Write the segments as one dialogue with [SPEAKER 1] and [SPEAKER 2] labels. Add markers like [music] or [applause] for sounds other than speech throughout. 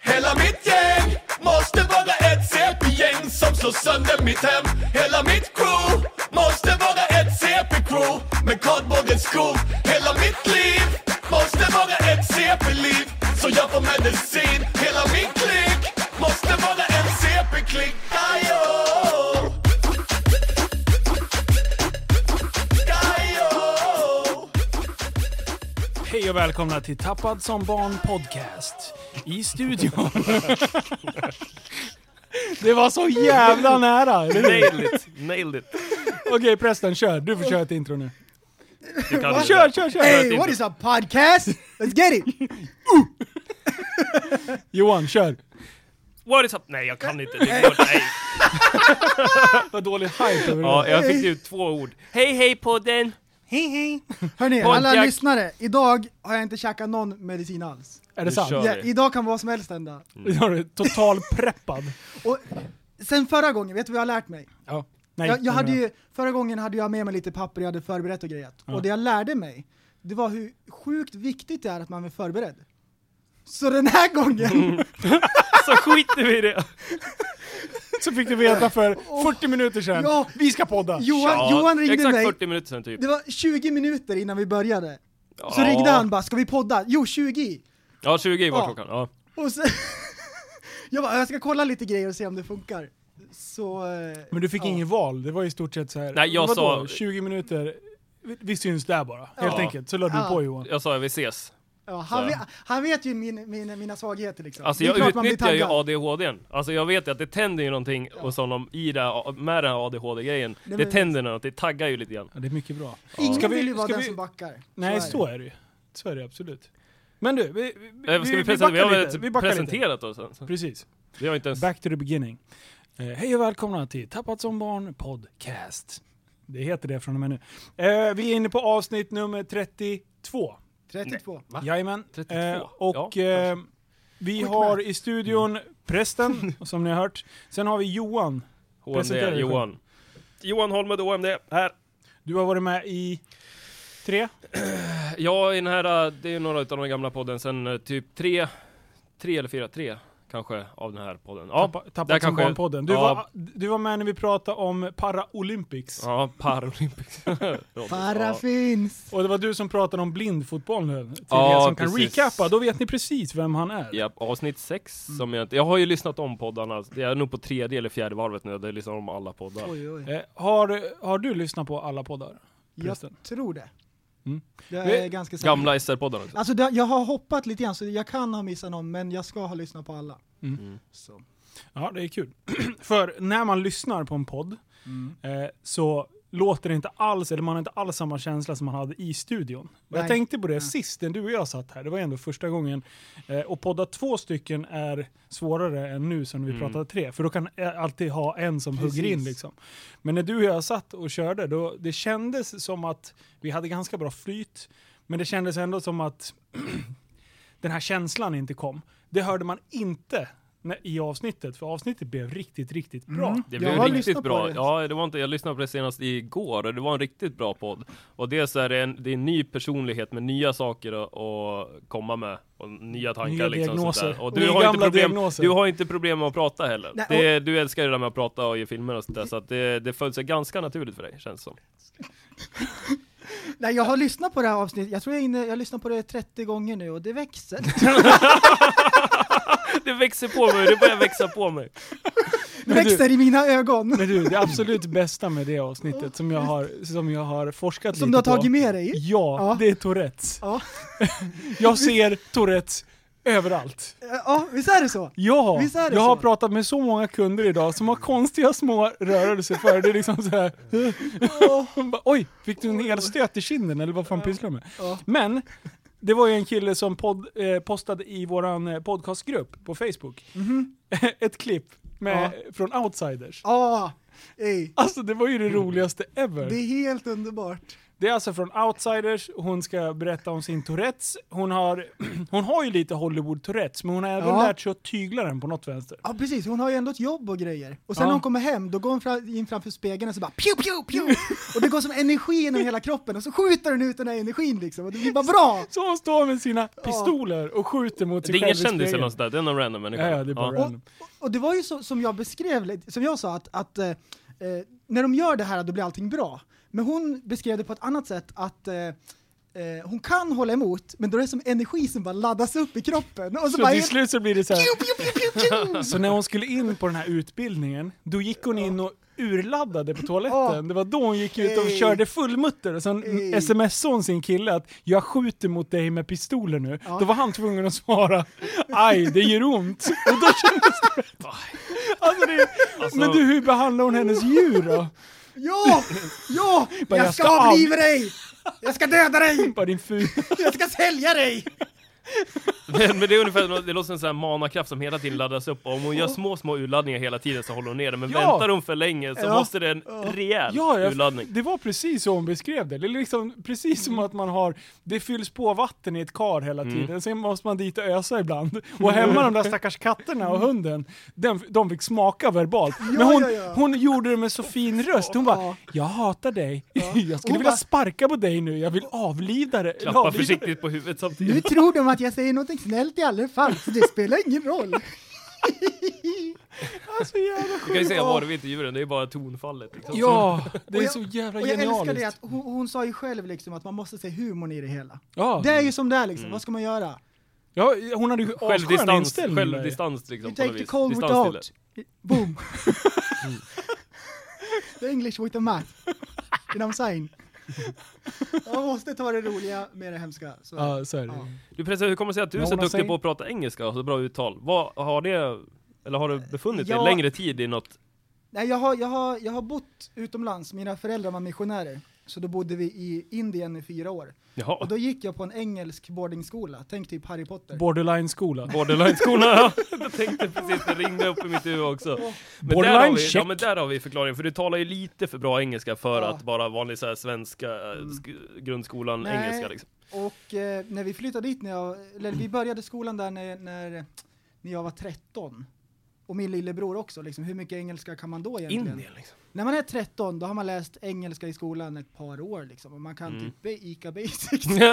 [SPEAKER 1] Hela mitt gäng måste vara ett CP-gäng som slår sönder mitt hem Hela mitt crew måste vara ett CP-crew med kardborrens skor Hela mitt liv måste vara ett CP-liv så jag får medicin Hela min klick måste vara en CP-klick Ajo! Ajo!
[SPEAKER 2] Hej och välkomna till Tappad som barn podcast. I studion. [laughs] Det var så jävla [laughs] nära! eller hur?
[SPEAKER 3] Nailed it, nailed it.
[SPEAKER 2] Okej prästen, kör. Du får köra ett intro nu.
[SPEAKER 3] Du kan det.
[SPEAKER 2] Kör, kör, kör!
[SPEAKER 3] think-
[SPEAKER 4] Hey, what is up, podcast? Let's get it!
[SPEAKER 2] Johan, kör!
[SPEAKER 3] What is up? Nej jag kan inte. Det går, nej.
[SPEAKER 2] Vad dålig hype över
[SPEAKER 3] Ja,
[SPEAKER 2] det.
[SPEAKER 3] jag fick ut två ord. Hej hej podden!
[SPEAKER 2] Hej hej!
[SPEAKER 4] Hörni,
[SPEAKER 3] Pontiac.
[SPEAKER 4] alla lyssnare, idag har jag inte käkat någon medicin alls.
[SPEAKER 2] Är det
[SPEAKER 3] Nu
[SPEAKER 2] sant?
[SPEAKER 3] kör.
[SPEAKER 4] Ja,
[SPEAKER 3] vi.
[SPEAKER 4] idag kan vad som helst hända.
[SPEAKER 2] Ja, du är total preppad.
[SPEAKER 4] Och sen förra gången, vet du vad jag har lärt mig?
[SPEAKER 2] Ja. Nej,
[SPEAKER 4] jag, jag hade ju, förra gången hade jag med mig lite papper, jag hade förberett och grejat. Och det jag lärde mig, det var hur sjukt viktigt det är att man är förberedd. Så den här gången,
[SPEAKER 3] Så skiter vi
[SPEAKER 2] [laughs]
[SPEAKER 3] i det!
[SPEAKER 2] Så fick du veta för 40 minuter sedan,
[SPEAKER 4] Ja.
[SPEAKER 2] vi ska podda!
[SPEAKER 4] Johan, Johan ringde
[SPEAKER 3] Exakt
[SPEAKER 4] mig,
[SPEAKER 3] 40 minuter sedan typ.
[SPEAKER 4] det var 20 minuter innan vi började. Så
[SPEAKER 3] Ja.
[SPEAKER 4] ringde han bara, ska vi podda? Jo, 20 i.
[SPEAKER 3] Ja 20 var
[SPEAKER 4] Ja.
[SPEAKER 3] klockan. Ja.
[SPEAKER 4] Och sen, [laughs] jag bara, jag ska kolla lite grejer och se om det funkar. Så... eh,
[SPEAKER 2] Men du fick
[SPEAKER 4] ja.
[SPEAKER 2] inget val, det var i stort sett så här.
[SPEAKER 3] Nej, jag
[SPEAKER 2] vadå?
[SPEAKER 3] sa-
[SPEAKER 2] 20 minuter, vi, vi syns där bara. Helt
[SPEAKER 3] Ja.
[SPEAKER 2] enkelt. Så la du
[SPEAKER 4] Ja.
[SPEAKER 2] på Johan.
[SPEAKER 3] Jag sa vi ses.
[SPEAKER 4] Ja, han,
[SPEAKER 3] Så.
[SPEAKER 4] vet, han vet ju min, min, mina svagheter liksom.
[SPEAKER 3] Alltså
[SPEAKER 4] Det är
[SPEAKER 3] jag
[SPEAKER 4] klart man blir
[SPEAKER 3] utnyttjar ju
[SPEAKER 4] taggad.
[SPEAKER 3] ADHDn. Alltså jag vet ju att det tänder ju någonting hos honom i det, här- med den här ADHD-grejen.
[SPEAKER 4] men-
[SPEAKER 3] Det tänder något, det taggar ju lite grann. Eh,
[SPEAKER 2] Ja, det är mycket bra.
[SPEAKER 4] Ingen
[SPEAKER 2] Ska vi-
[SPEAKER 4] vill ju vara
[SPEAKER 2] ska
[SPEAKER 4] den
[SPEAKER 2] vi-
[SPEAKER 4] som backar.
[SPEAKER 2] Nej,
[SPEAKER 4] det.
[SPEAKER 2] så är det ju. Så är det absolut. Men du, vi, vi,
[SPEAKER 3] Eh, Ska vi, presentera? vi,
[SPEAKER 2] backar
[SPEAKER 3] har
[SPEAKER 2] lite.
[SPEAKER 3] väl
[SPEAKER 2] Vi backar lite.
[SPEAKER 3] presenterat oss än. så.
[SPEAKER 2] Precis.
[SPEAKER 3] Vi har inte ens...
[SPEAKER 2] Back to the beginning. Eh, hej och välkomna till Tappat som barn podcast. Det heter det från och med nu. Eh, vi är inne på avsnitt nummer 32.
[SPEAKER 4] 32.
[SPEAKER 2] Jajamän.
[SPEAKER 3] 32.
[SPEAKER 2] och
[SPEAKER 3] Ja, Mm.
[SPEAKER 2] eh, vi
[SPEAKER 4] Quick
[SPEAKER 2] har i studion
[SPEAKER 3] [laughs]
[SPEAKER 2] prästen, som ni har hört. Sen har vi Johan. presentera dig
[SPEAKER 3] HMD,
[SPEAKER 2] själv.
[SPEAKER 3] Johan. Johan Holmed, HMD, här.
[SPEAKER 2] Du har varit med i tre?
[SPEAKER 3] Ja, i den här, eh, det är ju några av de gamla podden sen eh, typ tre, tre eller fyra, tre kanske av den här podden. Ja,
[SPEAKER 2] Tappa,
[SPEAKER 3] där
[SPEAKER 2] tappat som
[SPEAKER 3] kanske-
[SPEAKER 2] barnpodden. Du,
[SPEAKER 3] ja.
[SPEAKER 2] var, du var med när vi pratade om Paralympics.
[SPEAKER 3] ja
[SPEAKER 2] [laughs]
[SPEAKER 3] Paralympics. Rådigt.
[SPEAKER 4] Farah
[SPEAKER 3] Ja.
[SPEAKER 4] finns!
[SPEAKER 2] Och det var du som pratade om blindfotboll nu. Till
[SPEAKER 3] Ja,
[SPEAKER 2] er som kan
[SPEAKER 3] precis.
[SPEAKER 2] recappa, då vet ni precis vem han är.
[SPEAKER 3] Japp, avsnitt sex
[SPEAKER 2] Mm.
[SPEAKER 3] som jag inte, jag har ju lyssnat om poddarna, jag är nog på tredje eller fjärde varvet nu, det är liksom om alla poddar.
[SPEAKER 4] Oj, oj.
[SPEAKER 2] Eh, har, har du lyssnat på alla poddar?
[SPEAKER 4] Jag
[SPEAKER 2] Förresten.
[SPEAKER 4] tror det.
[SPEAKER 2] Mm.
[SPEAKER 4] Jag
[SPEAKER 2] Vi-
[SPEAKER 4] är ganska säker.
[SPEAKER 3] Gamla SR-poddarna också.
[SPEAKER 4] Alltså det, jag har hoppat lite grann så jag kan ha missat någon men jag ska ha lyssnat på alla.
[SPEAKER 2] Mm.
[SPEAKER 4] Så.
[SPEAKER 2] Ja, det är kul. [clears throat] För när man lyssnar på en podd
[SPEAKER 4] Mm.
[SPEAKER 2] eh, så låter det inte alls, eller man har inte alls samma känsla som man hade i studion. Och Jag
[SPEAKER 4] Nej.
[SPEAKER 2] tänkte på det sist när du och jag satt här, det var ändå första gången. Eh, och podda två stycken är svårare än nu som vi pratade tre, för då kan jag alltid ha en som hugger in
[SPEAKER 4] Mm. Precis.
[SPEAKER 2] liksom. Men när du och jag satt och körde, då, det kändes som att vi hade ganska bra flyt, men det kändes ändå som att den här känslan inte kom. Det hörde man inte när- i avsnittet, för avsnittet blev riktigt, riktigt bra.
[SPEAKER 3] Det
[SPEAKER 4] Jag
[SPEAKER 3] blev
[SPEAKER 4] har
[SPEAKER 3] riktigt
[SPEAKER 4] lyssnat på
[SPEAKER 3] bra.
[SPEAKER 4] det.
[SPEAKER 3] Ja, det var inte, jag lyssnade på det senast igår och det var en riktigt bra podd. Och dels är det en, det är en ny personlighet med nya saker att, att komma med. Och nya tankar
[SPEAKER 2] Nya
[SPEAKER 3] liksom. sånt där.
[SPEAKER 2] diagnoser.
[SPEAKER 3] Och
[SPEAKER 2] Det
[SPEAKER 3] du
[SPEAKER 2] är
[SPEAKER 3] har, inte
[SPEAKER 2] gamla
[SPEAKER 3] problem,
[SPEAKER 2] diagnoser.
[SPEAKER 3] du har inte problem med att prata heller.
[SPEAKER 4] Nej,
[SPEAKER 3] det, du älskar ju det där med att prata och ge filmer och sånt där. Så att det, det föll sig ganska naturligt för dig, känns som.
[SPEAKER 4] Nej jag har lyssnat på det här avsnittet, jag tror jag, är inne, jag har lyssnat på det 30 gånger nu och
[SPEAKER 2] [laughs]
[SPEAKER 4] det växer.
[SPEAKER 3] Det växer på mig, det börjar växa på mig.
[SPEAKER 4] Det
[SPEAKER 2] Men du-
[SPEAKER 4] växer i mina ögon!
[SPEAKER 2] Men du, det absolut bästa med det avsnittet som jag har, som jag har forskat
[SPEAKER 4] Som
[SPEAKER 2] lite
[SPEAKER 4] du har
[SPEAKER 2] på.
[SPEAKER 4] tagit med dig?
[SPEAKER 2] Ja,
[SPEAKER 4] Ja.
[SPEAKER 2] det är Tourettes.
[SPEAKER 4] Ja.
[SPEAKER 2] Jag ser Tourettes överallt.
[SPEAKER 4] Eh, Ja, visst är det så?
[SPEAKER 2] Ja,
[SPEAKER 4] Visst är det
[SPEAKER 2] jag har
[SPEAKER 4] så?
[SPEAKER 2] pratat med så många kunder idag som har konstiga små rörelser för det är liksom så här. Bara, [laughs] Oj, fick du en elstöt i kinden eller vad fan pysslar du med?
[SPEAKER 4] Ja.
[SPEAKER 2] Men, det var ju en kille som podd, eh, postade i våran eh, podcastgrupp på Facebook.
[SPEAKER 4] Mhm.
[SPEAKER 2] [laughs] Ett klipp med, från Outsiders.
[SPEAKER 4] Ja, ey,
[SPEAKER 2] Alltså det var ju det roligaste ever.
[SPEAKER 4] det är helt underbart.
[SPEAKER 2] Det är alltså från Outsiders, hon ska berätta om sin Tourettes. Hon har, [clears throat] hon har ju lite Hollywood-Tourettes, men hon har även
[SPEAKER 4] Ja.
[SPEAKER 2] lärt sig att tygla den på något vänster.
[SPEAKER 4] Ja precis, hon har ju ändå ett jobb och grejer. Och sen
[SPEAKER 2] Ja.
[SPEAKER 4] när hon kommer hem, då går hon fra- in framför spegeln och så bara pju pju pju! Och det går som energi genom hela kroppen och så skjuter hon ut den här energin liksom och det blir bara bra!
[SPEAKER 2] Så hon står med sina pistoler och skjuter mot
[SPEAKER 3] Det
[SPEAKER 2] sig
[SPEAKER 3] är ingen
[SPEAKER 2] själv i
[SPEAKER 3] kändis eller
[SPEAKER 2] spegeln.
[SPEAKER 3] något sånt där, det är någon random människa.
[SPEAKER 2] Ja, ja, det är bara
[SPEAKER 4] Och,
[SPEAKER 2] Random.
[SPEAKER 4] och det var ju så, som jag beskrev, lite- som jag sa att, att eh, eh, när de gör det här då blir allting bra. Men hon beskrev det på ett annat sätt att eh, eh, hon kan hålla emot, men då är det som energi som bara laddas upp i kroppen. Och så,
[SPEAKER 2] Så
[SPEAKER 4] Alltså, bara...
[SPEAKER 2] till slut så blir det så här.
[SPEAKER 4] Pju, pju, pju, pju, pju.
[SPEAKER 2] Så när hon skulle in på den här utbildningen, då gick hon in och urladdade på
[SPEAKER 4] Ja.
[SPEAKER 2] toaletten. Det var då hon gick ut och
[SPEAKER 4] Ey.
[SPEAKER 2] körde fullmutter och sen
[SPEAKER 4] Ey.
[SPEAKER 2] smsade hon sin kille att jag skjuter mot dig med pistoler nu.
[SPEAKER 4] Ja.
[SPEAKER 2] Då var han tvungen att svara aj, det gör ont. Och då kändes det
[SPEAKER 3] [laughs]
[SPEAKER 2] rätt. Alltså det,
[SPEAKER 3] Alltså-
[SPEAKER 2] Men du, hur behandlar hon hennes djur då?
[SPEAKER 4] Ja! [laughs] Ja!
[SPEAKER 2] Bara,
[SPEAKER 4] Jag
[SPEAKER 2] jag
[SPEAKER 4] ska
[SPEAKER 2] ska av-
[SPEAKER 4] avliva dig! Jag ska döda dig!
[SPEAKER 2] Bara din fula...
[SPEAKER 4] Jag ska sälja dig!
[SPEAKER 3] Men, men det är ungefär, det låter som en sån här manakraft som hela tiden laddas upp. Och om hon gör små, små urladdningar hela tiden så håller hon ner den. Men
[SPEAKER 2] Ja.
[SPEAKER 3] väntar hon för länge så
[SPEAKER 2] Ja.
[SPEAKER 3] måste det en rejäl
[SPEAKER 2] Ja, jag,
[SPEAKER 3] urladdning.
[SPEAKER 2] det var precis så hon beskrev det. Det är liksom precis som att man har, det fylls på vatten i ett kar hela tiden, sen måste man dit och ösa [laughs] ibland. Och hemma de där stackars katterna och hunden, den, de fick smaka verbalt. Men hon,
[SPEAKER 4] ja, ja.
[SPEAKER 2] hon gjorde det med så fin röst, hon bara
[SPEAKER 4] Ja.
[SPEAKER 2] “Jag hatar dig, [laughs] jag skulle
[SPEAKER 4] hon
[SPEAKER 2] vilja
[SPEAKER 4] bara-
[SPEAKER 2] sparka på dig nu, jag vill avlida dig”.
[SPEAKER 3] Klappar
[SPEAKER 2] avlida dig."
[SPEAKER 3] försiktigt på huvudet
[SPEAKER 4] Nu
[SPEAKER 3] samtidigt.
[SPEAKER 4] tror de att jag säger någonting snällt i alla fall, så det spelar ingen roll.
[SPEAKER 2] Alltså, jävla
[SPEAKER 3] Du kan ju
[SPEAKER 2] sjukt.
[SPEAKER 3] säga vad du vill till djuren, det är bara tonfallet. Liksom.
[SPEAKER 2] Ja, det är
[SPEAKER 4] Och jag-
[SPEAKER 2] så jävla
[SPEAKER 4] Och jag älskar det
[SPEAKER 2] genialiskt.
[SPEAKER 4] att hon, hon sa ju själv liksom att man måste se humorn i det hela.
[SPEAKER 2] Ja,
[SPEAKER 4] Det är ju som det är liksom, vad ska man göra?
[SPEAKER 2] ja, hon hade ju asskön
[SPEAKER 3] Självdistans,
[SPEAKER 2] inställning. där.
[SPEAKER 3] självdistans
[SPEAKER 4] You
[SPEAKER 3] liksom på
[SPEAKER 4] take
[SPEAKER 3] något
[SPEAKER 4] the
[SPEAKER 3] vis.
[SPEAKER 4] cold with the
[SPEAKER 3] Distans till det.
[SPEAKER 4] hot. [laughs] Boom! the English with the math. You know what I'm [laughs] saying? Man måste ta det roliga med det hemska. Så.
[SPEAKER 2] Ja, så är det.
[SPEAKER 4] Ja.
[SPEAKER 3] Du precis, hur kommer det sig att du är
[SPEAKER 2] Men
[SPEAKER 3] så
[SPEAKER 2] hon har
[SPEAKER 3] duktig
[SPEAKER 2] sig-
[SPEAKER 3] på att prata engelska och så bra uttal? Vad har det, eller har du befunnit dig
[SPEAKER 4] Ja.
[SPEAKER 3] längre tid i något?
[SPEAKER 4] Nej, jag har, jag, har, jag har bott utomlands, mina föräldrar var missionärer. Så då bodde vi i Indien i fyra år.
[SPEAKER 3] Jaha,
[SPEAKER 4] Och då gick jag på en engelsk boardingskola, tänk typ Harry Potter.
[SPEAKER 2] Borderline-skola.
[SPEAKER 3] borderline-skola. ja. [laughs] jag tänkte precis, det ringde upp i mitt huvud också. Men där, har
[SPEAKER 2] Borderline,
[SPEAKER 3] vi, ja,
[SPEAKER 2] check.
[SPEAKER 3] men där har vi förklaringen, för du talar ju lite för bra engelska för
[SPEAKER 4] Ja. Mm.
[SPEAKER 3] att bara vanlig så här svenska, eh, sk- grundskolan,
[SPEAKER 4] Nej.
[SPEAKER 3] engelska liksom.
[SPEAKER 4] Och eh, när vi flyttade dit, när jag, eller vi började skolan där när, när, när jag var 13. Och min lillebror också, liksom, hur mycket engelska kan man då egentligen?
[SPEAKER 3] Indien liksom. [laughs]
[SPEAKER 4] När man är 13, då har man läst engelska i skolan ett par år liksom. Och man kan
[SPEAKER 3] Mm.
[SPEAKER 4] typ be- ICA Basics.
[SPEAKER 3] inte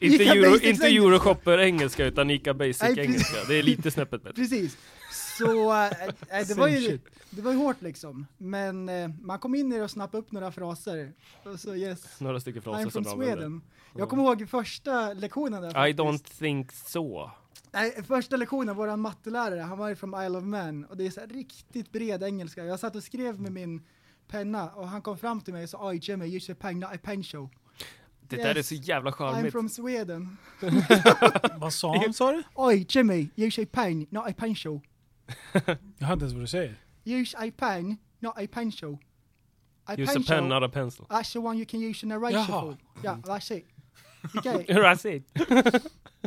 [SPEAKER 4] Ica
[SPEAKER 3] Euro,
[SPEAKER 4] Basics
[SPEAKER 3] inte
[SPEAKER 4] engelska.
[SPEAKER 3] Euroshopper engelska utan Ica Basic
[SPEAKER 4] Nej, precis.
[SPEAKER 3] engelska. Det är
[SPEAKER 4] [laughs]
[SPEAKER 3] lite snäppet bättre.
[SPEAKER 4] Precis. Så eh, eh, det, var
[SPEAKER 2] Same
[SPEAKER 4] ju,
[SPEAKER 2] shit.
[SPEAKER 4] det var ju hårt liksom. Men eh, man kom in i det och snappade upp några fraser. Och så yes,
[SPEAKER 3] Några stycken fraser
[SPEAKER 4] I'm
[SPEAKER 3] som
[SPEAKER 4] from
[SPEAKER 3] du använder.
[SPEAKER 4] Sweden. Jag kommer ihåg första lektionen där
[SPEAKER 3] I
[SPEAKER 4] faktiskt.
[SPEAKER 3] don't think so.
[SPEAKER 4] Nej, första lektionen, våran mattelärare, han var ju från Isle of Man och det är så här riktigt bred engelska. Jag satt och skrev med min penna och han kom fram till mig och sa Oj Jimmy, you should pang, not a pen show.
[SPEAKER 3] Det där är
[SPEAKER 4] Yes.
[SPEAKER 3] så jävla
[SPEAKER 4] I'm
[SPEAKER 3] charmigt.
[SPEAKER 4] from Sweden.
[SPEAKER 2] Vad sa hon, sa du?
[SPEAKER 4] Oj Jimmy, you should pang, not a pen show.
[SPEAKER 2] Jag hör inte ens vad du säger.
[SPEAKER 4] Use a pen, not a pen show. A
[SPEAKER 3] Use a pen, not a pencil.
[SPEAKER 4] That's the one you can use in a ratio
[SPEAKER 2] Jaha. Mm.
[SPEAKER 4] for. Yeah, that's it.
[SPEAKER 2] [laughs]
[SPEAKER 3] [laughs]
[SPEAKER 4] Okay,
[SPEAKER 3] That's it.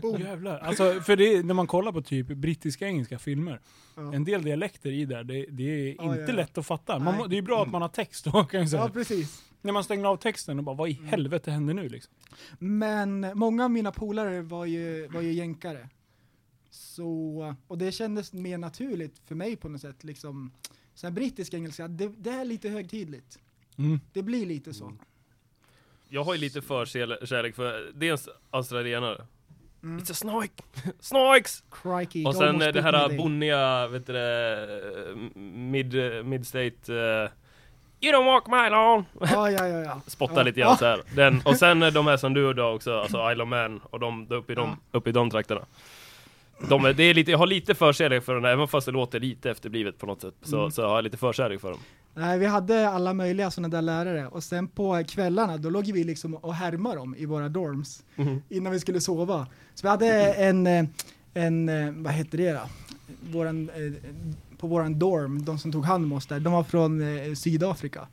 [SPEAKER 4] boom.
[SPEAKER 2] Jävlar. Alltså, för det, är- när man kollar på typ brittiska engelska filmer,
[SPEAKER 4] Ja.
[SPEAKER 2] en del dialekter i där, det, det är
[SPEAKER 4] Ja,
[SPEAKER 2] inte
[SPEAKER 4] ja, ja.
[SPEAKER 2] lätt att fatta. Man, må-
[SPEAKER 4] Nej.
[SPEAKER 2] det är bra att man har text då, kan jag säga.
[SPEAKER 4] Ja, Mm. precis.
[SPEAKER 2] när man stänger av texten och bara vad i helvete händer nu liksom?
[SPEAKER 4] Men många av mina polare var ju, var ju jänkare. Så, och det kändes mer naturligt för mig på något sätt. Liksom, så här brittisk engelska, det, det är lite högtidligt.
[SPEAKER 2] Mm.
[SPEAKER 4] Det blir lite så.
[SPEAKER 3] Jag har ju lite förkärlek för dels australienare. It's a snake! [laughs] Snakes!
[SPEAKER 4] Crikey,
[SPEAKER 3] Och
[SPEAKER 4] it
[SPEAKER 3] sen
[SPEAKER 4] almost
[SPEAKER 3] eh, det
[SPEAKER 4] bit
[SPEAKER 3] här
[SPEAKER 4] me
[SPEAKER 3] bonniga, vet du det, eh, mid, mid-state... eh, you don't walk my lawn!
[SPEAKER 4] there. Ja, ja, ja, ja.
[SPEAKER 3] Spotta
[SPEAKER 4] Ja.
[SPEAKER 3] lite grann så här. Den, och sen eh, de här som du och jag också, alltså Isle of Man och de de uppe i de, uppe i de trakterna. De, är- det är lite, jag har lite förkärlek för den här, även fast det låter lite efterblivet på något sätt. Så, så har jag lite förkärlek för dem.
[SPEAKER 4] Nej, vi hade alla möjliga sådana där lärare och sen på kvällarna då låg vi liksom och härmade dem i våra dorms innan vi skulle sova. Så vi hade en, eh, en eh, vad heter det då? Våran, eh, på våran dorm, de som tog hand om oss där, de var från eh, Sydafrika.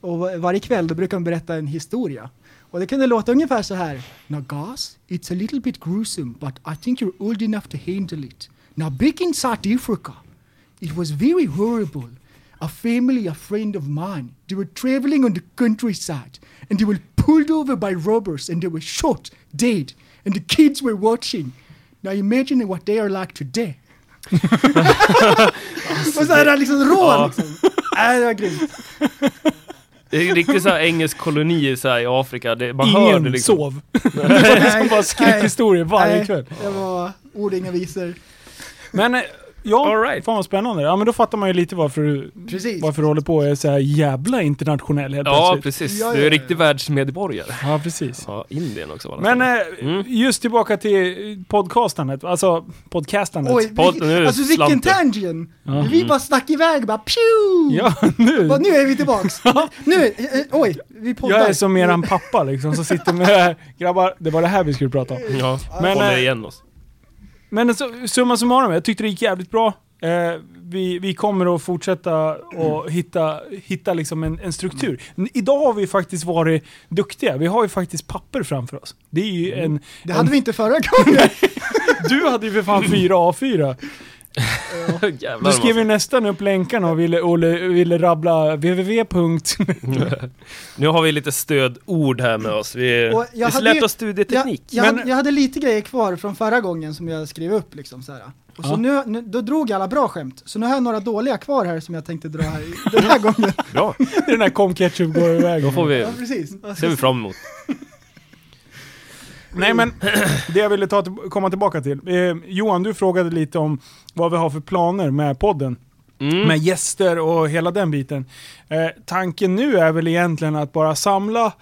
[SPEAKER 4] Och va- varje kväll då brukade de berätta en historia. Och det kunde låta ungefär så här. Now guys, it's a little bit gruesome but I think you're old enough to handle it. Now back in South Africa, it was very horrible. A family, a friend of mine, they were traveling on the countryside and they were pulled over by robbers and they were shot dead and the kids were watching. Now imagine what they are like today. [laughs] och så är det liksom rån!
[SPEAKER 3] Ja.
[SPEAKER 4] Liksom. Nej, det var grymt.
[SPEAKER 3] Det är riktigt såhär engelsk koloni så här i Afrika, det, man hör det
[SPEAKER 2] Ingen
[SPEAKER 3] liksom. [laughs]
[SPEAKER 2] sov. [laughs] Det var bara skräckhistorier varje
[SPEAKER 4] Nej,
[SPEAKER 2] kväll.
[SPEAKER 4] Det var ord inga visor.
[SPEAKER 2] Men eh, ja,
[SPEAKER 3] All right.
[SPEAKER 2] fan vad spännande. Ja men då fattar man ju lite varför du,
[SPEAKER 4] Precis.
[SPEAKER 2] varför du håller på och är så här jävla internationell helt
[SPEAKER 3] Ja
[SPEAKER 2] plötsligt.
[SPEAKER 3] precis,
[SPEAKER 4] Ja,
[SPEAKER 3] du är
[SPEAKER 4] ja,
[SPEAKER 3] en
[SPEAKER 4] ja.
[SPEAKER 3] riktig världsmedborgare.
[SPEAKER 2] Ja, precis.
[SPEAKER 3] Ja, Indien också var det.
[SPEAKER 2] Men eh,
[SPEAKER 3] Mm.
[SPEAKER 2] just tillbaka till podcastandet, alltså podcastandet.
[SPEAKER 4] Oj,
[SPEAKER 3] Podd-
[SPEAKER 4] vilken-
[SPEAKER 3] nu
[SPEAKER 4] alltså vilken
[SPEAKER 3] slant det.
[SPEAKER 4] tangent! Vi bara stack iväg bara pju!
[SPEAKER 2] Mm. Ja, [laughs] nu.
[SPEAKER 4] Och nu är
[SPEAKER 2] [laughs]
[SPEAKER 4] vi tillbaks. nu, eh, eh, oj, vi poddar.
[SPEAKER 2] Jag är som eran pappa liksom, som sitter med [laughs] grabbar, det var det här vi skulle prata om.
[SPEAKER 3] ja,
[SPEAKER 2] Men,
[SPEAKER 3] håller
[SPEAKER 2] eh,
[SPEAKER 3] igen oss.
[SPEAKER 2] Men så, summa summarum, jag tyckte det gick jävligt bra. Eh, vi, vi kommer att fortsätta och hitta, hitta liksom en, en struktur. N- Idag har vi faktiskt varit duktiga. Vi har ju faktiskt papper framför oss. Det är ju en...
[SPEAKER 4] Mm. Det hade vi inte förra
[SPEAKER 2] [laughs]
[SPEAKER 4] gången.
[SPEAKER 2] Du hade ju för fan fyra
[SPEAKER 4] [laughs]
[SPEAKER 2] A4.
[SPEAKER 3] [laughs] Jävlar
[SPEAKER 2] Du skrev
[SPEAKER 3] massa.
[SPEAKER 2] ju nästan upp länkarna och ville, och ville rabbla www. [laughs] punkt.
[SPEAKER 3] Nu har vi lite stödord här med oss. Vi,
[SPEAKER 4] Och
[SPEAKER 3] vi
[SPEAKER 4] jag hade ju-
[SPEAKER 3] släpper
[SPEAKER 4] jag,
[SPEAKER 3] studieteknik.
[SPEAKER 4] jag,
[SPEAKER 2] Men-
[SPEAKER 4] hade, jag hade lite grejer kvar från förra gången som jag skrev upp liksom så här. Och så
[SPEAKER 2] Ja.
[SPEAKER 4] nu, nu, då drog jag alla bra skämt. Så nu har jag några dåliga kvar här som jag tänkte dra här i- [laughs] den här gången.
[SPEAKER 3] Bra,
[SPEAKER 2] Den här kom ketchup går iväg.
[SPEAKER 3] då får vi,
[SPEAKER 4] Ja, precis.
[SPEAKER 3] ser vi fram emot.
[SPEAKER 2] Nej men, det jag ville ta, till- komma tillbaka till. Eh, Johan, du frågade lite om vad vi har för planer med podden.
[SPEAKER 3] Mm.
[SPEAKER 2] med gäster och hela den biten. Eh, tanken nu är väl egentligen att bara samla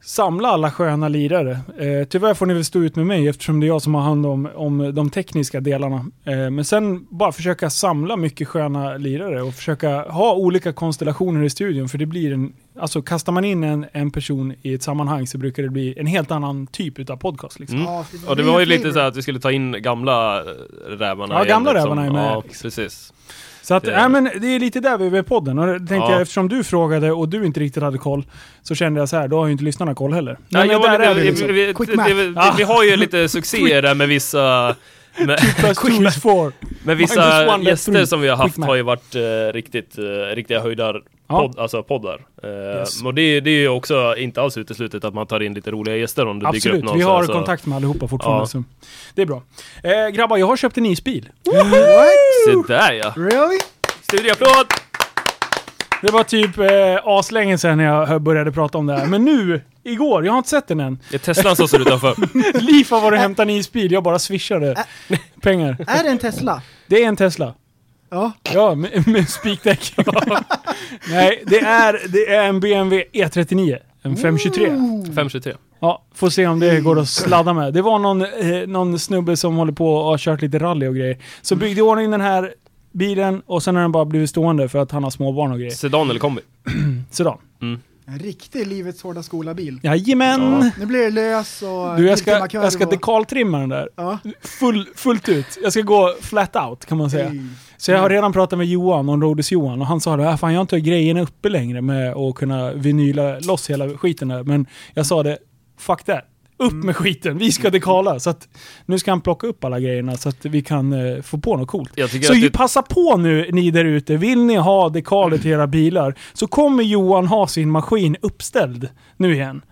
[SPEAKER 2] Samla alla sköna lirare. Eh, tyvärr får ni väl stå ut med mig eftersom det är jag som har hand om, om de tekniska delarna. Eh, men sen bara försöka samla mycket sköna lirare och försöka ha olika konstellationer i studion. För det blir en, alltså kastar man in en, en person i ett sammanhang så brukar det bli en helt annan typ av podcast. Liksom.
[SPEAKER 3] Mm.
[SPEAKER 4] Ja, för
[SPEAKER 3] Och det
[SPEAKER 4] blir
[SPEAKER 3] var ju
[SPEAKER 4] flavor.
[SPEAKER 3] lite så här att vi skulle ta in gamla eh, rävarna
[SPEAKER 2] Ja,
[SPEAKER 3] igen,
[SPEAKER 2] gamla
[SPEAKER 3] liksom.
[SPEAKER 2] rävarna är med,
[SPEAKER 3] Ja,
[SPEAKER 2] liksom.
[SPEAKER 3] precis.
[SPEAKER 2] Så att,
[SPEAKER 3] Det-
[SPEAKER 2] nej, men det är lite där vi är med podden. Och det tänkte
[SPEAKER 3] Ja.
[SPEAKER 2] jag, eftersom du frågade och du inte riktigt hade koll, så kände jag så här, då har ju inte lyssnarna koll heller.
[SPEAKER 3] Nej,
[SPEAKER 2] men
[SPEAKER 3] jag var
[SPEAKER 2] där är
[SPEAKER 3] lite,
[SPEAKER 2] vi liksom.
[SPEAKER 3] vi, vi,
[SPEAKER 4] Quick
[SPEAKER 3] det-
[SPEAKER 4] math.
[SPEAKER 3] det- det- vi har
[SPEAKER 2] [laughs]
[SPEAKER 3] ju lite succéer där med vissa... Med,
[SPEAKER 2] Plus two is
[SPEAKER 3] [laughs]
[SPEAKER 2] four.
[SPEAKER 3] med
[SPEAKER 2] Minus one,
[SPEAKER 3] vissa
[SPEAKER 2] that's
[SPEAKER 3] gäster
[SPEAKER 2] three.
[SPEAKER 3] som vi har
[SPEAKER 2] Quick
[SPEAKER 3] haft
[SPEAKER 2] math.
[SPEAKER 3] har ju varit eh, riktigt, eh, riktiga höjdar,
[SPEAKER 2] Ja.
[SPEAKER 3] podd, alltså poddar. Eh,
[SPEAKER 2] Yes.
[SPEAKER 3] Och det, det är ju också inte alls uteslutet att man tar in lite roliga gäster om det dyker upp
[SPEAKER 2] Absolut,
[SPEAKER 3] någon.
[SPEAKER 2] vi
[SPEAKER 3] så
[SPEAKER 2] har
[SPEAKER 3] här, så,
[SPEAKER 2] kontakt med allihopa fortfarande.
[SPEAKER 3] Ja.
[SPEAKER 2] Så. Det är bra. Eh, grabbar, jag har köpt en isbil.
[SPEAKER 4] What?
[SPEAKER 3] Se där ja!
[SPEAKER 4] Really?
[SPEAKER 3] Studieapplåd!
[SPEAKER 2] Det var typ eh, aslänge sedan jag började prata om det här. Men nu, igår, jag har inte sett den än. [laughs]
[SPEAKER 3] Det är Teslan som står utanför.
[SPEAKER 2] Liv har varit och hämtat en isbil, jag bara swishade pengar.
[SPEAKER 4] Är det en Tesla?
[SPEAKER 2] Det är en Tesla.
[SPEAKER 4] Ja.
[SPEAKER 2] Ja, med, med spikdäck. Nej, det är, det är en BMW E39. E En 523.
[SPEAKER 3] 523.
[SPEAKER 2] Ja, får se om det går att sladda med. Det var någon, eh, någon snubbe som håller på och har kört lite rally och grejer. Så byggde i ordning den här bilen och sen har den bara blivit stående för att han har småbarn och grejer.
[SPEAKER 3] Sedan eller kombi?
[SPEAKER 2] Sådär.
[SPEAKER 4] En riktig livets hårda skolabil.
[SPEAKER 2] Jajamän!
[SPEAKER 4] Nu blir det lös och...
[SPEAKER 2] Du, jag ska,
[SPEAKER 4] viltmarkör
[SPEAKER 2] jag ska
[SPEAKER 4] och-
[SPEAKER 2] dekaltrimma den där.
[SPEAKER 4] Ja.
[SPEAKER 2] Full, fullt ut. Jag ska gå flat out kan man säga. Så jag har redan pratat med Johan, om Rhodes Johan, och han sa det, "Ah, fan jag har inte grejerna uppe längre med att kunna vinyla loss hela skiten där. Men jag sa det, fuck that. Upp med skiten, vi ska dekala. Så att nu ska han plocka upp alla grejerna så att vi kan eh, få på något coolt.
[SPEAKER 3] Jag tycker
[SPEAKER 2] Så
[SPEAKER 3] att
[SPEAKER 2] ju,
[SPEAKER 3] det,
[SPEAKER 2] passa på nu ni där ute, vill ni ha dekaler till era bilar så kommer Johan ha sin maskin uppställd nu igen.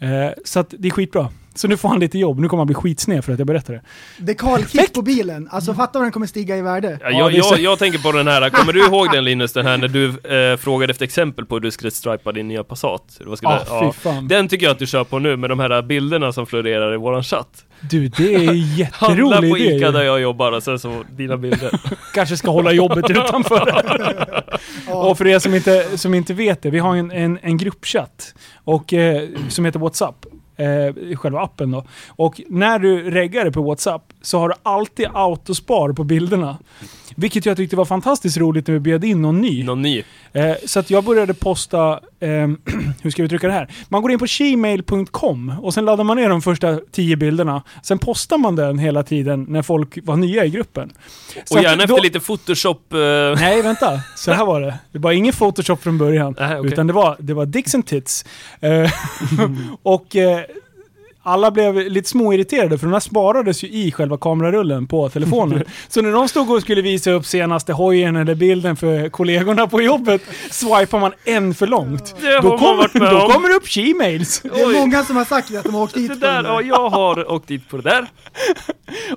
[SPEAKER 2] Eh, så att det är skitbra. Så nu får han lite jobb, nu kommer han bli skitsned för att jag berättar det.
[SPEAKER 4] Dekalkit på bilen, alltså fatta vad den kommer stiga i värde.
[SPEAKER 3] ja,
[SPEAKER 2] Ja,
[SPEAKER 3] jag,
[SPEAKER 2] det är så-
[SPEAKER 3] jag, jag tänker på den här, kommer du ihåg den Linus, den här när du eh, frågade efter exempel på hur du skulle stripa din nya Passat? Vad skulle-
[SPEAKER 2] Ah,
[SPEAKER 3] ja.
[SPEAKER 2] fy fan.
[SPEAKER 3] Den tycker jag att du kör på nu med de här bilderna som florerar i våran chatt.
[SPEAKER 2] Du, det är
[SPEAKER 3] [laughs]
[SPEAKER 2] en
[SPEAKER 3] Handla
[SPEAKER 2] jätterolig
[SPEAKER 3] på
[SPEAKER 2] idé.
[SPEAKER 3] Ica
[SPEAKER 2] ju.
[SPEAKER 3] där jag jobbar och sen så dina bilder.
[SPEAKER 2] kanske ska hålla
[SPEAKER 3] [laughs]
[SPEAKER 2] jobbet utanför.
[SPEAKER 4] Ja.
[SPEAKER 2] och för er som inte, som inte vet det, vi har en, en, en gruppchatt och, eh, som heter WhatsApp. Eh, själva appen då. Och när du reggar det på WhatsApp så har du alltid autospar på bilderna. Vilket jag tyckte var fantastiskt roligt när vi bjöd in någon ny.
[SPEAKER 3] Någon ny.
[SPEAKER 2] Eh, så att jag började posta, ehm, [clears throat] hur ska jag uttrycka det här? Man går in på gmail.com och sen laddar man ner de första tio bilderna. Sen postar man den hela tiden när folk var nya i gruppen. Så
[SPEAKER 3] Och
[SPEAKER 2] att
[SPEAKER 3] gärna
[SPEAKER 2] då-
[SPEAKER 3] efter lite photoshop... [laughs] Eh,
[SPEAKER 2] Nej, vänta. Så här var det. Det var ingen Photoshop från början.
[SPEAKER 3] Nej,
[SPEAKER 2] [laughs]
[SPEAKER 3] okej.
[SPEAKER 2] Utan det var, det var Dixon Tits. Eh, och eh, alla blev lite småirriterade för de här sparades ju i själva kamerarullen på
[SPEAKER 3] [laughs]
[SPEAKER 2] telefonen. Så när de stod och skulle visa upp senaste hojen eller bilden för kollegorna på jobbet, swipar man en för långt.
[SPEAKER 3] Det har
[SPEAKER 2] Då
[SPEAKER 3] man
[SPEAKER 2] kommer,
[SPEAKER 3] varit med
[SPEAKER 2] då
[SPEAKER 3] om.
[SPEAKER 2] kommer det upp she-mails.
[SPEAKER 4] Det är
[SPEAKER 3] Oj.
[SPEAKER 4] många som har sagt att de har åkt dit
[SPEAKER 3] Det
[SPEAKER 4] på den
[SPEAKER 3] där, ja, jag har åkt dit på det där.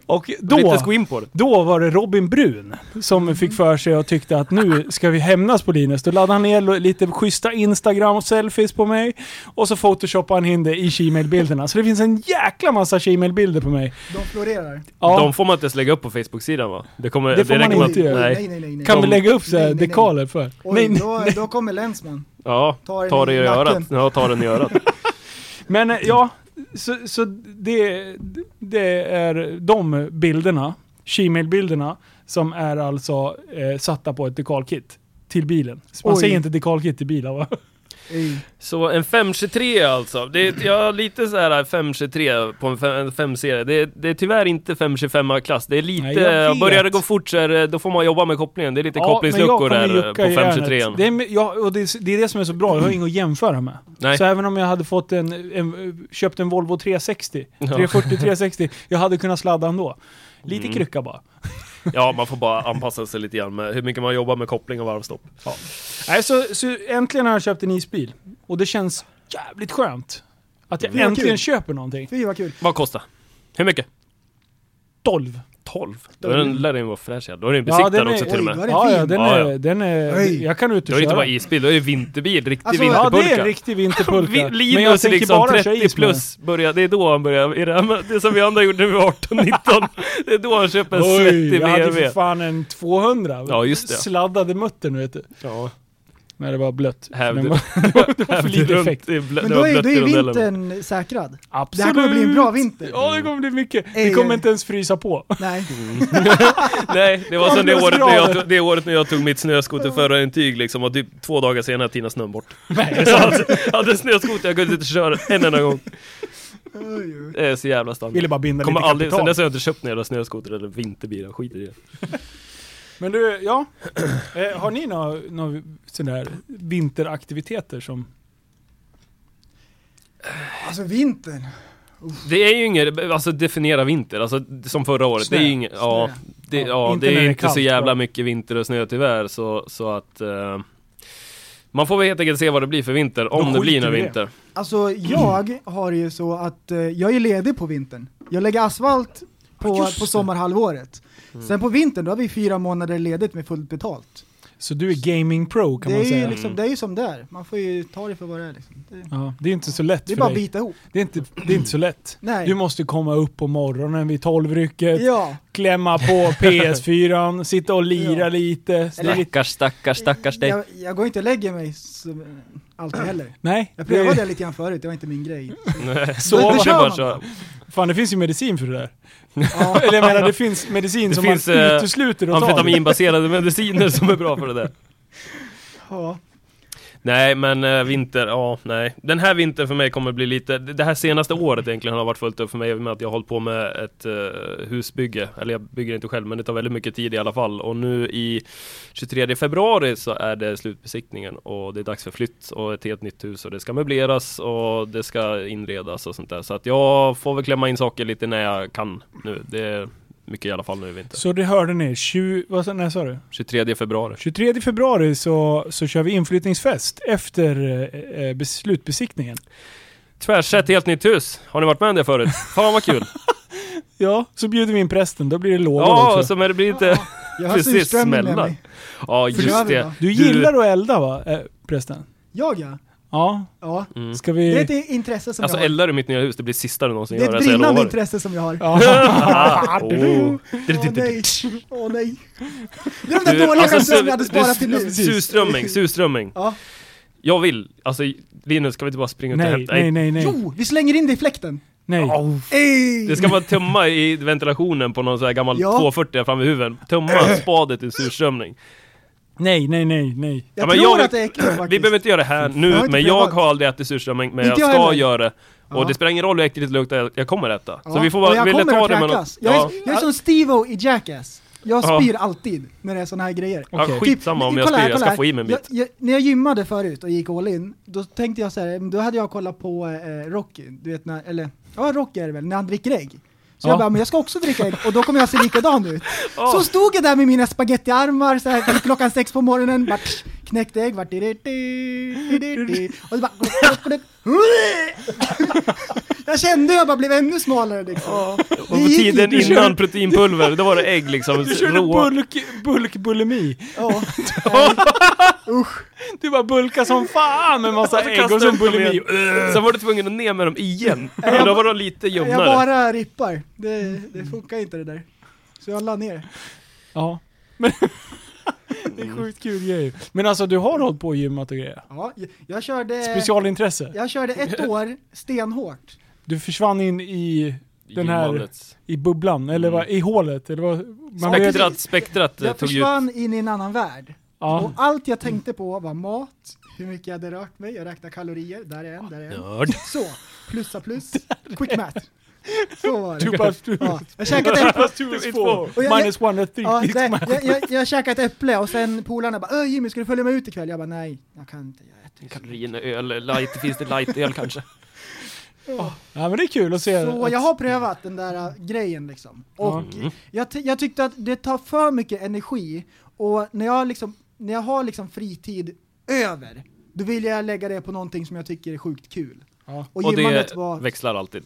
[SPEAKER 2] Och
[SPEAKER 3] Då. Vill inte
[SPEAKER 2] då,
[SPEAKER 3] ens gå in på det.
[SPEAKER 2] då var det Robin Brun
[SPEAKER 4] Mm.
[SPEAKER 2] som fick för sig och tyckte att nu ska vi hämnas på Linus. Då laddade han ner lite schyssta Instagram-selfies på mig och så photoshoppade han in det i Gmail-bilderna. Så det finns en jäkla massa Gmail-bilder på mig.
[SPEAKER 4] De florerar.
[SPEAKER 2] Ja,
[SPEAKER 3] De får man inte ens lägga upp på Facebook-sidan va? Det, kommer,
[SPEAKER 2] Det får man
[SPEAKER 3] räcker med
[SPEAKER 2] inte
[SPEAKER 3] att-
[SPEAKER 2] göra.
[SPEAKER 3] Nej.
[SPEAKER 4] nej, nej, nej. nej.
[SPEAKER 2] kan vi
[SPEAKER 3] de-
[SPEAKER 2] lägga upp så
[SPEAKER 4] nej,
[SPEAKER 2] här
[SPEAKER 4] nej, nej.
[SPEAKER 2] dekaler för?
[SPEAKER 4] Oj,
[SPEAKER 2] nej, nej,
[SPEAKER 4] då,
[SPEAKER 2] nej.
[SPEAKER 4] då kommer länsman.
[SPEAKER 3] Ja,
[SPEAKER 4] Ta den
[SPEAKER 3] ta det i
[SPEAKER 4] i
[SPEAKER 3] örat.
[SPEAKER 4] nacken.
[SPEAKER 3] Ja, ta den i örat.
[SPEAKER 2] Men eh, ja, så, så det, det är de bilderna, Gmail-bilderna, som är alltså eh, satta på ett dekalkit till bilen. Så man
[SPEAKER 4] Oj.
[SPEAKER 2] säger inte dekalkit till bilar va?
[SPEAKER 4] Ej.
[SPEAKER 3] [laughs] Så en 523 alltså. Det är, jag har lite så här 523 på en fem- en 5-serie. Det, är- det är tyvärr inte 525-klass. Det är lite,
[SPEAKER 2] Nej, jag vet.
[SPEAKER 3] börjar det gå fort så är det, då får man jobba med kopplingen. Det är lite kopplingsluckor
[SPEAKER 2] men jag kommer
[SPEAKER 3] där eh,
[SPEAKER 2] jucka
[SPEAKER 3] på
[SPEAKER 2] i järnet.
[SPEAKER 3] 523
[SPEAKER 2] Det är, ja, och det, är, det är det som är så bra,
[SPEAKER 3] [clears throat]
[SPEAKER 2] jag har inget att jämföra med.
[SPEAKER 3] Nej.
[SPEAKER 2] Så även om jag hade fått en, en, köpt en Volvo 360,
[SPEAKER 3] Ja. [laughs] Mm.
[SPEAKER 2] 340 360, jag hade kunnat sladda ändå. Lite krycka bara.
[SPEAKER 3] Ja, man får bara anpassa sig lite grann med hur mycket man jobbar med koppling och varvstopp.
[SPEAKER 2] Nej, så, så äntligen har jag köpt en isbil. Och det känns jävligt skönt. Att jag
[SPEAKER 4] Mm.
[SPEAKER 2] äntligen
[SPEAKER 4] Kul.
[SPEAKER 2] köper någonting.
[SPEAKER 4] Fy vad kul.
[SPEAKER 3] Vad kostar? Hur mycket?
[SPEAKER 2] 12.
[SPEAKER 3] 12? Då är den, lär den ju vara fräsch ja. Då är den
[SPEAKER 2] Ja,
[SPEAKER 3] besiktad
[SPEAKER 2] den är-
[SPEAKER 3] också till och
[SPEAKER 4] oj,
[SPEAKER 3] med.
[SPEAKER 4] vad är det
[SPEAKER 2] Ja,
[SPEAKER 4] fin?
[SPEAKER 2] ja, den
[SPEAKER 3] Ja,
[SPEAKER 2] är,
[SPEAKER 3] ja.
[SPEAKER 2] Den är
[SPEAKER 4] Oj.
[SPEAKER 2] jag kan ut
[SPEAKER 3] Då
[SPEAKER 2] och
[SPEAKER 3] är det inte bara
[SPEAKER 2] köra.
[SPEAKER 3] isbil, då är det vinterbil. Riktig
[SPEAKER 4] Alltså,
[SPEAKER 2] Ja,
[SPEAKER 3] vinterpulka.
[SPEAKER 2] det är en riktig vinterpulka.
[SPEAKER 3] [laughs] Vi-
[SPEAKER 2] Men jag
[SPEAKER 3] Linus
[SPEAKER 2] tänker
[SPEAKER 3] liksom
[SPEAKER 2] bara köra
[SPEAKER 3] 30
[SPEAKER 2] is med den.
[SPEAKER 3] plus, börjar, det är då han börjar, i det, här, med- det som vi andra gjorde när vi var 18-19, det är då han köper en
[SPEAKER 2] Oj,
[SPEAKER 3] svettig
[SPEAKER 2] jag hade för
[SPEAKER 3] BMW.
[SPEAKER 2] fan en 200.
[SPEAKER 3] Ja, just det.
[SPEAKER 2] Sladdade muttern vet du.
[SPEAKER 3] Ja,
[SPEAKER 2] När det var blött.
[SPEAKER 3] Hävde-
[SPEAKER 2] Det
[SPEAKER 3] [laughs]
[SPEAKER 2] var, det var för lite effekt.
[SPEAKER 4] Men då är, då är vintern säkrad.
[SPEAKER 2] Absolut.
[SPEAKER 4] Det här kommer bli en bra vinter.
[SPEAKER 2] Ja, det kommer bli mycket. Vi
[SPEAKER 4] Ej,
[SPEAKER 2] kommer
[SPEAKER 4] ej.
[SPEAKER 2] inte ens frysa på.
[SPEAKER 4] Nej.
[SPEAKER 3] Nej, det var
[SPEAKER 2] Ja,
[SPEAKER 3] som det
[SPEAKER 2] det var
[SPEAKER 3] året, när jag,
[SPEAKER 2] grader.
[SPEAKER 3] tog- det året när jag tog mitt snöskoterförarintyg liksom och typ två dagar senare tinade snön bort.
[SPEAKER 2] [laughs] Nej.
[SPEAKER 3] Så alltså, jag hade snöskoter, jag kunde inte köra en enda gång.
[SPEAKER 4] Oj, oj.
[SPEAKER 3] Det är så jävla standard.
[SPEAKER 2] Ville bara binda
[SPEAKER 3] Kommer
[SPEAKER 2] lite
[SPEAKER 3] aldrig, sen
[SPEAKER 2] kapital.
[SPEAKER 3] dess har jag inte köpt några snöskoter eller vinterbilar, jag skiter i det.
[SPEAKER 2] Men du, ja. [clears throat] Eh, har ni några nå sådana här vinteraktiviteter som...
[SPEAKER 4] Alltså vintern.
[SPEAKER 3] Det är ju inget, alltså definiera vinter, alltså som förra året.
[SPEAKER 2] Snö.
[SPEAKER 3] Det är ju inget, ja, det,
[SPEAKER 2] Ja,
[SPEAKER 3] ja,
[SPEAKER 2] inte
[SPEAKER 3] det
[SPEAKER 2] när
[SPEAKER 3] är
[SPEAKER 2] det är
[SPEAKER 3] inte så
[SPEAKER 2] kallt,
[SPEAKER 3] jävla
[SPEAKER 2] bara.
[SPEAKER 3] mycket vinter och snö tyvärr så, så att eh, man får väl helt enkelt se vad det blir för vinter, om
[SPEAKER 2] Då
[SPEAKER 3] det blir
[SPEAKER 2] skiter
[SPEAKER 3] någon
[SPEAKER 2] vi i det.
[SPEAKER 3] vinter.
[SPEAKER 4] Alltså jag har det ju så att eh, jag är ledig på vintern. Jag lägger asfalt på, på sommarhalvåret.
[SPEAKER 2] Mm.
[SPEAKER 4] Sen på vintern då har vi fyra månader ledigt med fullt betalt.
[SPEAKER 2] Så du är gaming pro kan
[SPEAKER 4] Det är,
[SPEAKER 2] man
[SPEAKER 4] ju
[SPEAKER 2] säga.
[SPEAKER 3] Mm.
[SPEAKER 4] liksom, det är ju som där, man får ju ta det för vad det är liksom. Det,
[SPEAKER 2] Ja, det är inte så lätt
[SPEAKER 4] det är
[SPEAKER 2] för
[SPEAKER 4] bara att
[SPEAKER 2] dig.
[SPEAKER 4] bita ihop.
[SPEAKER 2] Det är, inte, det är inte så lätt.
[SPEAKER 4] Nej.
[SPEAKER 2] Du måste komma upp på morgonen vid tolvrycket,
[SPEAKER 4] Ja,
[SPEAKER 2] klämma på PS4, sitta och lira
[SPEAKER 4] Ja.
[SPEAKER 2] lite. Så det är lite.
[SPEAKER 3] Stackars, stackars, stackars [laughs] dig.
[SPEAKER 4] jag, jag går inte och lägger mig så, eh, alltid heller.
[SPEAKER 2] Nej,
[SPEAKER 4] Jag prövade det lite grann förut, det var inte min grej.
[SPEAKER 3] Så
[SPEAKER 4] det
[SPEAKER 3] det
[SPEAKER 4] kör
[SPEAKER 3] bara
[SPEAKER 4] man.
[SPEAKER 3] köra.
[SPEAKER 2] Fan det finns ju medicin för det där.
[SPEAKER 4] Ja,
[SPEAKER 2] [laughs] Eller jag menar det finns medicin
[SPEAKER 3] Det
[SPEAKER 2] som
[SPEAKER 3] finns,
[SPEAKER 2] man
[SPEAKER 3] eh,
[SPEAKER 2] utesluter att ta.
[SPEAKER 3] Amfetaminbaserade mediciner som är bra för det där.
[SPEAKER 4] ja.
[SPEAKER 3] Nej men eh, vinter, ja nej. Den här vintern för mig kommer bli lite, det det här senaste året egentligen har varit fullt upp för mig i och med att jag har hållit på med ett eh, husbygge. Eller jag bygger inte själv men det tar väldigt mycket tid i alla fall. Och nu i 23 februari så är det slutbesiktningen och det är dags för flytt och ett helt nytt hus och det ska möbleras och det ska inredas och sånt där. Så att jag får väl klämma in saker lite när jag kan nu. Det är mycket i alla fall nu i vinter.
[SPEAKER 2] Så det hörde ni, 20, vad sa, nej, sa du?
[SPEAKER 3] 23 februari.
[SPEAKER 2] 23 februari så, så kör vi inflyttningsfest efter eh, eh, slutbesiktningen.
[SPEAKER 3] Tvärsett helt nytt hus. Har ni varit med om det förut? Fan vad kul!
[SPEAKER 2] Ja, så bjuder vi in prästen, då blir det lådor
[SPEAKER 3] Ja,
[SPEAKER 2] också.
[SPEAKER 3] som är det blir lite...
[SPEAKER 4] Jag har
[SPEAKER 3] Precis,
[SPEAKER 4] surströmming med
[SPEAKER 3] smällar.
[SPEAKER 4] mig.
[SPEAKER 3] Ja just
[SPEAKER 4] Förstör vi,
[SPEAKER 3] det.
[SPEAKER 4] va?
[SPEAKER 2] Du gillar att elda va, eh, prästen?
[SPEAKER 4] Jag ja.
[SPEAKER 2] Ja,
[SPEAKER 4] ja.
[SPEAKER 3] Mm.
[SPEAKER 2] ska
[SPEAKER 4] Det är
[SPEAKER 2] vi...
[SPEAKER 4] ett intresse som
[SPEAKER 3] Alltså
[SPEAKER 4] jag har.
[SPEAKER 3] eldar du mitt nya hus, det blir sista du någonsin
[SPEAKER 4] Det
[SPEAKER 3] gör.
[SPEAKER 4] är ett
[SPEAKER 3] alltså, jag
[SPEAKER 4] brinnande
[SPEAKER 3] lovar. [laughs]
[SPEAKER 4] intresse som jag har. Åh
[SPEAKER 2] Ja.
[SPEAKER 3] Ah, oh. [laughs]
[SPEAKER 4] nej, åh nej. Det är de där
[SPEAKER 3] Du,
[SPEAKER 4] dåliga
[SPEAKER 3] alltså,
[SPEAKER 4] skämten
[SPEAKER 3] du- alltså,
[SPEAKER 4] vi hade
[SPEAKER 3] du-
[SPEAKER 4] sparat till nu.
[SPEAKER 3] Surströmming, surströmming.
[SPEAKER 4] Ja.
[SPEAKER 3] Jag vill, alltså Linus ska vi inte bara springa ut och
[SPEAKER 2] Nej,
[SPEAKER 3] hämta?
[SPEAKER 2] nej, nej, nej.
[SPEAKER 4] Jo, vi slänger in det i fläkten.
[SPEAKER 2] nej.
[SPEAKER 3] Au.
[SPEAKER 4] Ey!
[SPEAKER 3] Det ska man tömma i ventilationen på någon sån här gammal
[SPEAKER 4] Ja.
[SPEAKER 3] 240 framme i huvudet.
[SPEAKER 4] [clears throat]
[SPEAKER 3] Tömma spadet i surströmning.
[SPEAKER 2] Nej, nej, nej, nej.
[SPEAKER 4] jag
[SPEAKER 3] Ja, men
[SPEAKER 4] tror
[SPEAKER 3] jag-
[SPEAKER 4] att det är äckligt
[SPEAKER 3] [clears throat]
[SPEAKER 4] faktiskt.
[SPEAKER 3] Vi behöver inte göra det här nu,
[SPEAKER 4] Jag har inte
[SPEAKER 3] men jag
[SPEAKER 4] provat.
[SPEAKER 3] har aldrig ätit surströmming, men jag,
[SPEAKER 4] Inte jag
[SPEAKER 3] ska
[SPEAKER 4] heller.
[SPEAKER 3] göra det. Och
[SPEAKER 4] Ja.
[SPEAKER 3] det spelar ingen roll hur äckligt det luktar, jag kommer äta.
[SPEAKER 4] Ja,
[SPEAKER 3] Så vi får
[SPEAKER 4] och
[SPEAKER 3] bara,
[SPEAKER 4] jag
[SPEAKER 3] vill ni
[SPEAKER 4] kommer
[SPEAKER 3] ta
[SPEAKER 4] att
[SPEAKER 3] det med något?
[SPEAKER 4] kräkas. Jag, är, jag är som Steve-O i Jackass. Jag
[SPEAKER 3] Ja.
[SPEAKER 4] spyr alltid när det är såna här grejer.
[SPEAKER 3] Ja,
[SPEAKER 2] Okej.
[SPEAKER 3] skitsamma om jag
[SPEAKER 4] Typ, kolla här,
[SPEAKER 3] styr, jag
[SPEAKER 4] kolla
[SPEAKER 3] ska
[SPEAKER 4] här.
[SPEAKER 3] få i mig en
[SPEAKER 4] jag,
[SPEAKER 3] bit.
[SPEAKER 4] jag, När jag gymmade förut och gick all in, då tänkte jag så här, då hade jag kollat på eh, Rocky, du vet när, eller ja Rocky är det väl, när han dricker ägg. Så
[SPEAKER 2] Ja.
[SPEAKER 4] jag bara, men jag ska också dricka ägg och då kommer jag se likadan ut.
[SPEAKER 3] [laughs] Ja.
[SPEAKER 4] Så stod jag där med mina spagettiarmar så här till klockan sex på morgonen, bara, psh, knäckte ägg, vart di- di- di- di- di. och så bara... [laughs] Jag kände jag bara blev ännu smalare liksom.
[SPEAKER 3] Och
[SPEAKER 4] Det
[SPEAKER 3] på
[SPEAKER 4] gick
[SPEAKER 3] tiden
[SPEAKER 4] inte. Du
[SPEAKER 3] innan
[SPEAKER 4] körde-
[SPEAKER 3] proteinpulver, då var det ägg
[SPEAKER 4] [laughs]
[SPEAKER 3] liksom.
[SPEAKER 2] Du körde
[SPEAKER 3] råa.
[SPEAKER 2] bulk, bulkbulimi.
[SPEAKER 4] Ja.
[SPEAKER 2] Du bara bulkar som fan med massa
[SPEAKER 3] Och så
[SPEAKER 4] Alltså,
[SPEAKER 2] ägg
[SPEAKER 3] kastade
[SPEAKER 2] och
[SPEAKER 3] du
[SPEAKER 2] som
[SPEAKER 3] ut Alltså, dem
[SPEAKER 2] bulimi.
[SPEAKER 3] igen. Sen var du tvungen att ner med dem igen.
[SPEAKER 4] [laughs]
[SPEAKER 3] Men då var de lite
[SPEAKER 4] Jag
[SPEAKER 3] ljumnare.
[SPEAKER 4] bara rippar. Det, det funkar inte det där. Så jag la ner.
[SPEAKER 2] Ja. Men, [laughs] det är sjukt kul grej. Men alltså du har hållit på och gymmat och grejer?
[SPEAKER 4] Ja, jag, jag, körde,
[SPEAKER 2] Specialintresse?
[SPEAKER 4] jag körde ett år stenhårt.
[SPEAKER 2] Du försvann in i, Den här-
[SPEAKER 3] Gymhållets.
[SPEAKER 2] i bubblan, eller
[SPEAKER 3] Mm.
[SPEAKER 2] vad, i hålet? Eller vad, man
[SPEAKER 3] Spektrat,
[SPEAKER 4] Spektrat.
[SPEAKER 3] spektrat eh,
[SPEAKER 4] Jag
[SPEAKER 3] tog ju ut.
[SPEAKER 4] försvann in i en annan värld. Och
[SPEAKER 2] ja.
[SPEAKER 4] allt jag tänkte på var mat, hur mycket jag hade rört mig, jag räknade kalorier, där är en, där är en.
[SPEAKER 3] Nörd.
[SPEAKER 4] Så, plussa plus, quick math. Så var
[SPEAKER 2] Two
[SPEAKER 4] det.
[SPEAKER 2] plus two.
[SPEAKER 4] Ja, jag käkade ett
[SPEAKER 2] Plus two is four.
[SPEAKER 4] Och jag-
[SPEAKER 2] Minus one, I think.
[SPEAKER 4] Ja,
[SPEAKER 2] it's
[SPEAKER 4] nej,
[SPEAKER 2] my-
[SPEAKER 4] jag, jag, jag käkade ett äpple och sen polarna bara "Öh, Jimmy, ska du följa med ut ikväll?” Jag bara “Nej, jag kan inte, jag äter inte."
[SPEAKER 3] Kalorienöl, light, finns det lightöl kanske?
[SPEAKER 2] Ja men det är kul att se.
[SPEAKER 4] Så
[SPEAKER 2] att-
[SPEAKER 4] jag har prövat den där äh, grejen liksom. Och
[SPEAKER 3] Mm.
[SPEAKER 4] jag, ty- jag tyckte att det tar för mycket energi och när jag, liksom, när jag har liksom fritid över, då vill jag lägga det på någonting som jag tycker är sjukt kul.
[SPEAKER 2] Ja.
[SPEAKER 4] Och,
[SPEAKER 3] Och
[SPEAKER 4] gymmandet
[SPEAKER 3] det
[SPEAKER 4] var...
[SPEAKER 3] växlar alltid.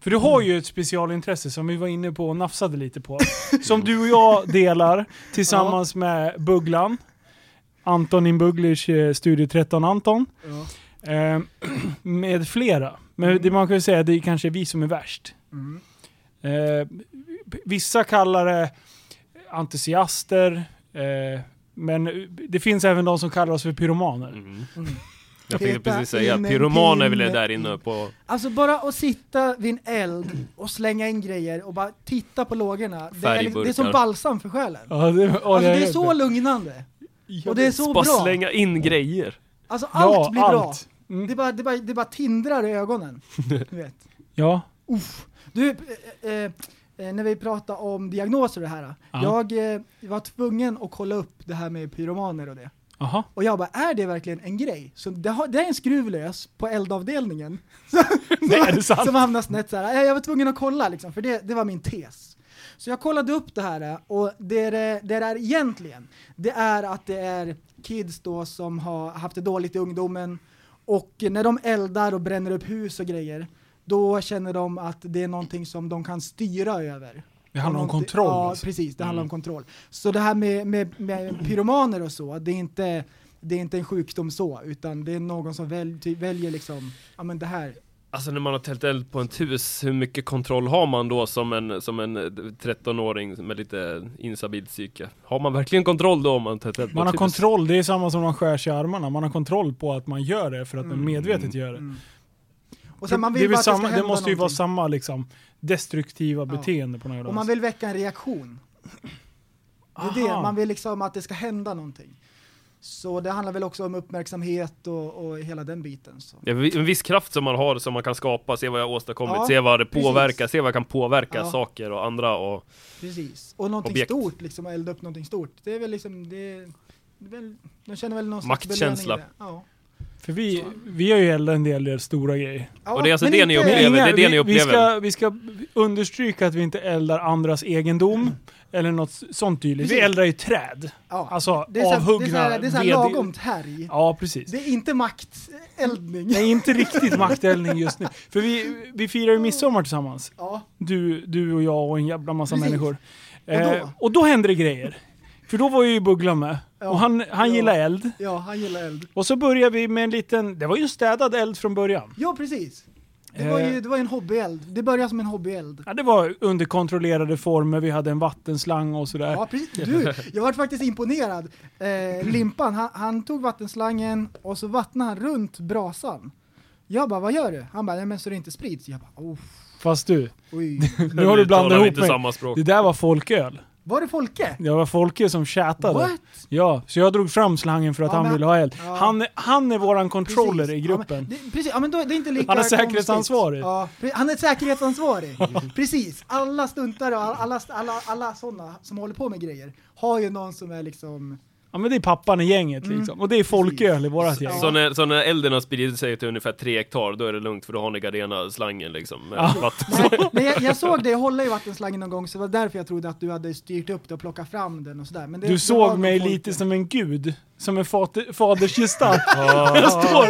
[SPEAKER 2] För du har ju ett specialintresse som vi var inne på och nafsade lite på. [laughs] Som du och jag delar tillsammans med Bugglan. Anton Inbugglish, eh, Studio 13 Anton.
[SPEAKER 4] Ja.
[SPEAKER 2] Eh, [clears throat] med flera. Men det man kan ju säga det är kanske vi som är värst.
[SPEAKER 4] Mm.
[SPEAKER 2] Eh, vissa kallar det entusiaster. Eh, men det finns även de som kallar oss för pyromaner.
[SPEAKER 3] Mm.
[SPEAKER 4] Mm.
[SPEAKER 3] Jag tänkte
[SPEAKER 4] Peta
[SPEAKER 3] precis säga,
[SPEAKER 4] in en
[SPEAKER 3] pyromaner vill jag
[SPEAKER 4] pinne
[SPEAKER 3] där inne på.
[SPEAKER 4] Alltså bara att sitta vid en eld och slänga in grejer och bara titta på lågorna. Det är, liksom, det är som
[SPEAKER 3] Färgburkar.
[SPEAKER 4] balsam för själen.
[SPEAKER 2] Ja, det, ja,
[SPEAKER 4] Alltså det är
[SPEAKER 2] jag-
[SPEAKER 4] så lugnande. Och det är så
[SPEAKER 3] Bara
[SPEAKER 4] bra.
[SPEAKER 3] slänga in grejer.
[SPEAKER 4] Alltså
[SPEAKER 2] Ja,
[SPEAKER 4] allt blir bra.
[SPEAKER 2] allt. Mm.
[SPEAKER 4] Det bara, det, bara, det bara tindrar
[SPEAKER 3] [laughs]
[SPEAKER 4] i ögonen. Du vet.
[SPEAKER 2] Ja.
[SPEAKER 4] Uff. Du, eh, eh, eh, när vi pratade om diagnoser och det här.
[SPEAKER 2] Ja.
[SPEAKER 4] Jag eh, var tvungen att kolla upp det här med pyromaner och det.
[SPEAKER 2] Aha.
[SPEAKER 4] Och jag bara, är det verkligen en grej? Så det, har, det är en skruv lös på eldavdelningen. [laughs]
[SPEAKER 2] Nej, är det sant?
[SPEAKER 4] Som hamnar snett så här. Eh, Jag var tvungen att kolla liksom, för det, det var min tes. Så jag kollade upp det här eh, och det det, det är egentligen, det är att det är kids då som har haft det dåligt i ungdomen och när de eldar och bränner upp hus och grejer, då känner de att det är någonting som de kan styra över.
[SPEAKER 2] Det handlar om
[SPEAKER 4] Någonting-
[SPEAKER 2] kontroll
[SPEAKER 4] Ja,
[SPEAKER 2] alltså.
[SPEAKER 4] precis. Det handlar om kontroll. Så det här med, med, med pyromaner och så, det är inte det är inte en sjukdom så, utan det är någon som väl, ty, väljer liksom, ja men det här,
[SPEAKER 3] Alltså när man har tält eld på ett hus, hur mycket kontroll har man då som en, som en eh, 13-åring med lite instabilt psyke? Har man verkligen kontroll då om man tält eld på
[SPEAKER 2] Man har
[SPEAKER 3] ett hus?
[SPEAKER 2] kontroll, det är samma som man skär sig i armarna. Man har kontroll på att man gör det för att man medvetet gör det.
[SPEAKER 4] och sen man vill
[SPEAKER 2] det, är väl
[SPEAKER 4] bara att det
[SPEAKER 2] samma,
[SPEAKER 4] ska
[SPEAKER 2] det
[SPEAKER 4] hända
[SPEAKER 2] måste ju vara
[SPEAKER 4] någonting.
[SPEAKER 2] samma liksom, destruktiva
[SPEAKER 4] Ja.
[SPEAKER 2] beteende på något jävla
[SPEAKER 4] Och man
[SPEAKER 2] vänster.
[SPEAKER 4] vill väcka en reaktion. Det är
[SPEAKER 2] Aha.
[SPEAKER 4] det, man vill liksom att det ska hända någonting. Så det handlar väl också om uppmärksamhet och, och hela den biten. Så.
[SPEAKER 3] Ja, vi- en viss kraft som man har som man kan skapa, se vad jag har åstadkommit,
[SPEAKER 4] Ja,
[SPEAKER 3] se vad det
[SPEAKER 4] precis.
[SPEAKER 3] påverkar, se vad jag kan påverka
[SPEAKER 4] Ja.
[SPEAKER 3] saker och andra och
[SPEAKER 4] Precis. Och någonting
[SPEAKER 3] Objekt.
[SPEAKER 4] stort, liksom elda upp någonting stort. Det är väl liksom, det är, det är väl, de känner väl någon slags
[SPEAKER 3] Maktkänsla.
[SPEAKER 4] belöning i det. Ja.
[SPEAKER 2] För vi, vi har ju eldat en del, del stora grejer.
[SPEAKER 4] Ja,
[SPEAKER 3] Och det är alltså
[SPEAKER 4] men
[SPEAKER 3] det ni
[SPEAKER 4] inte-
[SPEAKER 3] upplever.
[SPEAKER 2] Men
[SPEAKER 3] det är det ni
[SPEAKER 2] vi, vi,
[SPEAKER 3] upplever.
[SPEAKER 2] ska, vi ska understryka att vi inte eldar andras egendom eller något sånt tydligt. Vi
[SPEAKER 4] Precis.
[SPEAKER 2] eldar ju träd.
[SPEAKER 4] Ja.
[SPEAKER 2] Alltså
[SPEAKER 4] det är så här-
[SPEAKER 2] avhuggna
[SPEAKER 4] Det är så här- det är så här
[SPEAKER 2] ved-
[SPEAKER 4] lagomt härj.
[SPEAKER 2] Ja, precis.
[SPEAKER 4] Det är inte makteldning.
[SPEAKER 2] Nej, inte riktigt makteldning just nu. För vi, vi firar ju midsommar tillsammans.
[SPEAKER 4] [laughs] Ja,
[SPEAKER 2] Du, du och jag och en jävla massa
[SPEAKER 4] Precis.
[SPEAKER 2] människor. Eh,
[SPEAKER 4] Och då?
[SPEAKER 2] och då händer det grejer. För då var ju Buggla med.
[SPEAKER 4] Ja.
[SPEAKER 2] Och han, han
[SPEAKER 4] Ja.
[SPEAKER 2] gillar eld.
[SPEAKER 4] ja, han gillar eld.
[SPEAKER 2] Och så börjar vi med en liten, det var ju en städad eld från början.
[SPEAKER 4] Ja, precis. Det var
[SPEAKER 2] Eh.
[SPEAKER 4] ju, det var ju en hobbyeld. Det började som en hobbyeld.
[SPEAKER 2] Ja, det var under kontrollerade former, vi hade en vattenslang och sådär.
[SPEAKER 4] Ja, precis. Du, jag var faktiskt imponerad.
[SPEAKER 2] [clears throat]
[SPEAKER 4] Eh, limpan, han, han tog vattenslangen och så vattnade han runt brasan. Jag bara, vad gör du? Han bara, nej men så det inte sprids. Jag bara, oh,
[SPEAKER 2] Fast du,
[SPEAKER 4] oj.
[SPEAKER 2] [laughs] nu har du blandat
[SPEAKER 3] talar vi
[SPEAKER 2] ihop
[SPEAKER 3] inte
[SPEAKER 2] mig.
[SPEAKER 3] samma språk.
[SPEAKER 2] Det där var folköl.
[SPEAKER 4] Var det Folke?
[SPEAKER 2] Det var Folke som tjatade.
[SPEAKER 4] What?
[SPEAKER 2] Ja, så jag drog fram slangen för att
[SPEAKER 4] Ja,
[SPEAKER 2] han
[SPEAKER 4] men-
[SPEAKER 2] ville ha eld.
[SPEAKER 4] ja.
[SPEAKER 2] Han, är- han är våran controller
[SPEAKER 4] Precis.
[SPEAKER 2] i gruppen.
[SPEAKER 4] Ja, men, det, precis, ja, men då, det är inte lika
[SPEAKER 2] Han är
[SPEAKER 4] konstigt.
[SPEAKER 2] säkerhetsansvarig.
[SPEAKER 4] Ja, pre- han är säkerhetsansvarig. precis. Alla stuntare och alla, alla, alla, alla sådana som håller på med grejer har ju någon som är liksom...
[SPEAKER 2] Ja men det är pappan i gänget
[SPEAKER 4] Mm.
[SPEAKER 2] liksom. Och det är folköl i vårat gäng.
[SPEAKER 3] Så, när, så när elden har spridit sig till ungefär tre hektar, då är det lugnt för då har ni Gardena-slangen liksom. Med [laughs] vatten.
[SPEAKER 4] Nej, men jag, jag såg dig hålla i vattenslangen någon gång så det var därför jag trodde att du hade styrt upp det och plockat fram den och sådär. Men det,
[SPEAKER 2] Du
[SPEAKER 4] det var
[SPEAKER 2] såg
[SPEAKER 4] nog
[SPEAKER 2] mig
[SPEAKER 4] Folke.
[SPEAKER 2] lite
[SPEAKER 4] [laughs]
[SPEAKER 2] som en gud. Som en fader, fadersgestalt.
[SPEAKER 3] [laughs]
[SPEAKER 2] [laughs] jag, står,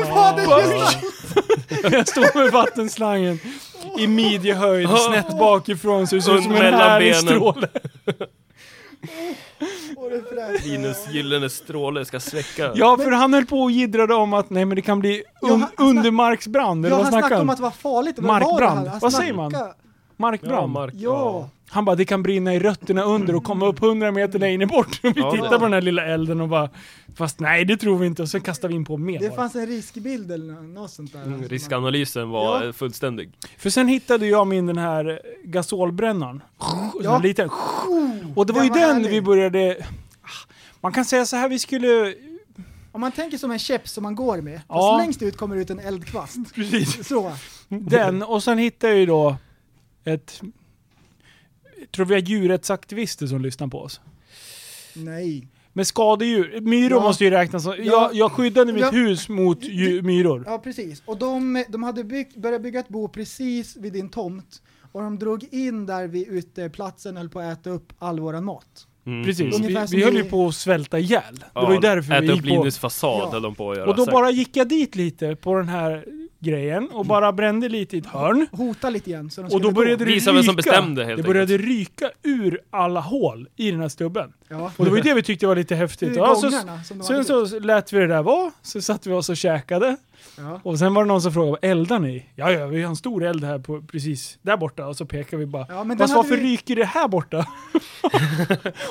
[SPEAKER 2] jag står med vattenslangen i midjehöjd, snett bakifrån, så det ser ut som en
[SPEAKER 3] Mellan
[SPEAKER 2] härlig
[SPEAKER 3] benen.
[SPEAKER 2] stråle.
[SPEAKER 4] Och det fräs-
[SPEAKER 3] Linus gyllene stråle ska släcka.
[SPEAKER 2] Ja, för han höll på och jiddrade om att nej men det kan bli
[SPEAKER 4] Ja, han-
[SPEAKER 2] un-
[SPEAKER 4] han snack-
[SPEAKER 2] undermarksbrand, eller
[SPEAKER 4] Ja,
[SPEAKER 2] vad
[SPEAKER 4] han snackade
[SPEAKER 2] snackade
[SPEAKER 4] om
[SPEAKER 2] han?
[SPEAKER 4] att det var farligt. Men
[SPEAKER 2] Markbrand.
[SPEAKER 4] Var det här? Han
[SPEAKER 2] Vad säger man?
[SPEAKER 4] snackade-
[SPEAKER 3] Ja,
[SPEAKER 2] Markbrand?
[SPEAKER 3] Mark.
[SPEAKER 4] Ja,
[SPEAKER 2] Han bara, det kan brinna i rötterna under och komma upp 100 meter längre bort. [laughs] Vi
[SPEAKER 3] Ja,
[SPEAKER 2] tittar
[SPEAKER 3] det-
[SPEAKER 2] på den här lilla elden och bara, fast nej det tror vi inte. Och så kastar vi in på mer
[SPEAKER 4] det
[SPEAKER 2] bara.
[SPEAKER 4] fanns en riskbild eller nå- något sånt där.
[SPEAKER 3] Mm, Riskanalysen var
[SPEAKER 4] Ja.
[SPEAKER 3] eh, fullständig.
[SPEAKER 2] För sen hittade jag min den här gasolbrännaren. Ja.
[SPEAKER 4] Ja.
[SPEAKER 2] Liten. Och det var
[SPEAKER 4] den
[SPEAKER 2] ju
[SPEAKER 4] var
[SPEAKER 2] den
[SPEAKER 4] härlig.
[SPEAKER 2] vi började... Man kan säga så här, vi skulle...
[SPEAKER 4] Om man tänker som en käpp som man går med,
[SPEAKER 2] Ja.
[SPEAKER 4] fast längst ut kommer ut en eldkvast.
[SPEAKER 2] Precis.
[SPEAKER 4] Så.
[SPEAKER 2] Den, och sen hittade jag ju då ett... Jag tror vi har djurrättsaktivister som lyssnar på oss.
[SPEAKER 4] Nej.
[SPEAKER 2] Men skadedjur, myror
[SPEAKER 4] Ja.
[SPEAKER 2] måste ju räknas som... Jag, jag skyddade mitt
[SPEAKER 4] Ja.
[SPEAKER 2] hus mot djur, myror.
[SPEAKER 4] Ja, precis. Och de, de hade byggt, börjat bygga ett bo precis vid din tomt. Och de drog in där vid uteplatsen höll på att äta upp all våran mat.
[SPEAKER 3] Mm.
[SPEAKER 2] Precis,
[SPEAKER 4] Ungefär
[SPEAKER 2] vi,
[SPEAKER 4] som
[SPEAKER 2] vi höll ju
[SPEAKER 4] vi-
[SPEAKER 2] på att svälta ihjäl. Det
[SPEAKER 3] Ja,
[SPEAKER 2] var ju därför vi
[SPEAKER 3] Äta upp
[SPEAKER 2] gick på...
[SPEAKER 3] Linus fasad
[SPEAKER 4] Ja.
[SPEAKER 3] höll de på att göra.
[SPEAKER 2] Och då
[SPEAKER 3] exakt.
[SPEAKER 2] bara gick jag dit lite på den här grejen och bara brände lite i ett hörn.
[SPEAKER 4] Hota lite igen så de
[SPEAKER 2] Och
[SPEAKER 4] skulle
[SPEAKER 2] då
[SPEAKER 4] gå.
[SPEAKER 2] började det
[SPEAKER 3] Visa vem som bestämde, helt
[SPEAKER 2] Det började ryka ur alla hål i den här stubben.
[SPEAKER 4] Ja.
[SPEAKER 2] Och det var ju det vi tyckte var lite häftigt.
[SPEAKER 4] Ur
[SPEAKER 2] Ja, så,
[SPEAKER 4] gångarna som de
[SPEAKER 2] sen
[SPEAKER 4] hade
[SPEAKER 2] så lät vi det där vara, så satt vi oss och käkade.
[SPEAKER 4] Ja.
[SPEAKER 2] Och sen var det någon som frågade, vad eldar ni? Ja, ja, vi har en stor eld här på, precis där borta. Och så pekar vi bara,
[SPEAKER 4] Ja, men den
[SPEAKER 2] fast varför
[SPEAKER 4] hade vi-
[SPEAKER 2] ryker det här borta? [laughs]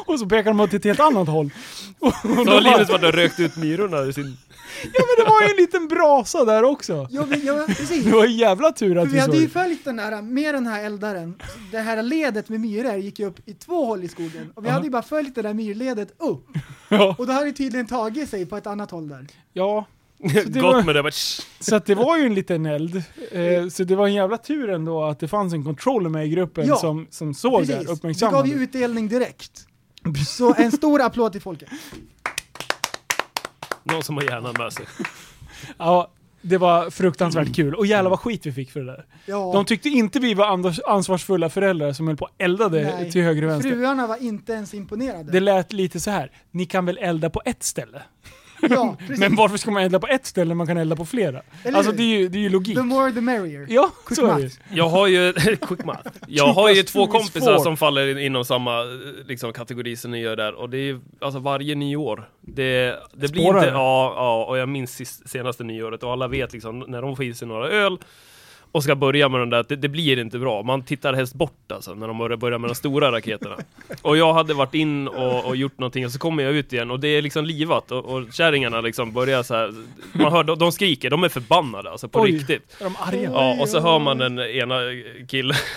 [SPEAKER 2] och så pekar de åt ett helt annat håll. [laughs] Och, och då
[SPEAKER 3] Så har
[SPEAKER 2] bara,
[SPEAKER 3] Linus varit och rökt ut myrorna ur sin...
[SPEAKER 2] ja men det var ju en liten brasa där också.
[SPEAKER 4] Ja, vi, ja, precis.
[SPEAKER 2] Det var en jävla tur
[SPEAKER 4] För
[SPEAKER 2] att
[SPEAKER 4] vi
[SPEAKER 2] vi
[SPEAKER 4] hade ju
[SPEAKER 2] såg.
[SPEAKER 4] följt den här, med den här eldaren, det här ledet med myror gick ju upp i två håll i skogen. Och vi hade ju bara följt det där myrledet upp.
[SPEAKER 2] [laughs] Ja.
[SPEAKER 4] Och då hade det tydligen tagit sig på ett annat håll där.
[SPEAKER 2] ja. [laughs] Så det var-
[SPEAKER 3] Gott med det bara... "Shh."
[SPEAKER 2] Så att det var ju en liten eld. Eh, så det var en jävla tur ändå att det fanns en controller med i gruppen
[SPEAKER 4] Ja,
[SPEAKER 2] som, som såg det här,
[SPEAKER 4] Precis, det gav
[SPEAKER 2] uppmärksammade.
[SPEAKER 4] ju utdelning direkt. Så en stor applåd till folket.
[SPEAKER 3] Någon som har hjärnan med sig.
[SPEAKER 2] Ja, det var fruktansvärt kul. Och jävlar vad skit vi fick för det där.
[SPEAKER 4] Ja.
[SPEAKER 2] De tyckte inte vi var andras- ansvarsfulla föräldrar som höll på och eldade
[SPEAKER 4] Nej.
[SPEAKER 2] till höger och vänster.
[SPEAKER 4] Fruarna var inte ens imponerade.
[SPEAKER 2] Det lät lite så här. ni kan väl elda på ett ställe?
[SPEAKER 4] ja,
[SPEAKER 2] [laughs]
[SPEAKER 4] precis.
[SPEAKER 2] Men varför ska man elda på ett ställe när man kan elda på flera?
[SPEAKER 4] Eller
[SPEAKER 2] alltså
[SPEAKER 4] hur?
[SPEAKER 2] det är ju, det är ju logik.
[SPEAKER 4] The more the merrier.
[SPEAKER 2] Ja, så är det ju.
[SPEAKER 3] Jag har ju, [laughs] quick math. Jag har ju
[SPEAKER 2] Quickest
[SPEAKER 3] två
[SPEAKER 2] food is
[SPEAKER 3] kompisar
[SPEAKER 2] four.
[SPEAKER 3] som faller in, inom samma eh, liksom, kategori som ni gör där och det är ju, alltså varje nyår. Det, det blir
[SPEAKER 2] Spårar
[SPEAKER 3] inte,
[SPEAKER 2] det?
[SPEAKER 3] ja, ja, och jag minns sist, senaste nyåret och alla vet liksom när de får i sig några öl och ska börja med den där, att det, det blir inte bra. Man tittar helst bort alltså när de börjar- börjar med de
[SPEAKER 2] [laughs]
[SPEAKER 3] stora raketerna. Och jag hade varit in och, och gjort någonting och så kommer jag ut igen och det är liksom livat och, och kärringarna liksom börjar så här. Man hör, de, de skriker, de är förbannade alltså på
[SPEAKER 2] Oj.
[SPEAKER 3] riktigt.
[SPEAKER 2] Är de arga?
[SPEAKER 3] Ja, och så hör man den ena killen [laughs]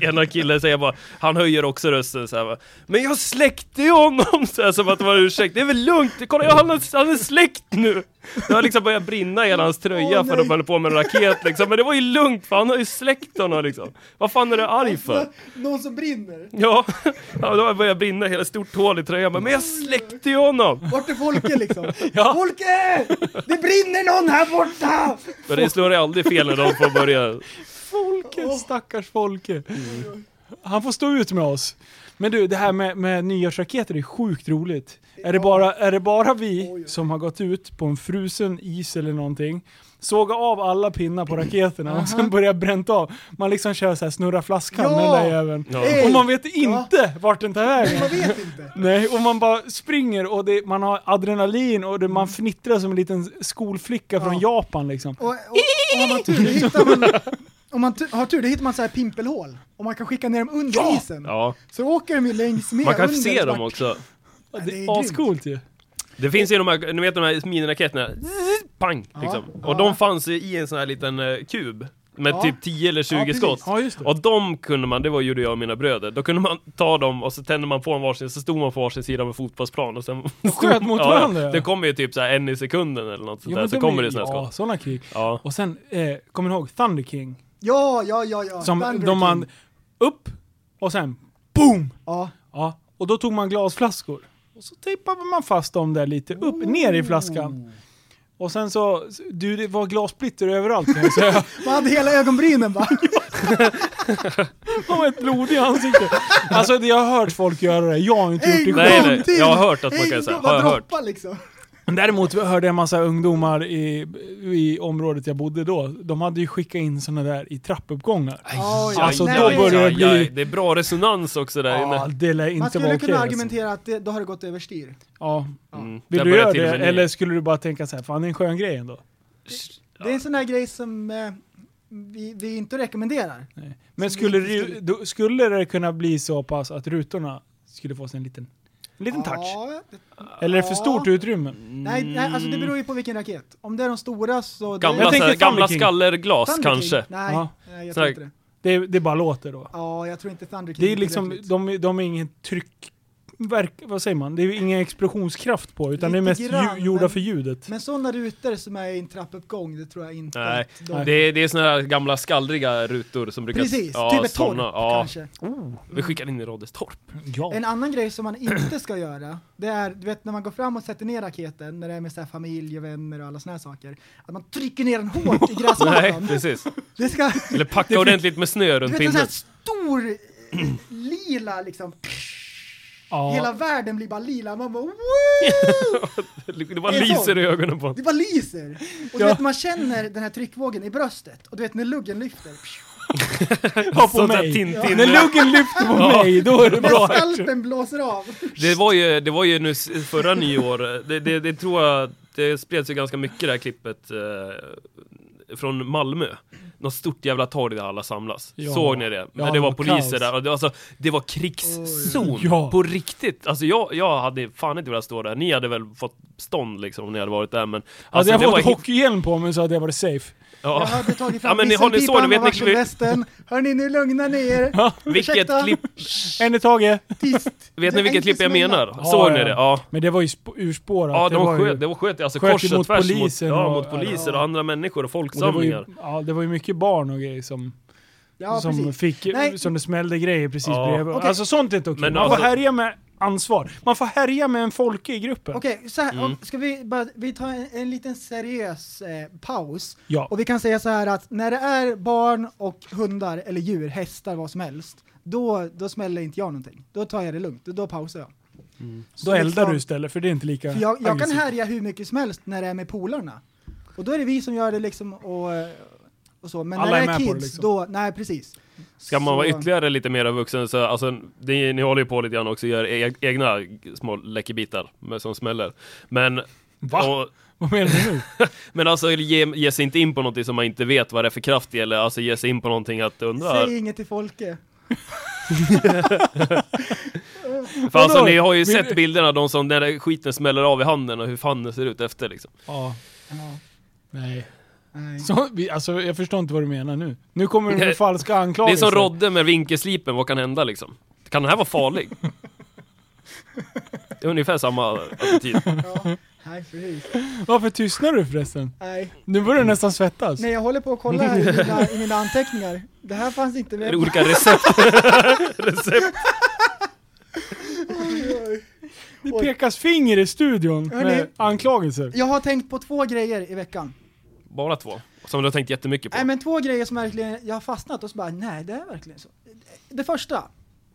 [SPEAKER 3] Ena killen säger bara, han höjer också rösten så här, va, Men jag släckte ju honom! Så här, som att det var en ursäkt, det är väl lugnt, kolla jag, han, är- han är släckt nu! Det har liksom börjat brinna i hela hans tröja
[SPEAKER 4] Åh,
[SPEAKER 3] för de
[SPEAKER 4] nej.
[SPEAKER 3] höll på med en raket liksom, men det var ju lugnt för han har ju släckt honom liksom. Vad fan är du arg för?
[SPEAKER 4] [laughs] Någon som brinner.
[SPEAKER 3] Ja, [laughs] ja då började brinna hela stort hål i tröjan, men jag släckte ju honom!
[SPEAKER 4] Vart är Folke liksom?
[SPEAKER 2] [laughs] Ja.
[SPEAKER 4] Folke! Det brinner någon här borta!
[SPEAKER 3] Men det slår aldrig fel när de får börja.
[SPEAKER 2] Folke, stackars Folke.
[SPEAKER 4] Mm.
[SPEAKER 2] Han får stå ut med oss. Men du, det här med, med nyårsraketer är sjukt roligt. Är det, bara, är det bara vi som har gått ut på en frusen is eller någonting, såga av alla pinnar på raketerna och sen börja bränt av. Man liksom kör så här snurra flaskan med den där
[SPEAKER 4] Ja.
[SPEAKER 2] jäveln.
[SPEAKER 3] Ja.
[SPEAKER 4] Ey.
[SPEAKER 2] Och man vet inte vart den tar vägen.
[SPEAKER 4] Man vet inte.
[SPEAKER 2] Nej, och man bara springer och det, man har adrenalin och det, man fnittrar som en liten skolflicka från
[SPEAKER 4] Mm. Ja.
[SPEAKER 2] Japan liksom.
[SPEAKER 4] Och, och, och har man tur, då hittar man... Om man tu- har tur, då hittar man så här pimpelhål. Och man kan skicka ner dem under isen.
[SPEAKER 3] Ja,
[SPEAKER 4] Så åker de ju längs med
[SPEAKER 3] man kan
[SPEAKER 4] under
[SPEAKER 3] se
[SPEAKER 4] och
[SPEAKER 3] dem
[SPEAKER 4] bara-
[SPEAKER 3] också.
[SPEAKER 2] Det är,
[SPEAKER 4] det är
[SPEAKER 2] det
[SPEAKER 4] grymt.
[SPEAKER 2] ascoolt ju.
[SPEAKER 3] Det finns ju de här, ni vet de här miniraketerna, pang! Liksom.
[SPEAKER 4] Ja,
[SPEAKER 3] och
[SPEAKER 4] ja.
[SPEAKER 3] de fanns ju i en sån här liten eh, kub med
[SPEAKER 4] Ja.
[SPEAKER 3] typ 10 eller 20
[SPEAKER 4] Ja, precis.
[SPEAKER 3] skott.
[SPEAKER 2] Ja, just det.
[SPEAKER 3] Och de kunde man, det var gjorde jag och mina bröder, då kunde man ta dem och så tände man på en varsin, så stod man på varsin sida av en fotbollsplan och sen...
[SPEAKER 2] sköt [laughs] mot
[SPEAKER 3] ja,
[SPEAKER 2] varandra,
[SPEAKER 3] Ja,
[SPEAKER 2] ja.
[SPEAKER 3] det kommer ju typ så här en i sekunden eller något sånt
[SPEAKER 2] Jo,
[SPEAKER 3] där,
[SPEAKER 2] men
[SPEAKER 3] så
[SPEAKER 2] de
[SPEAKER 3] kommer
[SPEAKER 2] är-
[SPEAKER 3] det såna här
[SPEAKER 2] Ja,
[SPEAKER 3] skott.
[SPEAKER 2] sådana krig.
[SPEAKER 3] Ja.
[SPEAKER 2] Och sen, eh, kommer ni ihåg Thunder King?
[SPEAKER 4] Ja, ja, ja, ja.
[SPEAKER 2] Som
[SPEAKER 4] Thunder
[SPEAKER 2] de man
[SPEAKER 4] King.
[SPEAKER 2] upp och sen boom!
[SPEAKER 4] Ja.
[SPEAKER 2] Ja, och då tog man glasflaskor. Och så tejpade man fast dem där lite upp, ner i flaskan. Och sen så, du det var glassplitter överallt kan jag säga.
[SPEAKER 4] [laughs] Man hade hela
[SPEAKER 3] [laughs]
[SPEAKER 4] ögonbrynen bara.
[SPEAKER 2] Man var ett blod i ansiktet. Alltså det- jag har hört folk göra det, jag har inte gjort det
[SPEAKER 4] En
[SPEAKER 2] själv.
[SPEAKER 3] Nej,
[SPEAKER 4] gång
[SPEAKER 3] nej,
[SPEAKER 4] till!
[SPEAKER 3] jag har hört att man kan
[SPEAKER 4] En
[SPEAKER 3] säga,
[SPEAKER 4] gång,
[SPEAKER 3] har
[SPEAKER 4] bara
[SPEAKER 3] jag hört.
[SPEAKER 4] droppa liksom.
[SPEAKER 2] Men Däremot hörde jag en massa ungdomar i, i området jag bodde då. De hade ju skickat in sådana där i trappuppgångar.
[SPEAKER 4] Oj,
[SPEAKER 2] Alltså,
[SPEAKER 4] nej.
[SPEAKER 2] då börjar det bli-
[SPEAKER 3] det är bra resonans också där
[SPEAKER 2] Ja,
[SPEAKER 3] inne.
[SPEAKER 2] det lär
[SPEAKER 4] Man
[SPEAKER 2] inte vara
[SPEAKER 4] skulle
[SPEAKER 2] okej.
[SPEAKER 4] kunna
[SPEAKER 2] alltså.
[SPEAKER 4] argumentera att det, då har det gått överstyr.
[SPEAKER 2] Ja.
[SPEAKER 3] Mm.
[SPEAKER 2] Vill
[SPEAKER 3] Där
[SPEAKER 2] du
[SPEAKER 3] börjar
[SPEAKER 2] göra
[SPEAKER 3] till och
[SPEAKER 2] det,
[SPEAKER 3] med ni-
[SPEAKER 2] eller skulle du bara tänka så här, fan det är en skön grej ändå?
[SPEAKER 4] Det är en sån där grej som eh, vi, vi inte rekommenderar.
[SPEAKER 2] Men
[SPEAKER 4] Så
[SPEAKER 2] skulle,
[SPEAKER 4] det-
[SPEAKER 2] det, ju- då, skulle det kunna bli så pass att rutorna skulle få sig en liten, en liten touch?
[SPEAKER 4] Ja, det,
[SPEAKER 2] Eller är det för stort utrymme?
[SPEAKER 4] nej, nej, alltså det beror ju på vilken raket. Om det är de stora så...
[SPEAKER 3] Mm. Gamla,
[SPEAKER 2] Jag
[SPEAKER 3] så
[SPEAKER 4] det,
[SPEAKER 2] tänker
[SPEAKER 3] här, gamla
[SPEAKER 2] Thunder King.
[SPEAKER 3] skallerglas
[SPEAKER 4] Thunder King?
[SPEAKER 3] kanske.
[SPEAKER 4] Nej,
[SPEAKER 2] Ja.
[SPEAKER 4] nej, jag
[SPEAKER 3] Sån här-
[SPEAKER 4] tror inte det.
[SPEAKER 2] Det, det bara låter då.
[SPEAKER 4] Ja, jag tror inte Thunder King
[SPEAKER 2] Det är liksom,
[SPEAKER 4] tillräckligt.
[SPEAKER 2] de, de är ingen tryck... Verk, vad säger man? Det är ingen explosionskraft på utan det är
[SPEAKER 4] Lite
[SPEAKER 2] mest
[SPEAKER 4] grann,
[SPEAKER 2] ju, gjorda
[SPEAKER 4] men-
[SPEAKER 2] för ljudet.
[SPEAKER 4] Men sådana rutor som är i en trappuppgång, det tror jag inte
[SPEAKER 3] Nej,
[SPEAKER 4] att de...
[SPEAKER 3] det är, det är såna här gamla skallriga rutor som brukar...
[SPEAKER 4] Precis,
[SPEAKER 3] ja,
[SPEAKER 4] typ ett torp
[SPEAKER 3] såna, ja.
[SPEAKER 4] kanske.
[SPEAKER 3] Vi skickar in i Rodestorp.
[SPEAKER 2] Ja.
[SPEAKER 4] En annan grej som man inte ska göra, det är, du vet när man går fram och sätter ner raketen, när det är med så här familj och vänner och alla såna här saker, att man trycker ner den
[SPEAKER 2] [laughs]
[SPEAKER 4] hårt i
[SPEAKER 3] Nej,
[SPEAKER 4] gräsmattan.
[SPEAKER 3] precis.
[SPEAKER 4] Alltså, Det ska,
[SPEAKER 3] Eller packa ordentligt med snö
[SPEAKER 4] du
[SPEAKER 3] runt
[SPEAKER 4] vet en sån här
[SPEAKER 3] pinnen.
[SPEAKER 4] stor eh, lila liksom,
[SPEAKER 2] ja.
[SPEAKER 4] hela världen blir bara lila, man bara wow!
[SPEAKER 3] [laughs] Det bara
[SPEAKER 4] Det är sån.
[SPEAKER 3] lyser i ögonen på en.
[SPEAKER 4] Det bara lyser! Och du
[SPEAKER 2] Ja.
[SPEAKER 4] vet man känner den här tryckvågen i bröstet, och du vet när luggen lyfter,
[SPEAKER 2] Ja, på
[SPEAKER 3] Sånt där
[SPEAKER 2] mig.
[SPEAKER 3] Tintin.
[SPEAKER 2] När luggen lyfter på mig, då är det
[SPEAKER 4] när
[SPEAKER 2] bra. Alltså,
[SPEAKER 4] skalpen blåser av.
[SPEAKER 3] Det var ju, det var ju nu s- förra nyår, det, det, det tror jag, det spreds ju ganska mycket det här klippet eh, från Malmö. Något stort jävla torg där alla samlas.
[SPEAKER 2] Ja.
[SPEAKER 3] Såg ni det?
[SPEAKER 2] Ja,
[SPEAKER 3] det
[SPEAKER 2] det
[SPEAKER 3] var
[SPEAKER 2] var
[SPEAKER 3] poliser
[SPEAKER 2] kaos.
[SPEAKER 3] där och det, var alltså, det var krigszon.
[SPEAKER 2] Ja.
[SPEAKER 3] På riktigt. Alltså jag, jag hade fan inte velat stå där. Ni hade väl fått stånd liksom om ni hade varit där men...
[SPEAKER 2] Hade
[SPEAKER 3] alltså,
[SPEAKER 2] jag
[SPEAKER 3] det var
[SPEAKER 2] fått
[SPEAKER 3] helt-
[SPEAKER 2] hockeyhjälm på mig så hade jag varit safe.
[SPEAKER 4] Jag
[SPEAKER 3] Ja.
[SPEAKER 4] hade tagit
[SPEAKER 3] Ja,
[SPEAKER 4] fram
[SPEAKER 3] men ni- har ni så-
[SPEAKER 4] visselpipan
[SPEAKER 3] vet
[SPEAKER 4] och
[SPEAKER 3] ni-
[SPEAKER 4] varselvästen. Hörni, nu lugnar ni er. Ursäkta.
[SPEAKER 3] Vilket klipp,
[SPEAKER 2] En i taget.
[SPEAKER 4] Tyst.
[SPEAKER 3] vet
[SPEAKER 4] Det
[SPEAKER 3] ni
[SPEAKER 4] är
[SPEAKER 3] vilket klipp jag
[SPEAKER 4] enkelt
[SPEAKER 3] menar?
[SPEAKER 2] Ja,
[SPEAKER 3] Såg ni
[SPEAKER 2] ja.
[SPEAKER 3] det? Ja.
[SPEAKER 2] Men det var ju sp- urspårat.
[SPEAKER 3] Ja, de
[SPEAKER 2] var
[SPEAKER 3] sköt,
[SPEAKER 2] ju-
[SPEAKER 3] det var sköt alltså
[SPEAKER 2] sköt ju
[SPEAKER 3] kors och
[SPEAKER 2] mot
[SPEAKER 3] tvärs mot,
[SPEAKER 2] polisen
[SPEAKER 3] ja,
[SPEAKER 2] och-
[SPEAKER 3] mot poliser och andra människor och
[SPEAKER 2] och det var ju-
[SPEAKER 3] folksamlingar.
[SPEAKER 2] Ja, det var ju mycket barn och grejer som,
[SPEAKER 4] Ja,
[SPEAKER 2] som
[SPEAKER 4] precis.
[SPEAKER 2] fick,
[SPEAKER 4] Nej.
[SPEAKER 2] som det smällde grejer precis
[SPEAKER 3] Ja.
[SPEAKER 2] bredvid.
[SPEAKER 4] Okej.
[SPEAKER 2] Alltså sånt är inte okej.
[SPEAKER 3] Men
[SPEAKER 2] Man
[SPEAKER 3] alltså-
[SPEAKER 2] får härja med ansvar. Man får härja med en folke i gruppen.
[SPEAKER 4] Okej, så här,
[SPEAKER 3] Mm.
[SPEAKER 4] om- ska vi bara, vi tar en, en liten seriös eh, paus.
[SPEAKER 2] Ja.
[SPEAKER 4] Och vi kan säga så här att när det är barn och hundar eller djur, hästar, vad som helst, då, då smäller inte jag någonting. Då tar jag det lugnt, då pausar jag.
[SPEAKER 2] Mm.
[SPEAKER 4] liksom-
[SPEAKER 2] Då eldar du istället för det är inte lika
[SPEAKER 4] För jag, jag kan
[SPEAKER 2] aggressivt.
[SPEAKER 4] härja hur mycket som helst när det är med polarna. Och då är det vi som gör det liksom och, och så. Men
[SPEAKER 2] Alla
[SPEAKER 4] när
[SPEAKER 2] är
[SPEAKER 4] det
[SPEAKER 2] med
[SPEAKER 4] är
[SPEAKER 2] på
[SPEAKER 4] kids,
[SPEAKER 2] det liksom.
[SPEAKER 4] då, nej precis.
[SPEAKER 3] Ska man vara
[SPEAKER 4] Så-
[SPEAKER 3] ytterligare lite mer vuxen så, alltså, det, ni håller ju på lite grann också, gör e egna små läckerbitar med, som smäller. Men,
[SPEAKER 2] Va?
[SPEAKER 3] och,
[SPEAKER 2] Vad menar du nu?
[SPEAKER 3] men alltså ge, ge sig inte in på någonting som man inte vet vad det är för kraft i, eller alltså ge sig in på någonting att undra.
[SPEAKER 4] Säg inget till Folke.
[SPEAKER 3] För alltså
[SPEAKER 2] Vadå?
[SPEAKER 3] ni har ju
[SPEAKER 2] Vill-
[SPEAKER 3] sett bilderna, de som, när det- skiten smäller av i handen och hur fan det ser ut efter liksom.
[SPEAKER 2] ja.
[SPEAKER 4] [laughs] Ja,
[SPEAKER 2] Nej.
[SPEAKER 4] nej.
[SPEAKER 2] Så, vi, alltså, jag förstår inte vad du menar nu. Nu kommer du med falska
[SPEAKER 3] Det är
[SPEAKER 2] anklagelser.
[SPEAKER 3] som Rodde med vinkelslipen, vad kan hända liksom? Kan den här vara farlig? Det är ungefär samma
[SPEAKER 4] [laughs]
[SPEAKER 3] attityd.
[SPEAKER 4] Ja, nej, precis.
[SPEAKER 2] Varför tystnar du förresten?
[SPEAKER 4] Nej.
[SPEAKER 2] Nu börjar
[SPEAKER 3] Mm.
[SPEAKER 2] du nästan svettas.
[SPEAKER 4] Nej, jag håller på att kolla här i mina, i mina anteckningar. Det här fanns
[SPEAKER 2] [laughs]
[SPEAKER 4] inte
[SPEAKER 3] Det
[SPEAKER 4] med.
[SPEAKER 3] är olika recept. recept.
[SPEAKER 2] Det pekas finger i studion med
[SPEAKER 4] Hörni.
[SPEAKER 2] anklagelser.
[SPEAKER 4] Jag har tänkt på två grejer i veckan.
[SPEAKER 3] Bara två. Som du har tänkt jättemycket på.
[SPEAKER 4] Nej men två grejer som verkligen, jag har fastnat och så bara, nej det är verkligen så. Det första,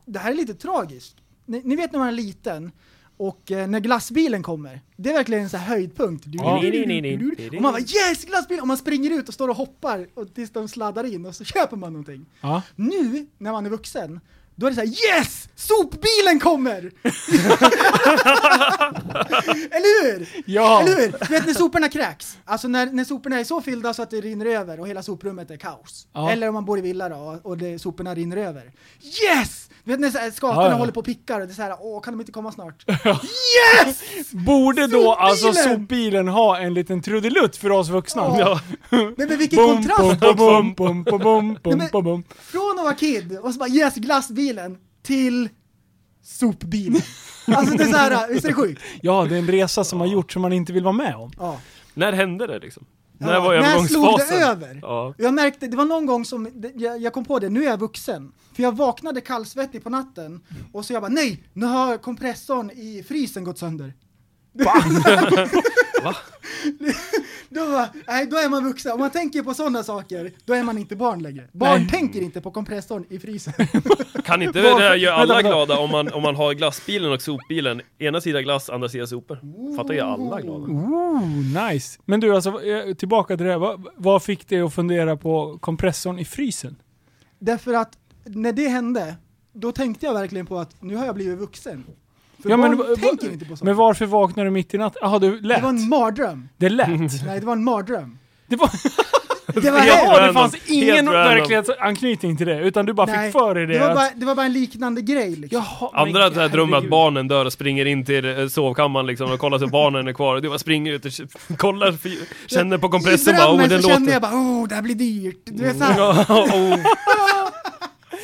[SPEAKER 4] det här är lite tragiskt. Ni, ni vet när man är liten och eh, när glassbilen kommer, det är verkligen en sån här höjdpunkt. Du,
[SPEAKER 2] Ja.
[SPEAKER 4] du, du, du, du, du, du. Och man bara yes glassbil! Och man springer ut och står och hoppar och tills de sladdar in och så köper man någonting.
[SPEAKER 2] Ja.
[SPEAKER 4] Nu när man är vuxen, Då är det så här yes!
[SPEAKER 2] [laughs]
[SPEAKER 4] Sopbilen kommer! Eller hur?
[SPEAKER 2] Ja!
[SPEAKER 4] Eller hur? Du vet när soporna kräks? Alltså när, när soporna är så fyllda så att det rinner över och hela soprummet är kaos.
[SPEAKER 2] Ja.
[SPEAKER 4] Eller om man bor i villa då och, och det, soporna rinner över. Yes! Du vet när så här skatorna
[SPEAKER 2] Ja, ja.
[SPEAKER 4] håller på och pickar och det är så här, åh kan de inte
[SPEAKER 2] [laughs]
[SPEAKER 4] komma snart? Yes!
[SPEAKER 2] Borde då
[SPEAKER 4] Sopbilen!
[SPEAKER 2] alltså sopbilen ha en liten trudelutt för oss vuxna?
[SPEAKER 4] Ja.
[SPEAKER 2] Ja.
[SPEAKER 4] Men, men vilken
[SPEAKER 2] Bom, bom,
[SPEAKER 4] kontrast!
[SPEAKER 2] bom, bom, bom, bom, bom, bom, bom, bom.
[SPEAKER 4] Från att vara kid och så bara yes glassbilen till
[SPEAKER 2] [laughs]
[SPEAKER 4] sopbilen. Alltså det är så här, visst är det sjukt?
[SPEAKER 2] Ja, det är en resa som har gjorts som man inte vill vara med om.
[SPEAKER 4] Ja.
[SPEAKER 3] När hände det liksom?
[SPEAKER 4] Ja,
[SPEAKER 3] När var
[SPEAKER 4] när
[SPEAKER 3] övergångsfasen?
[SPEAKER 4] slog det över?
[SPEAKER 3] Ja.
[SPEAKER 4] Jag märkte, det var någon gång som, det- jag, jag kom på det, nu är jag vuxen. För jag vaknade kallsvettig på natten
[SPEAKER 3] Mm.
[SPEAKER 4] och så jag bara nej, nu har kompressorn i frysen gått sönder. [laughs]
[SPEAKER 3] Va?
[SPEAKER 4] Då, bara, nej, då är man vuxen, om man tänker på sådana saker, då är man inte barn längre. Barn
[SPEAKER 2] Nej.
[SPEAKER 4] tänker inte på kompressorn
[SPEAKER 3] [laughs]
[SPEAKER 4] i frysen.
[SPEAKER 3] Kan inte det där göra
[SPEAKER 2] Vänta,
[SPEAKER 3] alla
[SPEAKER 2] vänta.
[SPEAKER 3] glada om man, om man har glassbilen och sopbilen? Ena sidan glass, andra sidan sopor. Fattar ju alla glada.
[SPEAKER 4] Oh,
[SPEAKER 2] Ooh, nice. Men du, alltså, eh, tillbaka till det. här. Vad, vad fick dig att fundera på kompressorn i frysen?
[SPEAKER 4] Därför att när det hände, då tänkte jag verkligen på att nu har jag blivit vuxen. För
[SPEAKER 2] Ja, men va-
[SPEAKER 4] barn
[SPEAKER 2] va-
[SPEAKER 4] tänker inte på sånt.
[SPEAKER 2] Men varför vaknade du mitt i natten? Jaha, du lät.
[SPEAKER 4] det var en mardröm.
[SPEAKER 2] Det lät.
[SPEAKER 4] Nej, det var en mardröm.
[SPEAKER 2] Det var...
[SPEAKER 4] Det var
[SPEAKER 2] [laughs]
[SPEAKER 3] Helt
[SPEAKER 2] Jaha, det
[SPEAKER 3] random.
[SPEAKER 2] fanns ingen
[SPEAKER 3] Helt random.
[SPEAKER 2] verklighetsanknytning till det, utan du bara
[SPEAKER 4] Nej,
[SPEAKER 2] fick för dig det.
[SPEAKER 4] det var,
[SPEAKER 2] att-
[SPEAKER 4] bara, det var bara en liknande grej liksom.
[SPEAKER 2] Jaha,
[SPEAKER 3] Andra
[SPEAKER 2] men
[SPEAKER 3] så här drömmer att
[SPEAKER 2] herregud.
[SPEAKER 3] barnen dör och springer in till eh, sovkammaren liksom och kollar så barnen är kvar. Du bara springer ut och k- kollar, fy- känner på kompressen
[SPEAKER 4] I
[SPEAKER 3] bara
[SPEAKER 4] drömmen
[SPEAKER 3] oh den
[SPEAKER 4] så kände jag
[SPEAKER 3] låter.
[SPEAKER 4] bara oh, det här blir dyrt. Du vet såhär.
[SPEAKER 3] [laughs] Ja, oh.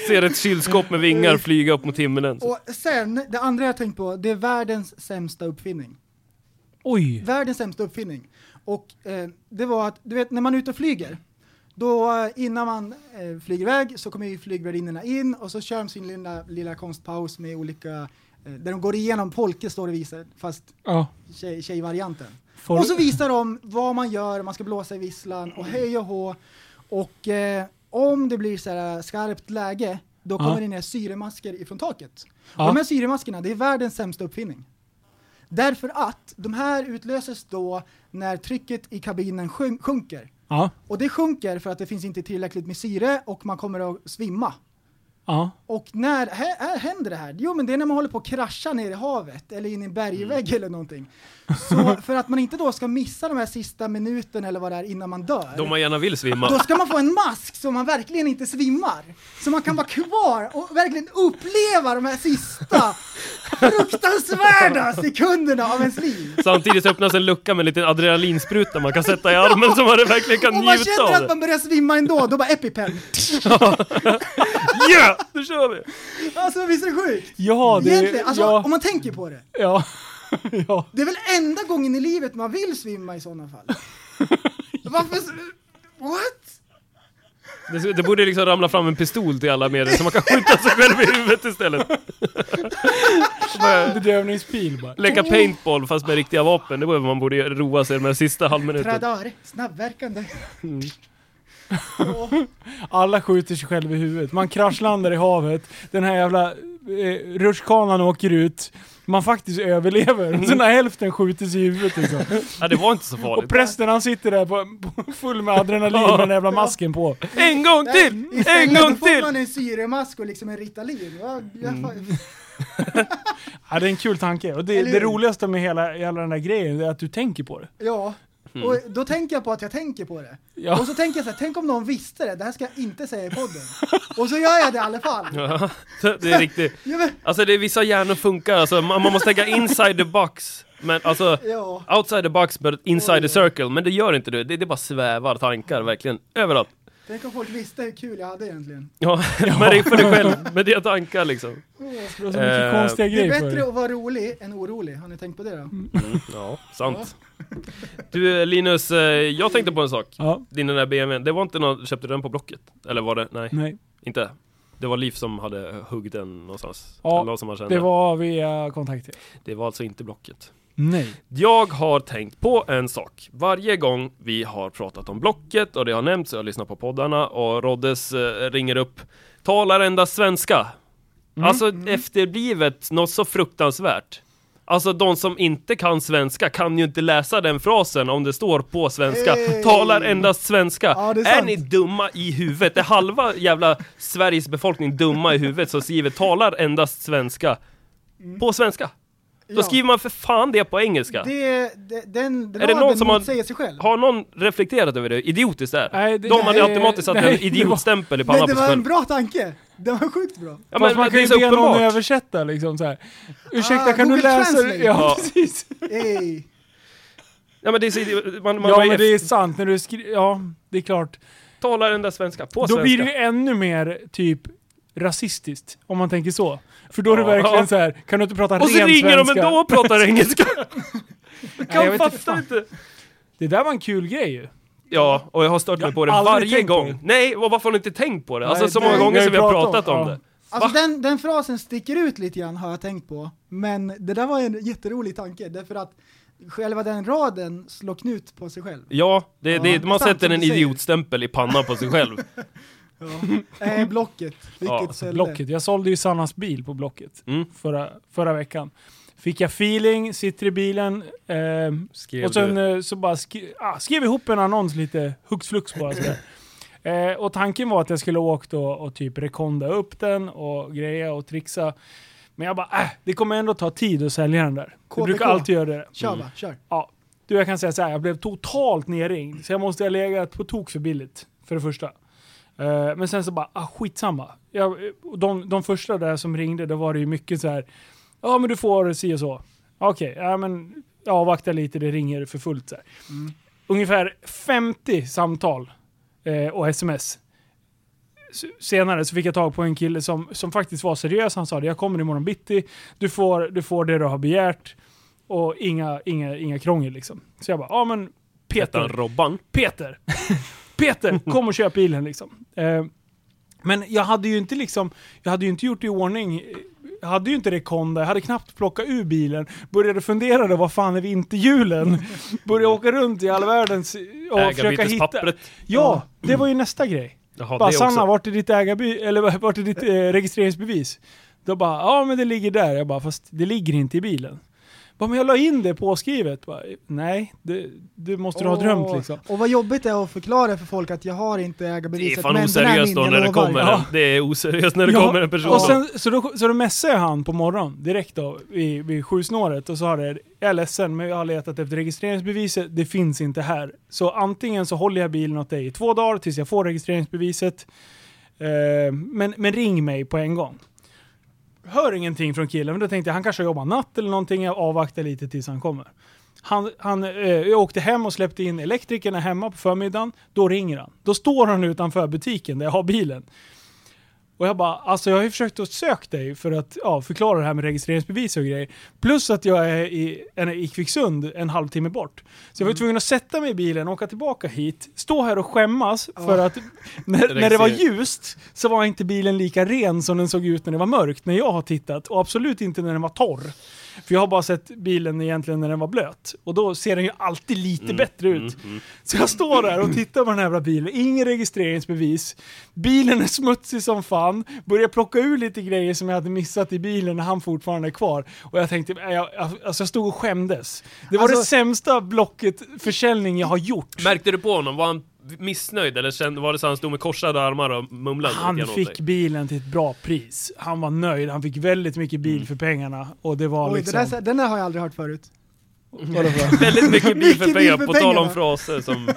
[SPEAKER 3] Ser ett kylskåp med vingar flyga upp mot himlen. Så.
[SPEAKER 4] Och sen, det andra jag tänkt på, det är världens sämsta uppfinning.
[SPEAKER 2] Oj.
[SPEAKER 4] Världens sämsta uppfinning. Och eh, det var att, du vet när man är ute och flyger, då eh, innan man eh, flyger iväg så kommer ju flygvärdinnorna in och så kör de sin lilla, lilla konstpaus med olika, eh, där de går igenom polka står det och visar, fast
[SPEAKER 2] Ja.
[SPEAKER 4] tjej, tjejvarianten.
[SPEAKER 2] Folk-
[SPEAKER 4] Och så visar de vad man gör, man ska blåsa i visslan och hej och hå. Och eh, om det blir så här skarpt läge, då
[SPEAKER 2] Ja.
[SPEAKER 4] kommer det ner syremasker ifrån taket.
[SPEAKER 2] Ja.
[SPEAKER 4] Och de här syremaskerna, det är världens sämsta uppfinning. Därför att de här utlöses då när trycket i kabinen sjön- sjunker.
[SPEAKER 2] Ja.
[SPEAKER 4] Och det sjunker för att det finns inte tillräckligt med syre och man kommer att svimma.
[SPEAKER 2] Ja.
[SPEAKER 4] Och när hä- hä- händer det här? Jo men det är när man håller på att krascha ner i havet eller in i en bergvägg eller någonting. Så för att man inte då ska missa de här sista minuten eller vad det är innan man dör.
[SPEAKER 3] De man gärna vill
[SPEAKER 4] Då
[SPEAKER 3] svimma.
[SPEAKER 4] ska man få en mask så man verkligen inte svimmar. Så man kan vara kvar och verkligen uppleva de här sista fruktansvärda sekunderna av ens liv.
[SPEAKER 3] Samtidigt så öppnas en lucka med en liten adrenalinspruta man kan sätta i armen så man verkligen kan
[SPEAKER 4] Om man
[SPEAKER 3] njuta
[SPEAKER 4] känner
[SPEAKER 3] av
[SPEAKER 4] att
[SPEAKER 3] det.
[SPEAKER 4] man börjar svimma ändå, då bara Epipen.
[SPEAKER 3] Yeah! Nu kör vi!
[SPEAKER 4] Alltså visst är det sjukt?
[SPEAKER 2] Ja, det...
[SPEAKER 4] Egentligen, alltså om
[SPEAKER 2] ja.
[SPEAKER 4] man tänker på det.
[SPEAKER 2] Ja. [laughs] ja.
[SPEAKER 4] Det är väl enda gången i livet man vill svimma i sådana
[SPEAKER 3] [laughs]
[SPEAKER 4] fall? Varför... s- What?
[SPEAKER 3] Det, det borde liksom ramla fram en pistol till alla med det så man kan skjuta sig själv i huvudet istället.
[SPEAKER 2] Bedövningspil bara.
[SPEAKER 3] Leka paintball fast med riktiga vapen, det borde man borde göra- roa sig med sista halvminuten.
[SPEAKER 4] Tradar, snabbverkande.
[SPEAKER 2] Alla skjuter sig själv i huvudet. Man kraschlandar i havet. Den här jävla eh, rutschkanan åker ut. Man faktiskt överlever. Och sen har hälften skjutits i huvudet liksom.
[SPEAKER 3] Ja, det var inte så
[SPEAKER 2] Och
[SPEAKER 3] farligt.
[SPEAKER 2] prästen han sitter där på, på, full med adrenalin med den jävla masken på.
[SPEAKER 3] En gång till!
[SPEAKER 4] Nej, istället
[SPEAKER 3] En gång
[SPEAKER 4] får
[SPEAKER 3] till!
[SPEAKER 4] man en syremask och liksom en Ritalin. Jag, jag,
[SPEAKER 2] Ja, det är en kul tanke. Och det,
[SPEAKER 4] Eller
[SPEAKER 2] det
[SPEAKER 4] hur?
[SPEAKER 2] roligaste med hela, hela den där grejen är att du tänker på det.
[SPEAKER 4] Ja. Och då tänker jag på att jag tänker på det.
[SPEAKER 2] Ja.
[SPEAKER 4] Och så tänker jag så här, tänk om någon visste det, det här ska jag inte säga i podden. Och så gör jag det i alla fall.
[SPEAKER 3] Ja, det är riktigt.
[SPEAKER 4] Ja, men,
[SPEAKER 3] Alltså det är vissa hjärnor funkar, alltså man, man måste tänka inside the box. Men alltså,
[SPEAKER 4] ja.
[SPEAKER 3] outside the box but inside the circle. Men det gör inte du, det, det bara svävar tankar verkligen överallt.
[SPEAKER 4] Tänk om folk visste hur kul jag hade egentligen.
[SPEAKER 3] Ja, [laughs] men det är för dig själv, med dina tankar liksom.
[SPEAKER 2] Det var så mycket
[SPEAKER 3] Eh,
[SPEAKER 2] konstiga
[SPEAKER 4] Det är
[SPEAKER 2] grejer för
[SPEAKER 4] bättre
[SPEAKER 2] dig.
[SPEAKER 4] att vara rolig än orolig, har ni tänkt på det då?
[SPEAKER 3] Mm.
[SPEAKER 2] Mm.
[SPEAKER 3] [laughs] Ja, sant. Du eh, Linus, eh, jag tänkte på en sak.
[SPEAKER 2] Ja,
[SPEAKER 3] Din den där BMWn, det var inte någon, köpte du den på Blocket? Eller var det, nej,
[SPEAKER 2] nej.
[SPEAKER 3] inte? Det var Liv som hade huggit den någonstans?
[SPEAKER 2] Ja,
[SPEAKER 3] Eller någon som han kände.
[SPEAKER 2] Det var via kontakter.
[SPEAKER 3] det var alltså inte Blocket.
[SPEAKER 2] Nej.
[SPEAKER 3] Jag har tänkt på en sak. Varje gång vi har pratat om Blocket och det har nämnts, jag har lyssnat på poddarna och Roddes eh, ringer upp,
[SPEAKER 4] Mm.
[SPEAKER 3] talar endast svenska. Alltså efterblivet något så fruktansvärt. Alltså de som inte kan svenska kan ju inte läsa den frasen om det står på svenska. Talar endast svenska.
[SPEAKER 4] Ja, det är
[SPEAKER 3] är
[SPEAKER 4] sant.
[SPEAKER 3] ni dumma i huvudet? Är halva jävla Sveriges befolkning dumma i huvudet så skriver talar endast svenska. På svenska. Då
[SPEAKER 4] Mm. Ja.
[SPEAKER 3] skriver man för fan det på engelska.
[SPEAKER 4] Det, det, den, den
[SPEAKER 3] Är det någon som har-
[SPEAKER 4] säger sig själv.
[SPEAKER 3] Har någon reflekterat över hur idiotiskt det är?
[SPEAKER 2] Nej, det-
[SPEAKER 3] de hade
[SPEAKER 2] nej,
[SPEAKER 3] automatiskt satt
[SPEAKER 2] nej,
[SPEAKER 3] en
[SPEAKER 2] det var-
[SPEAKER 3] idiotstämpel i pannan på
[SPEAKER 4] Men det
[SPEAKER 3] sig
[SPEAKER 4] var en
[SPEAKER 3] själv.
[SPEAKER 4] bra tanke! Det var sjukt bra.
[SPEAKER 3] Ja,
[SPEAKER 2] Fast man
[SPEAKER 3] det
[SPEAKER 2] kan
[SPEAKER 3] är
[SPEAKER 2] ju
[SPEAKER 3] så
[SPEAKER 2] be någon
[SPEAKER 3] uppenbart.
[SPEAKER 2] översätta liksom så här. Ursäkta,
[SPEAKER 4] Ah,
[SPEAKER 2] kan du
[SPEAKER 4] Google
[SPEAKER 2] läsa? det?" Ja,
[SPEAKER 4] Translate. [laughs]
[SPEAKER 3] Ja.
[SPEAKER 2] precis.
[SPEAKER 4] Ey.
[SPEAKER 3] Ja men det är så idi- man, man
[SPEAKER 2] Ja,
[SPEAKER 3] man
[SPEAKER 2] men det är sant. När du skri- ja, det är klart.
[SPEAKER 3] talar den där svenska på
[SPEAKER 2] Då
[SPEAKER 3] svenska.
[SPEAKER 2] blir det ju ännu mer typ rasistiskt, om man tänker så. För då är det
[SPEAKER 3] Ja.
[SPEAKER 2] verkligen så här. kan du inte prata
[SPEAKER 3] Och så
[SPEAKER 2] ren
[SPEAKER 3] ringer de
[SPEAKER 2] svenska?
[SPEAKER 3] ändå
[SPEAKER 2] [laughs]
[SPEAKER 3] och pratar engelska. Jag
[SPEAKER 2] Nej, jag
[SPEAKER 3] kan
[SPEAKER 2] vet inte
[SPEAKER 3] fatta
[SPEAKER 2] fan.
[SPEAKER 3] inte.
[SPEAKER 2] Det där var en kul grej ju.
[SPEAKER 3] Ja, och jag har stört mig på det
[SPEAKER 2] har aldrig
[SPEAKER 3] varje
[SPEAKER 2] tänkt på
[SPEAKER 3] gång.
[SPEAKER 2] det.
[SPEAKER 3] Nej, och varför har ni inte tänkt på det? Alltså
[SPEAKER 2] Nej,
[SPEAKER 3] så
[SPEAKER 2] det-
[SPEAKER 3] många
[SPEAKER 4] vi
[SPEAKER 3] gånger
[SPEAKER 2] har
[SPEAKER 3] som vi
[SPEAKER 2] ju
[SPEAKER 3] har
[SPEAKER 2] pratat
[SPEAKER 3] pratat om
[SPEAKER 2] om-
[SPEAKER 3] det.
[SPEAKER 4] Alltså den, den frasen sticker ut lite grann har jag tänkt på. Men det där var en jätterolig tanke därför att själva den raden slår knut på sig själv.
[SPEAKER 3] Ja, det, det,
[SPEAKER 4] Ja,
[SPEAKER 3] man
[SPEAKER 4] sant
[SPEAKER 3] sätter
[SPEAKER 4] som
[SPEAKER 3] en
[SPEAKER 4] du säger.
[SPEAKER 3] idiotstämpel i pannan på sig själv.
[SPEAKER 4] Eh, blocket. Vilket
[SPEAKER 3] alltså,
[SPEAKER 4] ställe.
[SPEAKER 2] Blocket. Jag sålde ju Sannas bil på Blocket
[SPEAKER 3] Mm.
[SPEAKER 2] förra, förra veckan. Fick jag feeling, sitter i bilen ehm,
[SPEAKER 3] Skrev
[SPEAKER 2] och sen
[SPEAKER 3] du.
[SPEAKER 2] eh, så bara skri- ah, skrev ihop en annons lite hux flux bara
[SPEAKER 3] [laughs]
[SPEAKER 2] sådär. Eh, och tanken var att jag skulle ha åkt och, och typ rekonda upp den och greja och trixa. Men jag bara, äh, det kommer ändå ta tid att sälja den där. Jag
[SPEAKER 4] KBK.
[SPEAKER 2] brukar alltid göra det.
[SPEAKER 3] Mm.
[SPEAKER 4] Kör va, kör.
[SPEAKER 2] Ja, du jag kan säga så här, jag blev totalt nerringd. Så jag måste ha legat på tok för billigt, för det första. Eh, men sen så bara, ah, skitsamma. Jag, och de, de första där som ringde, då var det ju mycket så här, ja men du får si och så. Okej, ja men jag avvaktar lite, det ringer för fullt så här. Ungefär 50 samtal eh, och sms. S- Senare så fick jag tag på en kille som, som faktiskt var seriös. Han sa det, jag kommer imorgon bitti. Du får, du får det du har begärt och inga, inga, inga krångel liksom. Så jag bara, ja men [laughs]
[SPEAKER 3] Utan
[SPEAKER 2] Peter,
[SPEAKER 3] Robban.
[SPEAKER 2] Peter, Peter, kom och köp bilen liksom. Eh, men jag hade ju inte liksom, jag hade ju inte gjort i ordning, jag hade ju inte rekonda, jag hade knappt plockat ur bilen, började fundera då, vad fan är vinterhjulen? Började åka runt i all världens och försöka hitta.
[SPEAKER 3] Ägarbytespappret.
[SPEAKER 2] Ja, det var ju nästa grej.
[SPEAKER 3] Mm. Jaha,
[SPEAKER 2] bara
[SPEAKER 3] det också.
[SPEAKER 2] Sanna, vart är ditt, ägarby- eller, [laughs] vart är ditt eh, registreringsbevis? Då bara, ja men det ligger där. Jag bara, fast det ligger inte i bilen. Bara, men jag la in det påskrivet. Bara, Nej, det, du måste du ha drömt
[SPEAKER 4] Åh,
[SPEAKER 2] liksom.
[SPEAKER 4] Och vad jobbigt det är att förklara för folk att jag har inte
[SPEAKER 3] Det
[SPEAKER 4] ägarbeviset
[SPEAKER 3] är fan
[SPEAKER 4] men den här
[SPEAKER 3] oseriöst då
[SPEAKER 4] min, jag
[SPEAKER 3] när det
[SPEAKER 4] lovar.
[SPEAKER 3] kommer en.
[SPEAKER 2] Ja.
[SPEAKER 3] Det är oseriöst när det
[SPEAKER 2] Ja,
[SPEAKER 3] kommer en person.
[SPEAKER 2] Och sen, så, då, så då messade jag han på morgonen direkt då vid, vid sjusnåret och sa det, jag är ledsen men jag har letat efter registreringsbeviset, det finns inte här. Så antingen så håller jag bilen åt dig i två dagar tills jag får registreringsbeviset. Eh, men, men ring mig på en gång. Hör ingenting från killen, men då tänkte jag han kanske jobbar natt eller någonting, jag avvaktar lite tills han kommer. Han, han, eh, jag åkte hem och släppte in elektrikerna hemma på förmiddagen, då ringer han. Då står han utanför butiken där jag har bilen. Och jag bara, alltså jag har ju försökt att söka dig för att ja, förklara det här med registreringsbevis och grejer. Plus att jag är i, en- i Kvicksund en halvtimme bort. Så jag var ju tvungen att sätta mig i bilen och åka tillbaka hit, stå här och skämmas för att när, när det var ljust så var inte bilen lika ren som den såg ut när det var mörkt, när jag har tittat. Och absolut inte när den var torr. För jag har bara sett bilen egentligen när den var blöt. Och då ser den ju alltid lite bättre ut. Så jag står där och tittar på den här jävla bilen, ingen registreringsbevis. Bilen är smutsig som fan, börjar plocka ur lite grejer som jag hade missat i bilen när han fortfarande är kvar. Och jag tänkte, jag, jag, alltså jag stod och skämdes. Det var
[SPEAKER 4] Alltså-
[SPEAKER 2] det sämsta blocket försäljning jag har gjort.
[SPEAKER 3] Märkte du på honom? Var han missnöjd eller kände, var det så han stod med korsade armar och mumlade lite
[SPEAKER 2] Han
[SPEAKER 3] grann åt
[SPEAKER 2] fick
[SPEAKER 3] dig?
[SPEAKER 2] bilen till ett bra pris. Han var nöjd, han fick väldigt mycket bil
[SPEAKER 3] Mm.
[SPEAKER 2] för pengarna. Och det var
[SPEAKER 4] Oj, det
[SPEAKER 2] liksom...
[SPEAKER 4] där, den där har jag aldrig hört förut.
[SPEAKER 3] Väldigt mycket
[SPEAKER 4] [laughs]
[SPEAKER 3] bil för
[SPEAKER 4] Mycket bil
[SPEAKER 3] pengarna,
[SPEAKER 4] för
[SPEAKER 3] på tal om
[SPEAKER 4] pengarna.
[SPEAKER 3] fraser som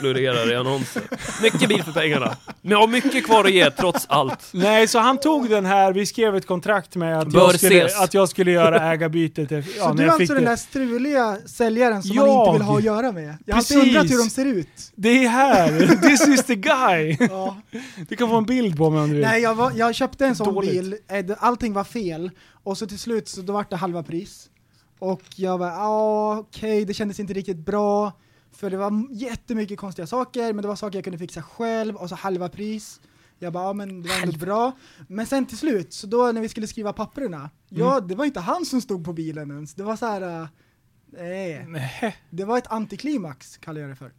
[SPEAKER 3] florerar i annonser. Mycket bil för pengarna. Men jag har mycket kvar att ge trots allt.
[SPEAKER 2] [laughs] Nej, så han tog den här, vi skrev ett kontrakt med att,
[SPEAKER 3] Bör
[SPEAKER 2] jag skulle,
[SPEAKER 3] ses.
[SPEAKER 2] att jag skulle
[SPEAKER 3] [laughs]
[SPEAKER 2] göra ägarbytet. efter- Ja,
[SPEAKER 4] Så du
[SPEAKER 2] när
[SPEAKER 4] är
[SPEAKER 2] jag fick
[SPEAKER 4] alltså den
[SPEAKER 2] det.
[SPEAKER 4] där struliga säljaren som man
[SPEAKER 2] Jag-
[SPEAKER 4] inte vill ha att göra med? Jag har alltid
[SPEAKER 2] Precis.
[SPEAKER 4] undrat hur de ser ut.
[SPEAKER 2] det är här! [laughs] This is the guy!
[SPEAKER 4] Ja.
[SPEAKER 2] Du kan få en bild på mig om du vill.
[SPEAKER 4] Nej, jag, var, jag köpte en sån
[SPEAKER 2] Dåligt.
[SPEAKER 4] bil, eh, det- allting var fel, och så till slut så då vart det halva pris. Och jag bara, ja okej, det kändes inte riktigt bra, för det var m- jättemycket konstiga saker, men det var saker jag kunde fixa själv, och så halva pris. Jag bara, ja men det var ändå bra. Men sen till slut, så då när vi skulle skriva papperna, ja
[SPEAKER 2] Mm.
[SPEAKER 4] det var inte han som stod på bilen ens, det var så här. eh, Nej. Det var ett antiklimax, kallar jag det för.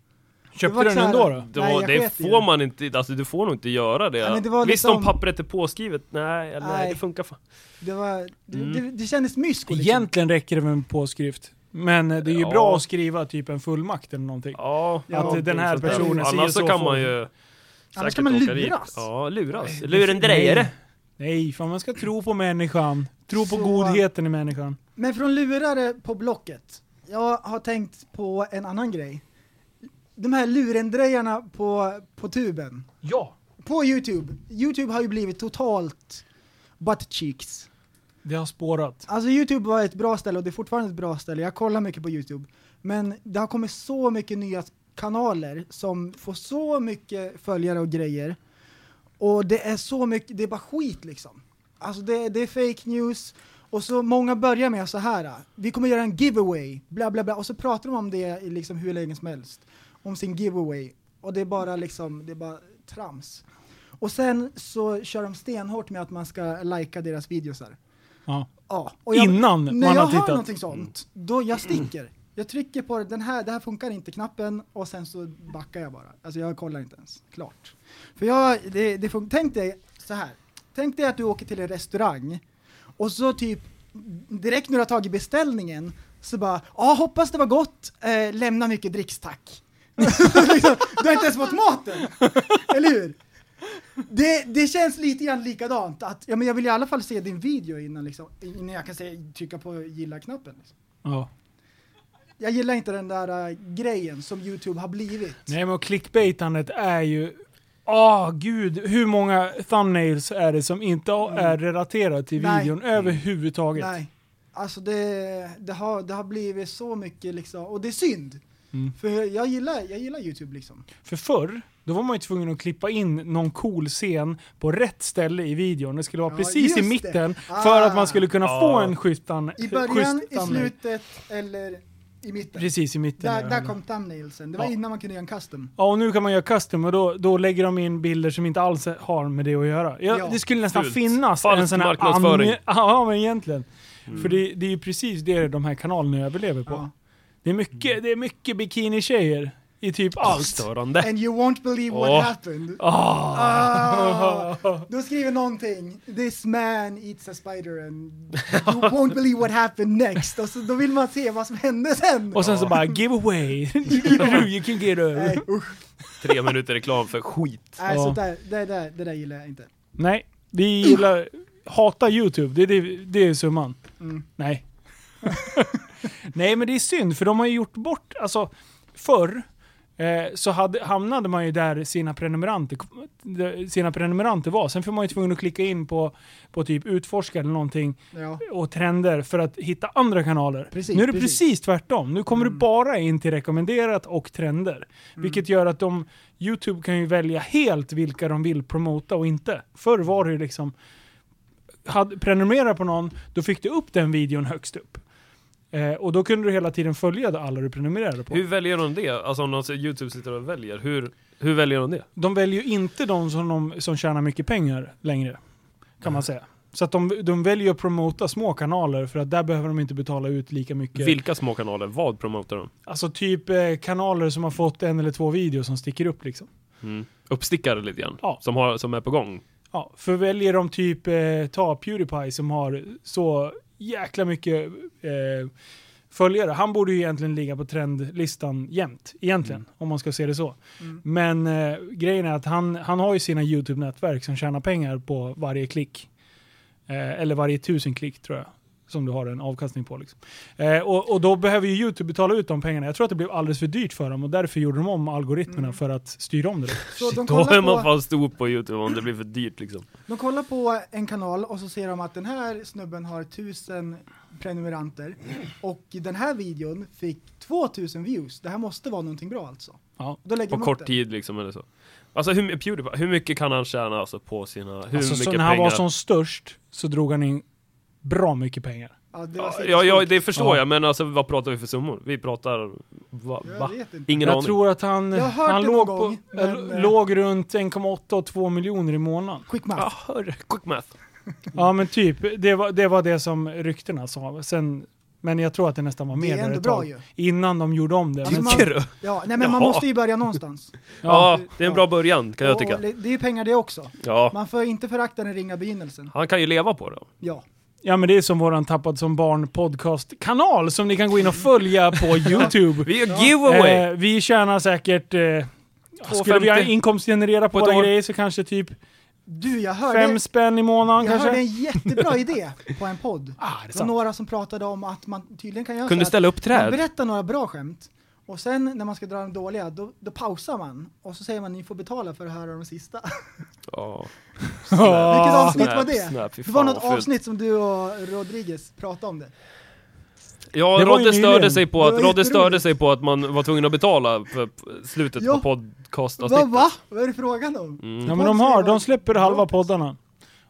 [SPEAKER 2] Köpte
[SPEAKER 4] var
[SPEAKER 2] du
[SPEAKER 4] så
[SPEAKER 2] den
[SPEAKER 4] här-
[SPEAKER 2] ändå då?
[SPEAKER 3] Det,
[SPEAKER 4] Nej,
[SPEAKER 3] var,
[SPEAKER 4] jag
[SPEAKER 3] det
[SPEAKER 4] sket i
[SPEAKER 3] får
[SPEAKER 4] det.
[SPEAKER 3] man inte, alltså du får nog inte göra det.
[SPEAKER 4] Ja, men det var
[SPEAKER 3] Visst om
[SPEAKER 4] liksom-
[SPEAKER 3] pappret är påskrivet? Nej, nej,
[SPEAKER 4] Nej.
[SPEAKER 3] det funkar fan.
[SPEAKER 4] Det, var, det,
[SPEAKER 3] Mm.
[SPEAKER 4] det, det kändes mysko liksom.
[SPEAKER 2] Egentligen räcker det med en påskrift. Men eh, det är ju
[SPEAKER 3] Ja.
[SPEAKER 2] bra att skriva typ en fullmakt eller någonting.
[SPEAKER 3] Ja,
[SPEAKER 4] Ja,
[SPEAKER 3] någonting
[SPEAKER 2] den här
[SPEAKER 3] sånt där.
[SPEAKER 2] personen si och
[SPEAKER 3] Annars
[SPEAKER 2] så
[SPEAKER 3] så kan
[SPEAKER 2] får-
[SPEAKER 3] man ju...
[SPEAKER 4] Annars
[SPEAKER 3] säkert
[SPEAKER 4] kan man
[SPEAKER 3] åka
[SPEAKER 4] luras.
[SPEAKER 3] Dit. Ja, luras.
[SPEAKER 2] Nej,
[SPEAKER 3] Lurendrejare.
[SPEAKER 2] Nej, fan man ska tro på människan. Tro på
[SPEAKER 4] Så-
[SPEAKER 2] godheten i människan.
[SPEAKER 4] Men från lurare på Blocket. Jag har tänkt på en annan grej. De här lurendrejarna på, på tuben.
[SPEAKER 2] Ja.
[SPEAKER 4] På Youtube. Youtube har ju blivit totalt butt cheeks.
[SPEAKER 2] Det har spårat.
[SPEAKER 4] Alltså Youtube var ett bra ställe och det är fortfarande ett bra ställe. Jag kollar mycket på Youtube. Men det har kommit så mycket nya kanaler som får så mycket följare och grejer. Och det är så mycket, det är bara skit liksom. Alltså det, det är fake news. Och så många börjar med så här. "Ah, vi kommer göra en giveaway, bla bla bla. Och så pratar de om det i liksom hur länge som helst. Om sin giveaway. Och det är bara liksom, det är bara trams. Och sen så kör de stenhårt med att man ska lajka deras videosar.
[SPEAKER 2] Ja.
[SPEAKER 4] Ja,
[SPEAKER 2] Innan
[SPEAKER 4] när
[SPEAKER 2] man har
[SPEAKER 4] jag
[SPEAKER 2] tittat.
[SPEAKER 4] hör någonting sånt, då jag sticker. Jag trycker på den här, det här funkar inte, knappen, och sen så backar jag bara. Alltså jag kollar inte ens, klart. För jag, det, det fun- tänk dig så här. Tänk dig att du åker till en restaurang, och så typ direkt när du har tagit beställningen, så bara ja hoppas det var gott, eh, lämna mycket dricks tack. [laughs] liksom, du har inte ens fått maten! Eller hur? Det, det känns lite grann likadant, att ja, men jag vill i alla fall se din video innan, liksom, innan jag kan se, trycka på gilla-knappen. Liksom.
[SPEAKER 2] ja.
[SPEAKER 4] Jag gillar inte den där äh, grejen som YouTube har blivit.
[SPEAKER 2] Nej men clickbaitandet är ju... Ah gud, hur många thumbnails är det som inte är relaterade till
[SPEAKER 4] Nej.
[SPEAKER 2] videon överhuvudtaget?
[SPEAKER 4] Nej. Alltså det, det, har, det har blivit så mycket liksom, och det är synd.
[SPEAKER 2] Mm.
[SPEAKER 4] För jag gillar, jag gillar YouTube liksom.
[SPEAKER 2] För förr, då var man ju tvungen att klippa in någon cool scen på rätt ställe i videon. Det skulle vara
[SPEAKER 4] Ja,
[SPEAKER 2] precis i
[SPEAKER 4] just
[SPEAKER 2] mitten
[SPEAKER 4] det.
[SPEAKER 2] för
[SPEAKER 4] Ah.
[SPEAKER 2] att man skulle kunna
[SPEAKER 3] Ja.
[SPEAKER 2] få en schysst tan-
[SPEAKER 4] I
[SPEAKER 2] schysst
[SPEAKER 4] början, i
[SPEAKER 2] thumbnail.
[SPEAKER 4] slutet eller i mitten.
[SPEAKER 2] Precis i mitten.
[SPEAKER 4] Där,
[SPEAKER 2] ja.
[SPEAKER 4] där kom thumbnailsen, det var
[SPEAKER 2] Ja.
[SPEAKER 4] innan man kunde göra en custom.
[SPEAKER 2] Ja, och nu kan man göra custom och då, då lägger de in bilder som inte alls har med det att göra. Ja,
[SPEAKER 4] Ja.
[SPEAKER 2] Det skulle nästan
[SPEAKER 3] Fult.
[SPEAKER 2] finnas
[SPEAKER 3] Falsk
[SPEAKER 2] en sån här...
[SPEAKER 3] marknadsföring.
[SPEAKER 2] ange-
[SPEAKER 3] Mm.
[SPEAKER 2] [laughs] Ja, men egentligen. För det, det är ju precis det de här kanalerna överlever på.
[SPEAKER 4] Ja.
[SPEAKER 2] Det är
[SPEAKER 3] Mm.
[SPEAKER 2] mycket, det är mycket bikini-tjejer i typ allt.
[SPEAKER 3] Störande.
[SPEAKER 4] And you won't believe what
[SPEAKER 3] Åh.
[SPEAKER 4] happened. Ah. Då skriver någonting, this man eats a spider and
[SPEAKER 3] [laughs]
[SPEAKER 4] you won't believe what happened next. Och så, då vill man se vad som hände sen.
[SPEAKER 2] Och sen så bara give [laughs]
[SPEAKER 4] [laughs]
[SPEAKER 2] away. you can get
[SPEAKER 4] Nej,
[SPEAKER 2] over.
[SPEAKER 4] usch.
[SPEAKER 3] [laughs] Tre minuter reklam för skit.
[SPEAKER 4] Nej,
[SPEAKER 2] Ja.
[SPEAKER 4] så där, det, där, det där gillar jag inte.
[SPEAKER 2] Nej, vi gillar, hatar YouTube. Det, är det, det är summan.
[SPEAKER 4] Mm.
[SPEAKER 2] Nej. [laughs] Nej, men det är synd för de har ju gjort bort, alltså förr eh, så hade, hamnade man ju där sina prenumeranter, där sina prenumeranter var. Sen får man ju tvungen att klicka in på, på typ utforska eller någonting
[SPEAKER 4] Ja.
[SPEAKER 2] och trender för att hitta andra kanaler.
[SPEAKER 4] Precis,
[SPEAKER 2] nu är det precis,
[SPEAKER 4] precis.
[SPEAKER 2] tvärtom. Nu kommer du bara in till rekommenderat och trender. Vilket gör att de, Youtube kan ju välja helt vilka de vill promota och inte. Förr var det ju liksom, hade, prenumerera på någon, då fick du upp den videon högst upp. Eh, och då kunde du hela tiden följa alla du prenumererade på.
[SPEAKER 3] Hur väljer de det? Alltså om de ser Youtube sitter och väljer, hur, hur väljer de det?
[SPEAKER 2] De väljer ju inte de som, de som tjänar mycket pengar längre, kan man säga. Så att de, de väljer att promota små kanaler för att där behöver de inte betala ut lika mycket.
[SPEAKER 3] Vilka små kanaler? Vad promotar de?
[SPEAKER 2] Alltså typ eh, kanaler som har fått en eller två videor som sticker upp liksom.
[SPEAKER 3] Mm. Uppstickare lite grann,
[SPEAKER 2] Ja.
[SPEAKER 3] som, har, som är på gång.
[SPEAKER 2] Ja, för väljer de typ, eh, ta Pewdiepie som har så jäkla mycket eh, följare. Han borde ju egentligen ligga på trendlistan jämt, egentligen, om man ska se det så.
[SPEAKER 4] Mm.
[SPEAKER 2] Men eh, grejen är att han, han har ju sina YouTube-nätverk som tjänar pengar på varje klick. Eh, eller varje tusen klick tror jag, som du har en avkastning på. Liksom. Eh, och, och då behöver ju YouTube betala ut de pengarna. Jag tror att det blev alldeles för dyrt för dem och därför gjorde de om algoritmerna för att styra om det. då.
[SPEAKER 4] Så de
[SPEAKER 3] Då är
[SPEAKER 4] kollar,
[SPEAKER 3] man
[SPEAKER 4] på,
[SPEAKER 3] fan stor på Youtube om det blir för dyrt liksom.
[SPEAKER 4] de kollar på en kanal och så ser de att den här snubben har tusen prenumeranter och den här videon fick 2000 views. Det här måste vara någonting bra alltså.
[SPEAKER 2] Ja.
[SPEAKER 4] Då lägger
[SPEAKER 3] På
[SPEAKER 4] de upp
[SPEAKER 3] kort
[SPEAKER 4] den.
[SPEAKER 3] tid liksom eller så. Alltså hur, Pewdiepie, hur mycket kan han tjäna alltså på sina, hur
[SPEAKER 2] Alltså, så
[SPEAKER 3] mycket
[SPEAKER 2] när han
[SPEAKER 3] pengar?
[SPEAKER 2] var som störst så drog han in bra mycket pengar.
[SPEAKER 4] Ja, det var
[SPEAKER 3] Ja, ja, ja,
[SPEAKER 4] sinnessjukt.
[SPEAKER 3] det förstår
[SPEAKER 2] Ja.
[SPEAKER 3] jag, men alltså vad pratar vi för summor? Vi pratar, va?
[SPEAKER 4] Jag
[SPEAKER 3] va?
[SPEAKER 4] vet inte.
[SPEAKER 3] Ingen
[SPEAKER 2] jag
[SPEAKER 3] aning.
[SPEAKER 2] tror att han,
[SPEAKER 4] Jag har hört
[SPEAKER 2] han
[SPEAKER 4] det
[SPEAKER 2] låg,
[SPEAKER 4] någon
[SPEAKER 2] på,
[SPEAKER 4] gång, men,
[SPEAKER 2] äh,
[SPEAKER 4] eh,
[SPEAKER 2] låg runt 1,8 och 2 miljoner i [laughs] månaden.
[SPEAKER 4] Quick math.
[SPEAKER 3] Ja, hörru, quick math.
[SPEAKER 2] Ja men typ, det var det, var det som ryktena sa. Sen Men jag tror att det nästan var
[SPEAKER 4] Det
[SPEAKER 2] med
[SPEAKER 4] är
[SPEAKER 2] där
[SPEAKER 4] ändå
[SPEAKER 2] ett
[SPEAKER 4] bra
[SPEAKER 2] tag.
[SPEAKER 4] ju.
[SPEAKER 2] Innan de gjorde om det.
[SPEAKER 4] Ja,
[SPEAKER 2] men
[SPEAKER 4] men man-
[SPEAKER 3] Tycker du?
[SPEAKER 4] Ja, nej men man
[SPEAKER 3] Jaha.
[SPEAKER 4] måste ju
[SPEAKER 3] [laughs]
[SPEAKER 4] börja någonstans.
[SPEAKER 3] Ja,
[SPEAKER 4] Ja.
[SPEAKER 3] det är en bra början kan jag
[SPEAKER 4] Och-
[SPEAKER 3] tycka.
[SPEAKER 4] och Det är ju pengar det också.
[SPEAKER 3] Ja,
[SPEAKER 4] Man får inte förakta den ringa begynnelsen.
[SPEAKER 3] han kan ju leva på det.
[SPEAKER 4] Ja.
[SPEAKER 2] ja men det är som våran Tappad som barn podcastkanal som ni kan gå in och följa [laughs] på YouTube.
[SPEAKER 3] Vi gör giveaway!
[SPEAKER 2] Eh, vi tjänar säkert... Eh, skulle vi ha
[SPEAKER 3] 2,50.
[SPEAKER 2] inkomstgenerera på
[SPEAKER 3] På ett
[SPEAKER 2] våra
[SPEAKER 3] år.
[SPEAKER 2] grejer så kanske typ
[SPEAKER 4] Du, jag
[SPEAKER 2] fem
[SPEAKER 4] hörde,
[SPEAKER 2] spänn i månaden
[SPEAKER 4] jag
[SPEAKER 2] kanske?
[SPEAKER 4] hörde
[SPEAKER 3] [laughs]
[SPEAKER 4] en jättebra idé på en podd.
[SPEAKER 2] Ah, det är
[SPEAKER 4] Det var
[SPEAKER 2] sant.
[SPEAKER 4] några som pratade om att man tydligen kan göra
[SPEAKER 3] Kunde
[SPEAKER 4] så
[SPEAKER 3] ställa upp
[SPEAKER 4] att man
[SPEAKER 3] träd.
[SPEAKER 4] berättar några bra skämt och sen när man ska dra de dåliga, då, då pausar man och så säger man ni får betala för att höra de sista. [laughs]
[SPEAKER 2] [laughs]
[SPEAKER 3] Ja.
[SPEAKER 4] Vilket
[SPEAKER 2] Ah,
[SPEAKER 4] avsnitt
[SPEAKER 3] Snap,
[SPEAKER 4] var det?
[SPEAKER 3] snap, fy
[SPEAKER 4] det var
[SPEAKER 3] fan, vad
[SPEAKER 4] något
[SPEAKER 3] fult.
[SPEAKER 4] avsnitt som du och Rodriguez pratade om det.
[SPEAKER 3] Ja,
[SPEAKER 2] Det var ju
[SPEAKER 3] Rodde störde,
[SPEAKER 2] nyligen.
[SPEAKER 3] sig på
[SPEAKER 4] Det
[SPEAKER 3] att,
[SPEAKER 4] var
[SPEAKER 3] Rodde störde
[SPEAKER 4] jätteroligt.
[SPEAKER 3] sig på att man var tvungen att betala för slutet
[SPEAKER 4] Ja.
[SPEAKER 3] på podcastavsnittet.
[SPEAKER 4] Vad va? Vad är det frågan
[SPEAKER 3] Mm.
[SPEAKER 4] om?
[SPEAKER 2] Ja men de har, de släpper halva poddarna.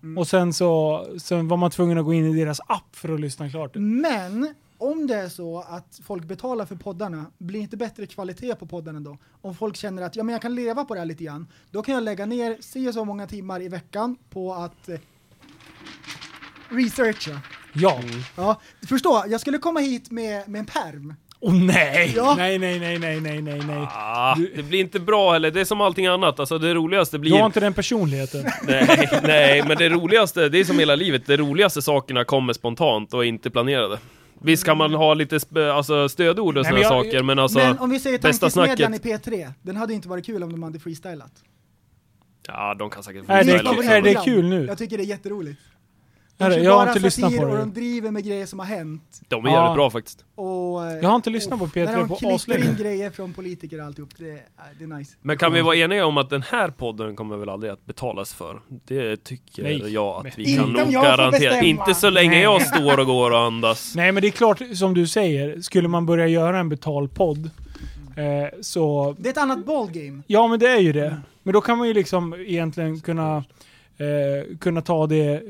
[SPEAKER 4] Mm.
[SPEAKER 2] Och sen så sen var man tvungen att gå in i deras app för att lyssna klart.
[SPEAKER 4] Mm. Men om det är så att folk betalar för poddarna, blir inte bättre kvalitet på podden då? Om folk känner att ja, men jag kan leva på det här lite grann, då kan jag lägga ner si och så många timmar i veckan på att eh, researcha.
[SPEAKER 2] Ja.
[SPEAKER 4] Ja, förstå, jag skulle komma hit med, med en perm.
[SPEAKER 2] Åh nej!
[SPEAKER 4] Ja.
[SPEAKER 2] Nej, nej, nej, nej, nej, nej, nej.
[SPEAKER 3] Ah, det blir inte bra heller, det är som allting annat. Alltså det roligaste
[SPEAKER 2] Du har
[SPEAKER 3] blir...
[SPEAKER 2] inte den
[SPEAKER 4] [laughs]
[SPEAKER 2] personligheten.
[SPEAKER 3] Nej, nej, men det roligaste, det är som hela livet, de roligaste sakerna kommer spontant och är inte planerade. Visst kan man ha lite sp- alltså, stödord och
[SPEAKER 2] Nej, men
[SPEAKER 3] sådana
[SPEAKER 2] jag-
[SPEAKER 3] saker, men alltså...
[SPEAKER 4] men om vi säger
[SPEAKER 3] bästa
[SPEAKER 4] tankesmedjan i P3, den hade ju inte varit kul om de hade freestylat.
[SPEAKER 3] Ja, de kan säkert
[SPEAKER 2] Är det,
[SPEAKER 3] freestyla
[SPEAKER 2] är
[SPEAKER 4] Mitt
[SPEAKER 3] också.
[SPEAKER 2] det
[SPEAKER 4] favoritprogram.
[SPEAKER 2] kul nu?
[SPEAKER 4] Jag tycker det är jätteroligt. De
[SPEAKER 2] Herre,
[SPEAKER 4] kör
[SPEAKER 2] jag har
[SPEAKER 4] bara
[SPEAKER 2] inte lyssnat
[SPEAKER 4] satir
[SPEAKER 2] på
[SPEAKER 4] Och
[SPEAKER 2] det.
[SPEAKER 4] de driver med grejer som har hänt.
[SPEAKER 3] De är jävligt
[SPEAKER 2] Ja.
[SPEAKER 3] bra faktiskt.
[SPEAKER 4] Och, eh,
[SPEAKER 2] Jag har inte lyssnat på P3
[SPEAKER 4] När de
[SPEAKER 2] på
[SPEAKER 4] klipper
[SPEAKER 2] aslänge.
[SPEAKER 4] in grejer från politiker och alltihop, det, är- det är nice.
[SPEAKER 3] Men kan vi vara eniga om att den här podden kommer väl aldrig att betalas för? Det tycker
[SPEAKER 2] Nej.
[SPEAKER 3] jag att vi
[SPEAKER 2] Inte
[SPEAKER 3] kan
[SPEAKER 2] om
[SPEAKER 3] nog
[SPEAKER 4] jag får
[SPEAKER 3] garantera.
[SPEAKER 4] bestämma.
[SPEAKER 3] Inte så länge
[SPEAKER 2] Nej.
[SPEAKER 3] jag står och går och andas.
[SPEAKER 2] Nej men det är klart, som du säger, skulle man börja göra en betalpodd
[SPEAKER 4] Mm.
[SPEAKER 2] eh, så...
[SPEAKER 4] Det är ett annat ballgame.
[SPEAKER 2] Ja men det är ju
[SPEAKER 4] Mm.
[SPEAKER 2] det. Men då kan man ju liksom egentligen kunna, eh, kunna ta det...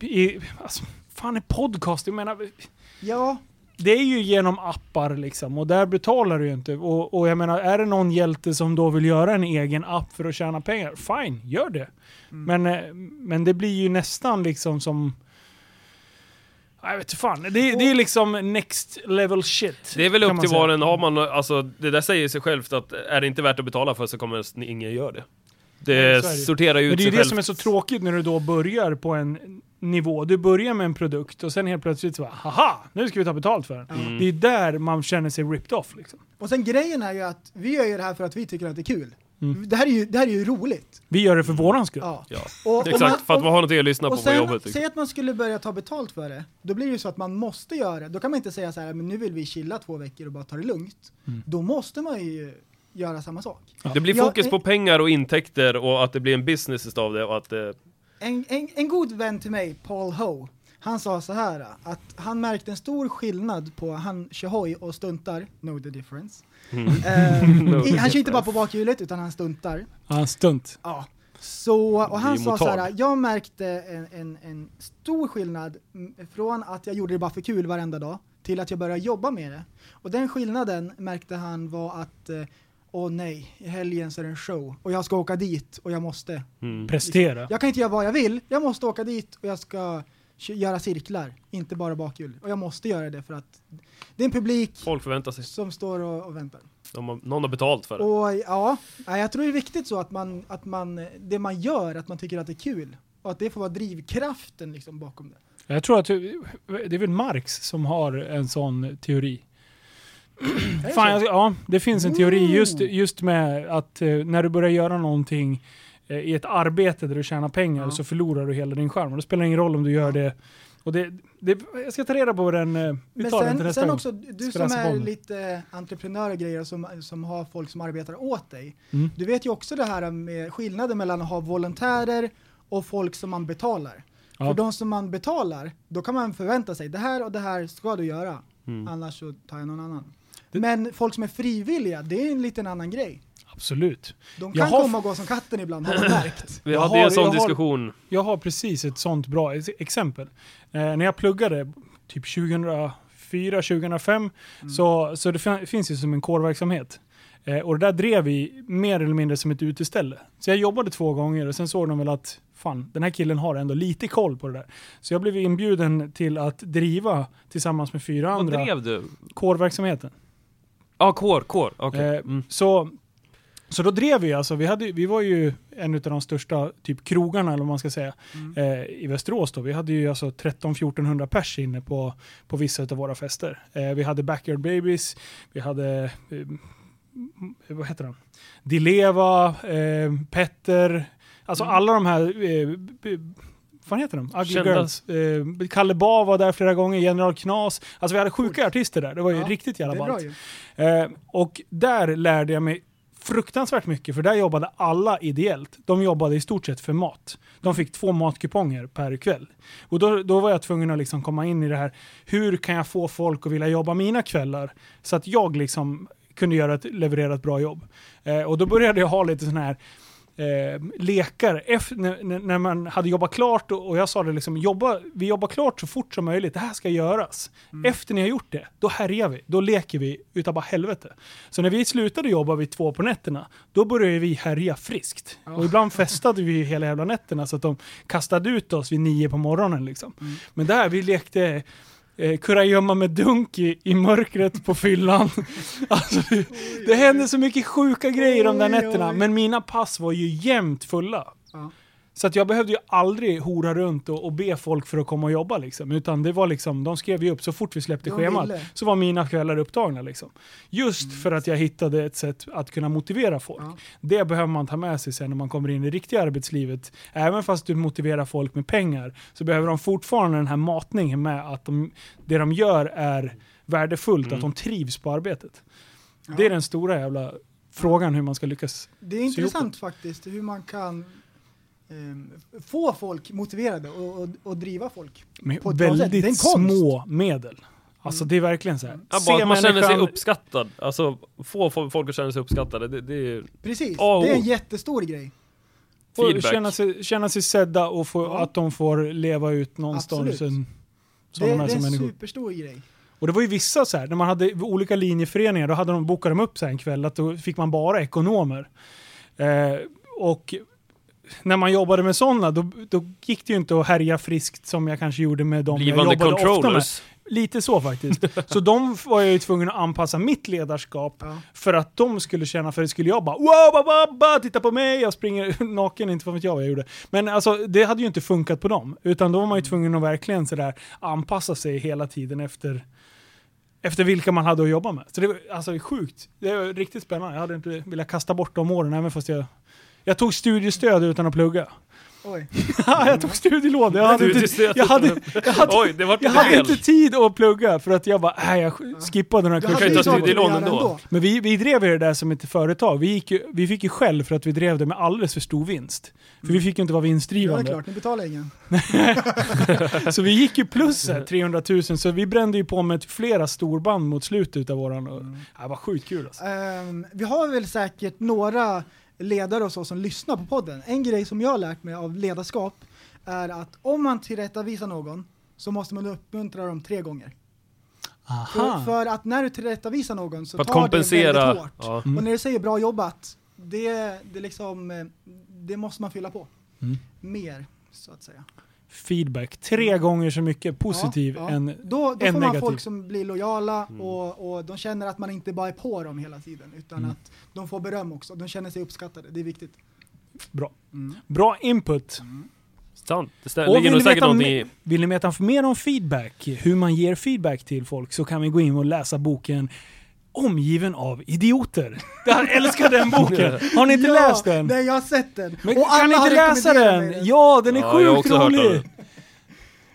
[SPEAKER 2] I, alltså, fan är podcast? Jag menar,
[SPEAKER 4] Ja,
[SPEAKER 2] det är ju genom appar liksom och där betalar du ju inte. Och, och jag menar, är det någon hjälte som då vill göra en egen app för att tjäna pengar, fine, gör det.
[SPEAKER 3] Mm.
[SPEAKER 2] Men, eh, men det blir ju nästan liksom som... Nej, Jag vet inte fan. Det, det är liksom next level shit.
[SPEAKER 3] Det är väl
[SPEAKER 2] kan
[SPEAKER 3] upp
[SPEAKER 2] man
[SPEAKER 3] till
[SPEAKER 2] säga.
[SPEAKER 3] var den har man, alltså det där säger sig självt att är det inte värt att betala för så kommer s- ingen göra det. Det
[SPEAKER 2] Nej, så är det ju.
[SPEAKER 3] sorterar ju
[SPEAKER 2] Men
[SPEAKER 3] ut
[SPEAKER 2] det är ju
[SPEAKER 3] sig
[SPEAKER 2] det
[SPEAKER 3] självt.
[SPEAKER 2] som är så tråkigt när du då börjar på en nivå. Du börjar med en produkt och sen helt plötsligt så bara, haha, nu ska vi ta betalt för den.
[SPEAKER 3] Mm.
[SPEAKER 2] Det är där man känner sig ripped off liksom.
[SPEAKER 4] och sen grejen är ju att vi gör ju det här för att vi tycker att det är kul.
[SPEAKER 2] Mm.
[SPEAKER 4] Det, här är ju, det här är ju roligt.
[SPEAKER 2] Vi gör det för våran skull.
[SPEAKER 4] Ja.
[SPEAKER 3] Ja.
[SPEAKER 4] Och,
[SPEAKER 3] Exakt, för att man har någonting att lyssna på
[SPEAKER 4] och
[SPEAKER 3] på jobbet.
[SPEAKER 4] sen,
[SPEAKER 3] Liksom.
[SPEAKER 4] säg att man skulle börja ta betalt för det, då blir det ju så att man måste göra det. Då kan man inte säga så här, men nu vill vi chilla två veckor och bara ta det lugnt.
[SPEAKER 2] Mm.
[SPEAKER 4] Då måste man ju göra samma sak.
[SPEAKER 3] Det blir
[SPEAKER 4] Ja,
[SPEAKER 3] fokus
[SPEAKER 4] eh,
[SPEAKER 3] på pengar och intäkter och att det blir en business utav det och att eh,
[SPEAKER 4] En, en, en god vän till mig, Paul Ho, han sa så här att han märkte en stor skillnad på han kör hoj och stuntar, know
[SPEAKER 3] [laughs]
[SPEAKER 4] the difference.
[SPEAKER 3] mm,
[SPEAKER 4] Eh,
[SPEAKER 3] Know the
[SPEAKER 4] i, han kör inte bara på bakhjulet utan han stuntar.
[SPEAKER 2] Ja, en stunt.
[SPEAKER 4] Ja. Så, och
[SPEAKER 3] Det är
[SPEAKER 4] han
[SPEAKER 3] ju
[SPEAKER 4] sa så här,
[SPEAKER 3] motard.
[SPEAKER 4] jag märkte en, en, en stor skillnad mm, från att jag gjorde det bara för kul varenda dag till att jag började jobba med det. Och den skillnaden märkte han var att, eh, åh nej, i helgen så är det en show och jag ska åka dit och jag måste.
[SPEAKER 3] mm.
[SPEAKER 2] Prestera.
[SPEAKER 4] Jag kan inte göra vad jag vill, jag måste åka dit och jag ska kö- göra cirklar, inte bara bakhjul. Och jag måste göra det för att det är en publik
[SPEAKER 3] folk förväntar sig.
[SPEAKER 4] som står och, och väntar.
[SPEAKER 3] De har, någon har betalt för det.
[SPEAKER 4] Och ja, nej, jag tror det är viktigt så att man, att man, det man gör, att man tycker att det är kul. Och att det får vara drivkraften liksom bakom det.
[SPEAKER 2] Jag tror att det är väl Marx som har en sån teori.
[SPEAKER 4] Är det
[SPEAKER 2] Fan,
[SPEAKER 4] så? Mm.
[SPEAKER 2] jag, ja, det finns en teori
[SPEAKER 4] Ooh.
[SPEAKER 2] just, just med att eh, när du börjar göra någonting eh, i ett arbete där du tjänar pengar
[SPEAKER 4] Ja.
[SPEAKER 2] så förlorar du hela din skärm. Och det spelar ingen roll om du gör det. Och det, det jag ska ta reda på den. eh, Vi
[SPEAKER 4] Men
[SPEAKER 2] tar den till
[SPEAKER 4] sen,
[SPEAKER 2] nästa
[SPEAKER 4] sen
[SPEAKER 2] gång.
[SPEAKER 4] också, du
[SPEAKER 2] Spelar
[SPEAKER 4] som
[SPEAKER 2] sig på
[SPEAKER 4] är
[SPEAKER 2] med.
[SPEAKER 4] lite entreprenör och grejer och som, som har folk som arbetar åt dig.
[SPEAKER 2] Mm.
[SPEAKER 4] Du vet ju också det här med skillnaden mellan att ha volontärer och folk som man betalar.
[SPEAKER 2] Ja.
[SPEAKER 4] För de som man betalar, då kan man förvänta sig det här och det här ska du göra.
[SPEAKER 2] Mm.
[SPEAKER 4] Annars så tar jag någon annan. Men folk som är frivilliga, det är en liten annan grej.
[SPEAKER 2] Absolut.
[SPEAKER 4] De
[SPEAKER 2] Jag
[SPEAKER 4] kan
[SPEAKER 2] har-
[SPEAKER 4] komma och gå som katten ibland,
[SPEAKER 2] [coughs]
[SPEAKER 4] har man märkt.
[SPEAKER 3] Vi
[SPEAKER 2] jag
[SPEAKER 3] hade ju
[SPEAKER 2] har-
[SPEAKER 3] en sån
[SPEAKER 2] jag har-
[SPEAKER 3] diskussion.
[SPEAKER 2] Jag har precis ett sånt bra ex- exempel. Eh, när jag pluggade typ
[SPEAKER 5] Mm.
[SPEAKER 2] 2004, 2005 så, så det fin- finns ju som en kårverksamhet. Eh, och det där drev vi mer eller mindre som ett uteställe. Så jag jobbade två gånger och sen såg de väl att fan, den här killen har ändå lite koll på det där. Så jag blev inbjuden till att driva tillsammans med fyra
[SPEAKER 5] Vad
[SPEAKER 2] andra
[SPEAKER 5] drev du?
[SPEAKER 2] kårverksamheten.
[SPEAKER 5] Ja, ah, kår, kår. Okej.
[SPEAKER 2] Eh,
[SPEAKER 5] Mm.
[SPEAKER 2] så, så då drev vi alltså, vi, hade, vi var ju en av de största typ krogarna eller vad man ska säga
[SPEAKER 4] Mm.
[SPEAKER 2] eh, i Västerås då. Vi hade ju alltså 13-1400 pers inne på, på vissa av våra fester. Eh, vi hade Backyard Babies, vi hade, eh, m- vad heter han? Dileva, eh, Petter, alltså
[SPEAKER 4] Mm.
[SPEAKER 2] alla de här eh, b- b- vad heter de? Ugly
[SPEAKER 3] Kända.
[SPEAKER 2] Girls. Eh, Kalle Ba var där flera gånger, General Knas. Alltså vi hade sjuka artister där, det var ju
[SPEAKER 4] Ja,
[SPEAKER 2] riktigt jävla
[SPEAKER 4] Det är bra
[SPEAKER 2] ballt.
[SPEAKER 4] ju.
[SPEAKER 2] Eh, och där lärde jag mig fruktansvärt mycket, för där jobbade alla ideellt. De jobbade i stort sett för mat. De fick två matkuponger per kväll. Och då, då var jag tvungen att liksom komma in i det här, hur kan jag få folk att vilja jobba mina kvällar? Så att jag liksom kunde göra ett, leverera ett bra jobb. Eh, och då började jag ha lite sån här eh, lekar Eff- när, när- när man hade jobbat klart och, och jag sa det liksom, jobba, vi jobbar klart så fort som möjligt, det här ska göras.
[SPEAKER 4] Mm.
[SPEAKER 2] Efter ni har gjort det, då härjar vi, då leker vi utav bara helvete. Så när vi slutade jobba vid två på nätterna, då började vi härja friskt. Och ibland festade vi ju hela jävla nätterna så att de kastade ut oss vid nio på morgonen liksom.
[SPEAKER 4] Mm.
[SPEAKER 2] Men där, vi lekte Eh, kurragömma med dunk i, i mörkret på fyllan. [laughs] alltså, det, det hände så mycket sjuka grejer de där
[SPEAKER 4] Oj,
[SPEAKER 2] nätterna,
[SPEAKER 4] oj.
[SPEAKER 2] men mina pass var ju jämt fulla.
[SPEAKER 4] Mm. Ja.
[SPEAKER 2] Så att jag behövde ju aldrig hora runt och, och be folk för att komma och jobba liksom. Utan det var liksom, de skrev ju upp så fort vi släppte
[SPEAKER 4] De
[SPEAKER 2] schemat
[SPEAKER 4] ville. Mm.
[SPEAKER 2] så var mina kvällar upptagna liksom. Just för att jag hittade ett sätt att kunna motivera folk.
[SPEAKER 4] Ja.
[SPEAKER 2] Det behöver man ta med sig sen när man kommer in i riktiga arbetslivet. Även fast du motiverar folk med pengar så behöver de fortfarande den här matningen med att de, det de gör är värdefullt,
[SPEAKER 4] Mm.
[SPEAKER 2] att de trivs på arbetet. Det är den stora jävla frågan hur man ska lyckas.
[SPEAKER 4] Det är intressant faktiskt hur man kan ehm, få folk motiverade och, och, och driva folk.
[SPEAKER 2] Med
[SPEAKER 4] På ett bra sätt. Det är en
[SPEAKER 2] väldigt
[SPEAKER 4] konst.
[SPEAKER 2] små medel. Alltså det är verkligen så här.
[SPEAKER 3] Ja, bara att man känner sig uppskattad. Alltså, få fo- folk att känna sig uppskattade. Det, det är ju...
[SPEAKER 4] Precis,
[SPEAKER 3] Ja,
[SPEAKER 4] det är en
[SPEAKER 3] och-
[SPEAKER 4] jättestor grej.
[SPEAKER 2] och
[SPEAKER 3] feedback.
[SPEAKER 2] känna, sig, känna sig sedda och få,
[SPEAKER 4] Ja.
[SPEAKER 2] att de får leva ut någonstans.
[SPEAKER 4] Absolut.
[SPEAKER 2] Som
[SPEAKER 4] Det, det
[SPEAKER 2] de är som
[SPEAKER 4] är en
[SPEAKER 2] människor.
[SPEAKER 4] superstor grej.
[SPEAKER 2] Och det var ju vissa så här, när man hade olika linjeföreningar, då hade de, bokade de upp så här en kväll att då fick man bara ekonomer. Eh, och när man jobbade med sådana, då, då gick det ju inte att härja friskt som jag kanske gjorde med dem jag
[SPEAKER 3] Blivande
[SPEAKER 2] jobbade ofta med.
[SPEAKER 3] controllers.
[SPEAKER 2] Lite så faktiskt. Så de var jag ju tvungen att anpassa mitt ledarskap
[SPEAKER 4] Ja.
[SPEAKER 2] för att de skulle känna, för det skulle jag bara wow, ba, ba, ba, titta på mig, jag springer [laughs] naken, inte vad vet jag vad jag gjorde. Men alltså det hade ju inte funkat på dem, utan då var man ju tvungen att verkligen sådär anpassa sig hela tiden efter, efter vilka man hade att jobba med. Så det var alltså det är sjukt, det var riktigt spännande. Jag hade inte velat kasta bort de åren, även fast jag jag tog studiestöd utan att plugga.
[SPEAKER 4] Oj.
[SPEAKER 2] Ah, jag tog studielån. Jag hade inte, jag hade, jag hade,
[SPEAKER 3] Oj, det vart
[SPEAKER 2] jag
[SPEAKER 3] lite
[SPEAKER 2] hade
[SPEAKER 3] fel.
[SPEAKER 2] inte tid att plugga för att jag bara, nej jag skippade den här
[SPEAKER 4] Du
[SPEAKER 2] kursen.
[SPEAKER 4] hade ju
[SPEAKER 3] ta
[SPEAKER 4] klart
[SPEAKER 3] studielån
[SPEAKER 4] att göra
[SPEAKER 3] ändå.
[SPEAKER 2] Men vi, vi drev ju det där som ett företag. Vi, gick ju, vi fick ju skäll för att vi drev det med alldeles för stor vinst. För vi fick ju inte vara
[SPEAKER 4] Mm. Ja, det är
[SPEAKER 2] vinstdrivande.
[SPEAKER 4] klart, ni betalar ingen.
[SPEAKER 2] så vi gick ju plus så här, 300 000, så vi brände ju på med flera storband mot slutet av våran...
[SPEAKER 4] Mm.
[SPEAKER 2] Ja, Det var sjukt kul alltså.
[SPEAKER 4] Ehm, vi har väl säkert några ledare och så som lyssnar på podden. En grej som jag har lärt mig av ledarskap är att om man tillrättavisar någon så måste man uppmuntra dem tre gånger. För,
[SPEAKER 2] Aha.
[SPEAKER 4] för att när du tillrättavisar någon så
[SPEAKER 3] För att
[SPEAKER 4] tar det
[SPEAKER 3] kompensera.
[SPEAKER 4] väldigt hårt.
[SPEAKER 3] Ja.
[SPEAKER 2] Mm.
[SPEAKER 4] Och när du säger bra jobbat, det, det, liksom, eh, det måste man fylla på.
[SPEAKER 2] Mm.
[SPEAKER 4] Mer, så att säga.
[SPEAKER 2] Feedback. Tre gånger så mycket positiv
[SPEAKER 4] Ja, ja.
[SPEAKER 2] än...
[SPEAKER 4] då då
[SPEAKER 2] än
[SPEAKER 4] får man
[SPEAKER 2] negativ.
[SPEAKER 4] folk som blir lojala
[SPEAKER 3] Mm.
[SPEAKER 4] och, och de känner att man inte bara är på dem hela tiden utan
[SPEAKER 2] Mm.
[SPEAKER 4] att de får beröm också. De känner sig uppskattade, det är viktigt.
[SPEAKER 2] Bra.
[SPEAKER 4] Mm.
[SPEAKER 2] Bra input.
[SPEAKER 3] Sant. Det stä-
[SPEAKER 2] Och
[SPEAKER 3] ligger
[SPEAKER 2] vill
[SPEAKER 3] nog
[SPEAKER 2] ni,
[SPEAKER 3] säkert
[SPEAKER 2] veta
[SPEAKER 3] någonting
[SPEAKER 2] mer,
[SPEAKER 3] i...
[SPEAKER 2] vill ni veta mer om feedback, hur man ger feedback till folk, så kan vi gå in och läsa boken Omgiven av idioter. [laughs] Jag älskar den boken! Har ni inte läst den?
[SPEAKER 4] Nej, jag har sett den!
[SPEAKER 2] Men
[SPEAKER 4] och
[SPEAKER 2] kan
[SPEAKER 4] alla
[SPEAKER 2] ni
[SPEAKER 4] har
[SPEAKER 2] inte läsa
[SPEAKER 4] rekommenderat
[SPEAKER 2] den?
[SPEAKER 4] mig
[SPEAKER 2] Ja, den är
[SPEAKER 3] Ja, jag har
[SPEAKER 2] sjukt
[SPEAKER 3] också hört om
[SPEAKER 2] rolig!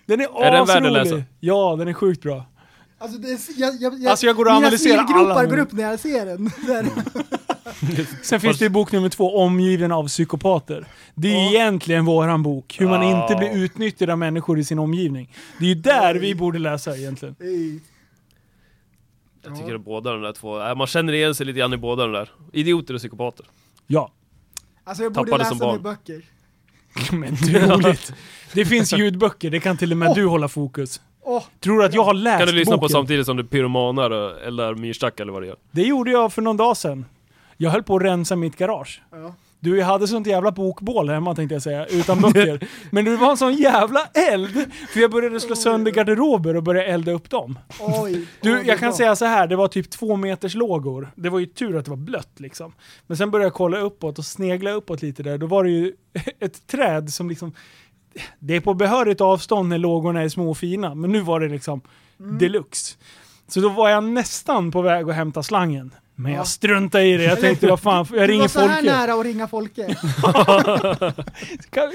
[SPEAKER 3] den.
[SPEAKER 2] Den är
[SPEAKER 3] Är den värd att
[SPEAKER 2] asrolig!
[SPEAKER 3] läsa?
[SPEAKER 2] ja, den är sjukt bra.
[SPEAKER 4] Alltså, det, är- jag, jag, jag,
[SPEAKER 2] Alltså, jag går och
[SPEAKER 4] mina
[SPEAKER 2] analyserar alla Mm.
[SPEAKER 4] smilgropar
[SPEAKER 2] nu.
[SPEAKER 4] går upp när jag ser den. [laughs] Där.
[SPEAKER 2] Sen finns det ju bok nummer två, Omgiven av psykopater. Det är ju egentligen våran bok, hur man
[SPEAKER 3] Ja.
[SPEAKER 2] inte blir utnyttjad av människor i sin omgivning. Det är ju där vi borde läsa egentligen.
[SPEAKER 4] Ej.
[SPEAKER 3] Jag tycker att båda de där två... äh, Man känner igen sig lite grann i båda de där. Idioter och psykopater.
[SPEAKER 2] Ja.
[SPEAKER 4] Alltså jag borde
[SPEAKER 3] Tappade
[SPEAKER 4] läsa
[SPEAKER 3] som
[SPEAKER 4] mer
[SPEAKER 3] barn.
[SPEAKER 4] böcker.
[SPEAKER 2] [laughs]
[SPEAKER 3] [laughs]
[SPEAKER 2] Men det är roligt. Det finns ljudböcker, det kan till och med du hålla fokus.
[SPEAKER 4] Åh,
[SPEAKER 2] Tror du att jag har läst
[SPEAKER 3] Kan du lyssna
[SPEAKER 2] boken?
[SPEAKER 3] på samtidigt som du pyromanar och- eller myrstack eller vad du gör?
[SPEAKER 2] Det gjorde jag för någon dag sedan. Jag höll på att rensa mitt garage.
[SPEAKER 4] Ja.
[SPEAKER 2] Du, jag hade sånt jävla bokbål hemma tänkte jag säga, utan
[SPEAKER 3] [laughs]
[SPEAKER 2] böcker. Men det var en sån jävla eld! För jag började slå sönder garderober och började elda upp dem.
[SPEAKER 4] Oj.
[SPEAKER 2] Du,
[SPEAKER 4] oj,
[SPEAKER 2] jag kan
[SPEAKER 4] bra.
[SPEAKER 2] säga så här, det var typ två meters lågor. Det var ju tur att det var blött liksom. Men sen började jag kolla uppåt och snegla uppåt lite där. Då var det ju [laughs] ett träd som liksom... Det är på behörigt avstånd när lågorna är små och fina, men nu var det liksom
[SPEAKER 4] Mm.
[SPEAKER 2] deluxe. Så då var jag nästan på väg att hämta slangen. Men
[SPEAKER 4] Ja.
[SPEAKER 2] jag struntade i det. Jag tänkte, vad
[SPEAKER 4] [laughs]
[SPEAKER 2] fan, jag
[SPEAKER 4] Du
[SPEAKER 2] ringer
[SPEAKER 4] var så här
[SPEAKER 2] Folke.
[SPEAKER 4] nära att ringa
[SPEAKER 2] [laughs]
[SPEAKER 4] Folke.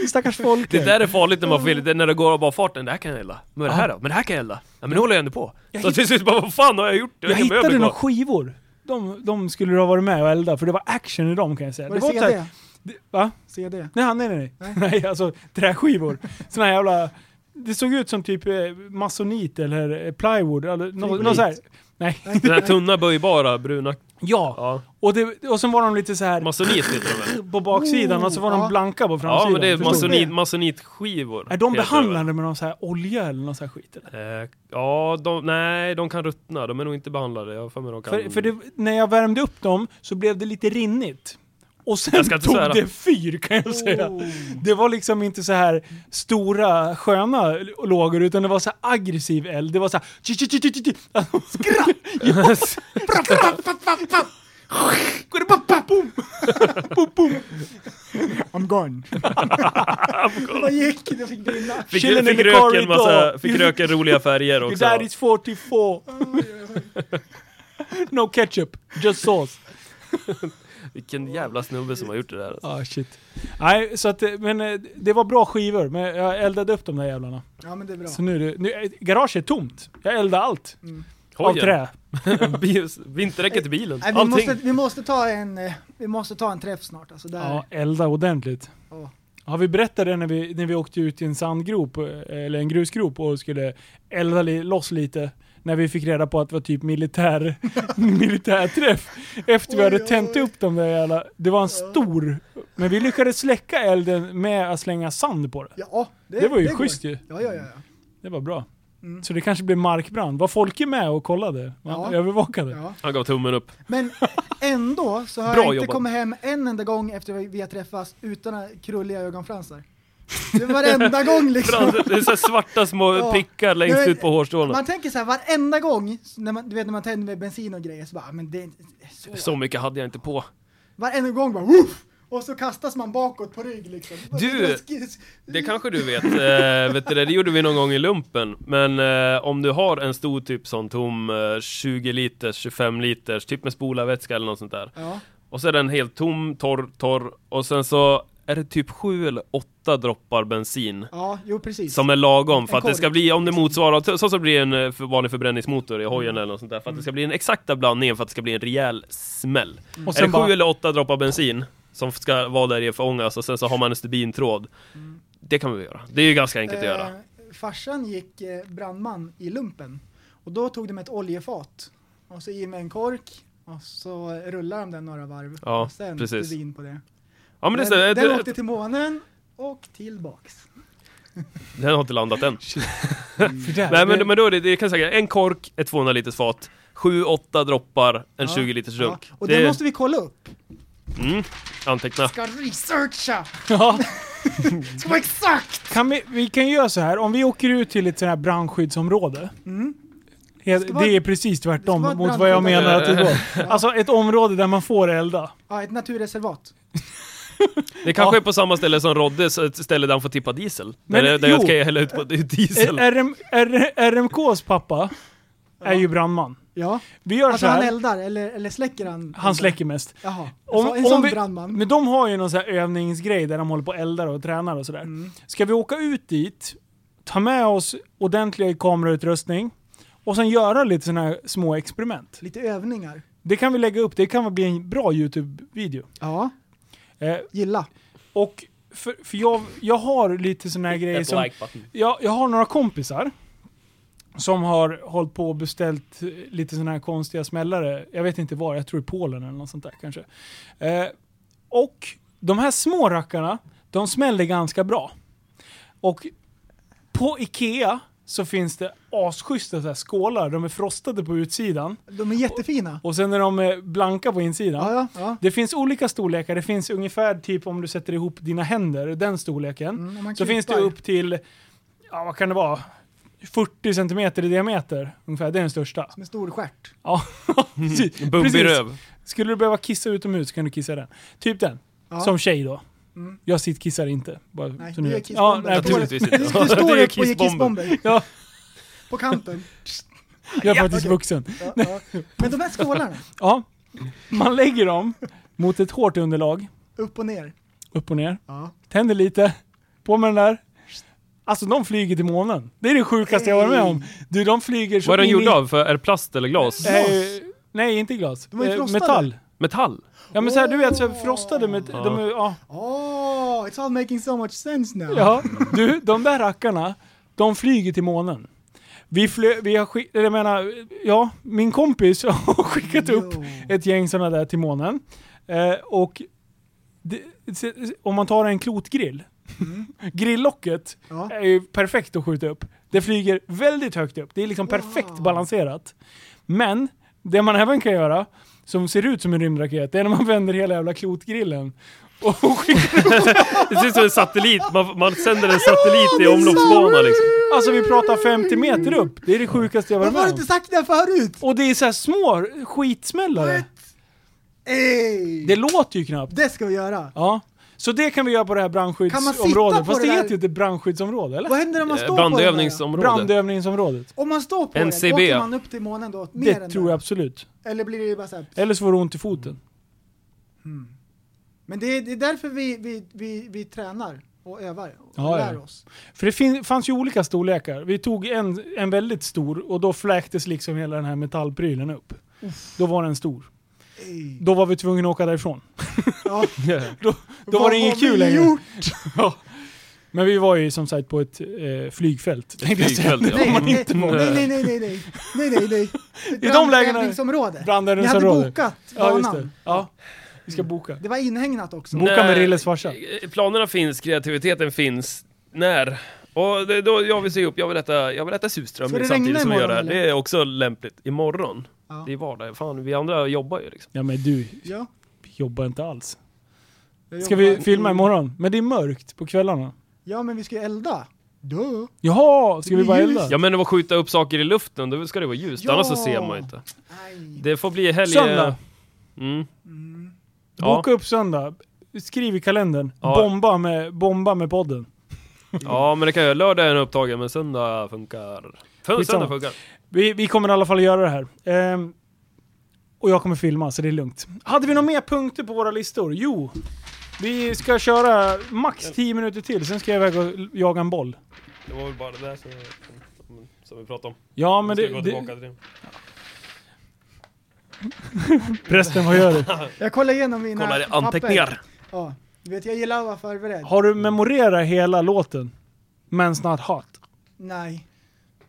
[SPEAKER 2] Stackars Folke.
[SPEAKER 3] Det där är farligt när man får det är när det går av bara farten, det här kan jag elda. Men det här då? Men det här kan jag elda. Ja, men nu håller jag ändå på. Så till slut bara, vad fan har jag gjort?
[SPEAKER 2] Jag
[SPEAKER 3] har inga
[SPEAKER 2] hittade
[SPEAKER 3] möbler
[SPEAKER 2] några
[SPEAKER 3] kvar.
[SPEAKER 2] skivor. De, de skulle ha varit med och elda, för det var action i dem kan jag säga.
[SPEAKER 4] Var det
[SPEAKER 2] var så här-
[SPEAKER 4] CD?
[SPEAKER 2] det- Va?
[SPEAKER 4] CD?
[SPEAKER 2] Nej, nej, nej. Nej, [laughs] nej alltså träskivor. Såna här jävla... Det såg ut som typ eh, masonit eller eh, plywood. Eller nå,
[SPEAKER 4] Fibrit.
[SPEAKER 2] nå så här. Typ Nej.
[SPEAKER 3] Den här tunna böjbara bruna,
[SPEAKER 2] [laughs] Ja.
[SPEAKER 3] ja.
[SPEAKER 2] Och, det, och sen var de lite så här
[SPEAKER 3] Masonit heter de väl?
[SPEAKER 2] på baksidan och så var
[SPEAKER 4] ja.
[SPEAKER 2] de blanka på framsidan.
[SPEAKER 3] Ja men det är
[SPEAKER 2] Förstår du?
[SPEAKER 3] masonit,
[SPEAKER 4] det?
[SPEAKER 3] masonitskivor.
[SPEAKER 2] Är de
[SPEAKER 3] heter det
[SPEAKER 2] behandlade med någon så här olja eller någon så här skit? Eller?
[SPEAKER 3] väl. Eh, Ja, de, nej de kan ruttna, de är nog inte behandlade. Jag har för mig de kan...
[SPEAKER 2] För, för det, när jag värmde upp dem så blev det lite rinnigt. Och sen
[SPEAKER 3] Jag ska inte
[SPEAKER 2] tog
[SPEAKER 3] svära.
[SPEAKER 2] det fyr kan jag säga. Det var liksom inte så här stora sköna lågor utan det var så här aggressiv eld. Det var så här... [laughs] Skratt!
[SPEAKER 3] [laughs]
[SPEAKER 2] Yes.
[SPEAKER 4] I'm gone. Vad gick? Jag fick brinna.
[SPEAKER 3] Fick,
[SPEAKER 2] Chillen in
[SPEAKER 3] fick,
[SPEAKER 2] the
[SPEAKER 3] röken
[SPEAKER 2] corridor.
[SPEAKER 3] massa, fick röken
[SPEAKER 2] [laughs]
[SPEAKER 3] roliga färger också.
[SPEAKER 2] That is 44. [laughs] no ketchup, just sauce.
[SPEAKER 3] Vilken jävla snubbe som har gjort det där. alltså.
[SPEAKER 2] Ah shit. Nej, så att, eh, men eh, det var bra skivor, men jag eldade upp de där jävlarna.
[SPEAKER 4] Ja men det är bra.
[SPEAKER 2] Så nu, är det- nu eh, garaget är tomt. Jag eldar allt. Av
[SPEAKER 3] Hojen.
[SPEAKER 2] trä.
[SPEAKER 3] [laughs] Bil- Vinterdäcket till bilen.
[SPEAKER 4] Nej, vi,
[SPEAKER 3] Allting.
[SPEAKER 4] måste, vi, måste ta en, eh, vi måste ta en träff snart. Alltså där.
[SPEAKER 2] Ja, elda ordentligt.
[SPEAKER 4] Ja.
[SPEAKER 2] Har vi berättat det när vi, när vi åkte ut i en sandgrop, eh, eller en grusgrop och skulle elda li, loss lite? När vi fick reda på att det var typ militär, [laughs] militärträff. Efter vi hade
[SPEAKER 4] Oj, oj.
[SPEAKER 2] tänt upp de där jävla... Det var en stor... Men vi lyckades släcka elden med att slänga sand på det.
[SPEAKER 4] Ja, det,
[SPEAKER 2] Det var ju
[SPEAKER 4] går.
[SPEAKER 2] schysst ju.
[SPEAKER 4] Ja, ja, ja. ja.
[SPEAKER 2] Det var bra.
[SPEAKER 4] Mm.
[SPEAKER 2] Så det kanske blev markbrand. Var folk med och kollade? Ja.
[SPEAKER 4] Ja.
[SPEAKER 2] Övervakade?
[SPEAKER 4] ja.
[SPEAKER 3] Han gav tummen upp.
[SPEAKER 4] Men ändå så har
[SPEAKER 3] Bra
[SPEAKER 4] jag inte
[SPEAKER 3] jobbat.
[SPEAKER 4] kommit hem en enda gång efter vi- vi har träffats utan krulliga ögonfransar. Det var varenda gång liksom.
[SPEAKER 3] Det är så här svarta små
[SPEAKER 4] Ja.
[SPEAKER 3] prickar längst
[SPEAKER 4] Men-
[SPEAKER 3] ut på hårstråna.
[SPEAKER 4] Man tänker så här varenda gång, när man, du vet när man tänder med bensin och grejer, så bara, "Ah, men det är inte så.
[SPEAKER 3] Så mycket hade jag inte på.
[SPEAKER 4] Varenda gång bara, woof! Och så kastas man bakåt på rygg liksom.
[SPEAKER 3] Du-
[SPEAKER 4] Sk-
[SPEAKER 3] Det kanske du vet. Eh, vet du det, det gjorde vi någon gång i lumpen. Men eh, om du har en stor typ sån tom eh, 20 liters, 25 liters, typ med spolarvätska eller något sånt där.
[SPEAKER 4] Ja.
[SPEAKER 3] Och så är den helt tom, torr, torr. Och sen så är det typ sju eller åtta droppar bensin.
[SPEAKER 4] ja, jo precis.
[SPEAKER 3] Som är lagom för
[SPEAKER 4] En
[SPEAKER 3] att det
[SPEAKER 4] korg.
[SPEAKER 3] ska bli, om det motsvarar, så så blir det en eh, för- vanlig förbränningsmotor i hojen eller något sånt där. För att det ska bli den exakta blandningen för att det ska bli en rejäl smäll.
[SPEAKER 2] Och
[SPEAKER 3] Är det
[SPEAKER 2] sen
[SPEAKER 3] sju
[SPEAKER 2] bara,
[SPEAKER 3] eller åtta droppar bensin som ska vara där i för ångas och sen så har man en stubintråd. Det kan man väl göra. Det är ju ganska enkelt att göra.
[SPEAKER 4] Mm. Eh, farsan gick eh, brandman i lumpen och då tog de ett oljefat och så i med en kork och så rullade de den några varv
[SPEAKER 3] Ja,
[SPEAKER 4] och sen
[SPEAKER 3] precis.
[SPEAKER 4] stuvin på det.
[SPEAKER 3] Ja men det stämmer.
[SPEAKER 4] den, den
[SPEAKER 3] Den,
[SPEAKER 4] åkte till månen och tillbaks.
[SPEAKER 3] den har inte landat
[SPEAKER 4] [laughs]
[SPEAKER 3] än.
[SPEAKER 2] för där,
[SPEAKER 3] Nej men, men då är det, det kan jag säga, en kork, ett 200 liters fat, sju, åtta droppar, en 20 liters
[SPEAKER 4] Ja,
[SPEAKER 3] dunk.
[SPEAKER 4] och
[SPEAKER 3] det
[SPEAKER 4] det,
[SPEAKER 3] är-
[SPEAKER 4] måste vi kolla upp.
[SPEAKER 3] mm, anteckna.
[SPEAKER 4] Ska researcha!
[SPEAKER 2] [laughs] ja,
[SPEAKER 4] Ska vara exakt!
[SPEAKER 2] kan vi, vi kan göra så här, om vi åker ut till ett sånt här brandskyddsområde. Det,
[SPEAKER 4] Mm. ska vara-
[SPEAKER 2] det är precis tvärtom
[SPEAKER 4] vara ett
[SPEAKER 2] mot vad jag
[SPEAKER 4] brandskydd.
[SPEAKER 2] menar att det
[SPEAKER 4] [laughs]
[SPEAKER 2] var. Alltså ett område där man får elda.
[SPEAKER 4] Ja, ett naturreservat.
[SPEAKER 3] Det kanske är på samma ställe som Roddes, ett ställe där han får tippa diesel.
[SPEAKER 2] Men,
[SPEAKER 3] där det- där jag
[SPEAKER 2] jo.
[SPEAKER 3] ska hälla ut på det är diesel.
[SPEAKER 4] Eh,
[SPEAKER 2] R- RM, R- RMKs pappa är ju brandman.
[SPEAKER 4] Ja,
[SPEAKER 2] Vi gör
[SPEAKER 4] alltså
[SPEAKER 2] så
[SPEAKER 4] han
[SPEAKER 2] här,
[SPEAKER 4] eldar eller, eller släcker han?
[SPEAKER 2] han släcker mest.
[SPEAKER 4] Jaha,
[SPEAKER 2] Om-
[SPEAKER 4] så, en
[SPEAKER 2] om
[SPEAKER 4] sån
[SPEAKER 2] vi-
[SPEAKER 4] brandman.
[SPEAKER 2] Men de har ju någon sån här övningsgrej där de håller på och eldar och tränar och sådär.
[SPEAKER 4] Mm.
[SPEAKER 2] Ska vi åka ut dit, ta med oss ordentlig kamerautrustning och sen göra lite sådana här små experiment.
[SPEAKER 4] Lite övningar.
[SPEAKER 2] Det kan vi lägga upp, det kan väl bli en bra YouTube-video.
[SPEAKER 4] Ja,
[SPEAKER 2] Eh,
[SPEAKER 4] gilla.
[SPEAKER 2] och för, för jag, jag har lite sådana här
[SPEAKER 4] eh,
[SPEAKER 2] grejer som... Jag, jag har några kompisar som har hållit på och beställt eh, lite sådana här konstiga smällare. Jag vet inte var, jag tror i Polen eller något sånt där kanske. Eh, och de här små rackarna, de smäller ganska bra. Och på Ikea så finns det asschyssta så här skålar. De är frostade på utsidan
[SPEAKER 4] De är jättefina.
[SPEAKER 2] och sen är de eh, blanka på insidan.
[SPEAKER 4] Ja, ja, ja.
[SPEAKER 2] Det finns olika storlekar. Det finns ungefär typ om du sätter ihop dina händer, den storleken.
[SPEAKER 4] Mm, om man
[SPEAKER 2] så finns det
[SPEAKER 4] kupar.
[SPEAKER 2] upp till, ja vad kan det vara? 40 centimeter i diameter ungefär, det är den största.
[SPEAKER 4] Som en stor stjärt.
[SPEAKER 2] Ja, precis.
[SPEAKER 5] Bumbi
[SPEAKER 2] Precis.
[SPEAKER 5] röv.
[SPEAKER 2] Skulle du behöva kissa utomhus kan du kissa den. Typ den.
[SPEAKER 4] Ja.
[SPEAKER 2] Som tjej då.
[SPEAKER 4] Mm.
[SPEAKER 2] Jag sittkissar inte. Bara,
[SPEAKER 4] Nej,
[SPEAKER 2] så ni
[SPEAKER 4] du är
[SPEAKER 2] vet. ja,
[SPEAKER 4] kissbomber.
[SPEAKER 2] nej,
[SPEAKER 4] Du-
[SPEAKER 2] precis.
[SPEAKER 5] Naturligtvis
[SPEAKER 4] Du
[SPEAKER 5] inte.
[SPEAKER 4] du står
[SPEAKER 3] Det är
[SPEAKER 4] upp och ger
[SPEAKER 3] kissbomber.
[SPEAKER 4] kissbomber
[SPEAKER 2] [laughs] Ja,
[SPEAKER 4] på kanten.
[SPEAKER 2] jag är faktiskt
[SPEAKER 4] okej.
[SPEAKER 2] vuxen.
[SPEAKER 4] Ja, ja.
[SPEAKER 2] [laughs]
[SPEAKER 4] Men de här skålarna,
[SPEAKER 2] Ja. Man lägger dem mot ett hårt underlag,
[SPEAKER 4] upp och ner.
[SPEAKER 2] upp och ner.
[SPEAKER 4] Ja.
[SPEAKER 2] Tänder lite, på med den där. Alltså de flyger till månen. Det är det sjukaste jag varit med om. Du, de flyger så
[SPEAKER 5] Vad är den
[SPEAKER 2] in i-
[SPEAKER 5] gjord av? För, är det plast eller glas?
[SPEAKER 2] Eh, nej, inte glas.
[SPEAKER 4] De är ju
[SPEAKER 2] Eh,
[SPEAKER 4] frostade.
[SPEAKER 2] Metall.
[SPEAKER 5] Metall?
[SPEAKER 2] Ja men såhär, du vet, så här frostade med...
[SPEAKER 5] Ja.
[SPEAKER 2] De, är- ja.
[SPEAKER 4] Oh, it's all making so much sense now.
[SPEAKER 2] Ja, du, de där rackarna, de flyger till månen. Vi, flö, vi har skick, eller jag menar, ja, min kompis [laughs] har skickat upp
[SPEAKER 4] Jo.
[SPEAKER 2] ett gäng sådana där till månen. Eh, och det, se- om man tar en klotgrill, [laughs] grilllocket
[SPEAKER 4] Mm. Ja.
[SPEAKER 2] är ju perfekt att skjuta upp. Det flyger väldigt högt upp, det är liksom perfekt balanserat. Men det man även kan göra, som ser ut som en rymdraket, det är när man [laughs] vänder hela jävla klotgrillen och [laughs] skickar
[SPEAKER 3] Det ser ut som en satellit, man, man sänder en satellit i omloppsbana liksom.
[SPEAKER 2] Alltså vi pratar 50 meter upp. Det är det sjukaste jag varit
[SPEAKER 4] Varför
[SPEAKER 2] med
[SPEAKER 4] har
[SPEAKER 2] om.
[SPEAKER 4] du inte sagt det här förut?
[SPEAKER 2] Och det är så här små skitsmällare.
[SPEAKER 4] Ey!
[SPEAKER 2] Det låter ju knappt.
[SPEAKER 4] Det ska vi göra.
[SPEAKER 2] Ja. Så det kan vi göra på det här
[SPEAKER 4] Kan man sitta på
[SPEAKER 2] brandskyddsområdet. Fast det
[SPEAKER 4] det där?
[SPEAKER 2] heter ju inte brandskyddsområde, eller?
[SPEAKER 4] Vad händer om man
[SPEAKER 5] Eh,
[SPEAKER 4] står på den?
[SPEAKER 5] Brandövningsområde?
[SPEAKER 3] [laughs]
[SPEAKER 2] Brandövningsområdet.
[SPEAKER 4] där? Om man står på
[SPEAKER 5] NCB.
[SPEAKER 4] den, åker man upp till månen då? Mer
[SPEAKER 2] Det
[SPEAKER 4] än
[SPEAKER 2] tror
[SPEAKER 4] där?
[SPEAKER 2] jag absolut.
[SPEAKER 4] Eller blir det bara så här?
[SPEAKER 2] Eller så får du ont i foten.
[SPEAKER 4] Men det är, det är därför vi, vi, vi, vi tränar och övar och
[SPEAKER 2] Ja, ja.
[SPEAKER 4] lär oss.
[SPEAKER 2] För det fin- fanns ju olika storlekar. Vi tog en, en väldigt stor och då fläktes liksom hela den här metallprylen upp. Då var den stor.
[SPEAKER 4] Ey.
[SPEAKER 2] [laughs] Då var vi tvungna att åka därifrån.
[SPEAKER 4] Ja.
[SPEAKER 2] Då var det inget kul längre.
[SPEAKER 4] längre.
[SPEAKER 2] Men vi var ju som sagt på ett eh, flygfält. tänkte jag säga.
[SPEAKER 5] Flygfält, ja.
[SPEAKER 4] Nej,
[SPEAKER 2] man
[SPEAKER 4] nej,
[SPEAKER 2] inte
[SPEAKER 4] nej,
[SPEAKER 2] må-
[SPEAKER 4] nej, nej, nej, nej, nej, nej, nej.
[SPEAKER 2] [laughs] I de lägena-
[SPEAKER 4] Brandövningsområde. Ni hade
[SPEAKER 2] Brandövningsområdet.
[SPEAKER 4] bokat
[SPEAKER 2] Ja, just
[SPEAKER 4] banan.
[SPEAKER 2] det. Ja. Vi ska boka.
[SPEAKER 4] Det var inhägnat också.
[SPEAKER 2] Boka med Rilles farsa.
[SPEAKER 3] Eh, Planerna finns, kreativiteten finns. När? Och det, är då jag vill se upp, jag vill äta, jag vill äta
[SPEAKER 4] Ska det
[SPEAKER 3] surströmming
[SPEAKER 4] regna
[SPEAKER 3] samtidigt som jag gör det här.
[SPEAKER 4] imorgon,
[SPEAKER 3] Det är också lämpligt. Imorgon?
[SPEAKER 4] Ja.
[SPEAKER 3] Det är vardag. Fan, vi andra jobbar ju liksom.
[SPEAKER 2] Ja men du
[SPEAKER 4] Ja,
[SPEAKER 2] jobbar inte alls.
[SPEAKER 4] jag
[SPEAKER 2] Ska
[SPEAKER 4] jobbar.
[SPEAKER 2] vi filma imorgon? Men det är mörkt på kvällarna.
[SPEAKER 4] Ja, men vi ska ju elda. Duh.
[SPEAKER 2] Jaha, ska vi bara elda?
[SPEAKER 3] Ja men det var skjuta upp saker i luften, då ska det vara ljust.
[SPEAKER 4] Ja.
[SPEAKER 3] Annars så ser man ju inte.
[SPEAKER 4] Nej.
[SPEAKER 3] Det får bli
[SPEAKER 2] eh,
[SPEAKER 3] helg...
[SPEAKER 2] Söndag.
[SPEAKER 3] Mm. Ja,
[SPEAKER 2] Boka upp söndag. Skriv i kalendern.
[SPEAKER 3] Ja.
[SPEAKER 2] Bomba, med, bomba med podden.
[SPEAKER 3] ja, men det kan jag göra. Lördag är den upptagen, men söndag funkar. Fun-
[SPEAKER 2] Skitsamma.
[SPEAKER 3] Söndag funkar.
[SPEAKER 2] Vi, vi kommer i alla fall göra det här. Ehm, och jag kommer filma, så det är lugnt. Hade vi några mer punkter på våra listor? Jo. Vi ska köra max 10 minuter till, sen ska jag iväg och jaga en boll.
[SPEAKER 3] Det var väl bara det där som, som vi pratade om.
[SPEAKER 2] Ja men
[SPEAKER 3] Ska vi
[SPEAKER 2] det...
[SPEAKER 3] gå
[SPEAKER 2] det
[SPEAKER 3] tillbaka till det.
[SPEAKER 2] prästen, vad gör du?
[SPEAKER 4] Jag kollar igenom mina
[SPEAKER 3] Kolla, det är
[SPEAKER 4] papper.
[SPEAKER 3] anteckningar.
[SPEAKER 4] Ja, du vet jag gillar att vara förberedd.
[SPEAKER 2] Har du memorerat hela låten? Man's Not Hot?
[SPEAKER 4] Nej,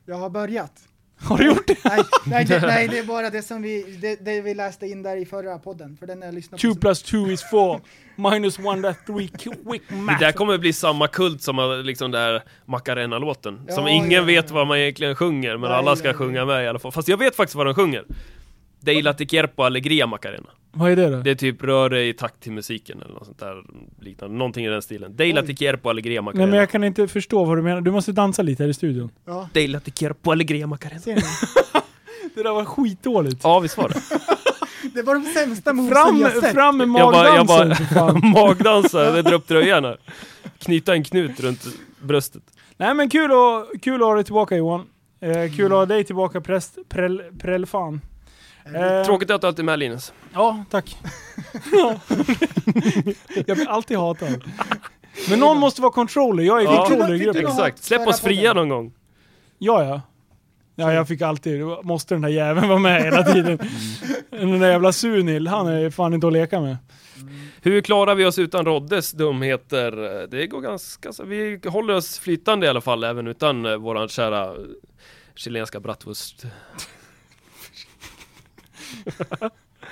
[SPEAKER 4] jag har börjat.
[SPEAKER 2] Har du gjort det? [laughs]
[SPEAKER 4] Nej, nej, det, nej, det är bara det som vi, det, det vi läste in där i förra podden, för den har jag lyssnat på.
[SPEAKER 2] 2 plus 2 is 4. Minus 1 that 3 quick
[SPEAKER 3] Det
[SPEAKER 2] math.
[SPEAKER 3] där kommer bli samma kult som eh, liksom den där Macarena-låten. som
[SPEAKER 4] Ja,
[SPEAKER 3] ingen
[SPEAKER 4] ja,
[SPEAKER 3] vet
[SPEAKER 4] ja.
[SPEAKER 3] vad man egentligen sjunger, men
[SPEAKER 4] Nej,
[SPEAKER 3] alla ska
[SPEAKER 4] nej,
[SPEAKER 3] sjunga med i alla fall. Fast jag vet faktiskt vad de sjunger. Deila ti kierpo allegria Macarena.
[SPEAKER 2] Vad är det då?
[SPEAKER 3] Det är typ rör dig i takt till musiken eller något sånt där liknande. Någonting i den stilen. Deila ti kierpo allegria
[SPEAKER 2] Nej
[SPEAKER 3] Macarena.
[SPEAKER 2] men jag kan inte förstå vad du menar. Du måste dansa lite här i studion.
[SPEAKER 4] Ja,
[SPEAKER 3] Deila ti kierpo allegria Macarena.
[SPEAKER 4] ser ni?
[SPEAKER 2] Det där var skitdåligt.
[SPEAKER 3] Ja, visst [laughs] var det?
[SPEAKER 4] Det var de sämsta movesen jag
[SPEAKER 2] Fram,
[SPEAKER 4] sett.
[SPEAKER 2] fram med
[SPEAKER 3] Jag bara, jag
[SPEAKER 2] magdansen
[SPEAKER 3] bara
[SPEAKER 2] för fan.
[SPEAKER 3] magdansa, jag drar upp tröjan här. Knyta en knut runt bröstet.
[SPEAKER 2] Nej men kul att, kul att ha dig tillbaka Johan. Eh, kul att ha dig tillbaka präst, prell, prellfan. Eh,
[SPEAKER 3] Tråkigt att du alltid är med Linus.
[SPEAKER 2] Ja,
[SPEAKER 3] [laughs]
[SPEAKER 2] tack. Ja. jag blir alltid hatad. Men någon måste vara controller, jag är
[SPEAKER 3] Ja.
[SPEAKER 2] controller i
[SPEAKER 4] Fick du något-
[SPEAKER 2] gruppen.
[SPEAKER 4] fick du något-
[SPEAKER 3] Exakt, släpp oss fria någon gång.
[SPEAKER 2] Ja, ja. Ja, jag fick alltid, måste den där jäveln vara med hela tiden.
[SPEAKER 3] Mm.
[SPEAKER 2] Den där jävla Sunil, han är fan inte att leka med.
[SPEAKER 3] Hur klarar vi oss utan Roddes dumheter? Det går ganska... så- Vi håller oss flytande i alla fall, även utan eh, våran kära eh,
[SPEAKER 2] [laughs]
[SPEAKER 3] chilenska bratwurst.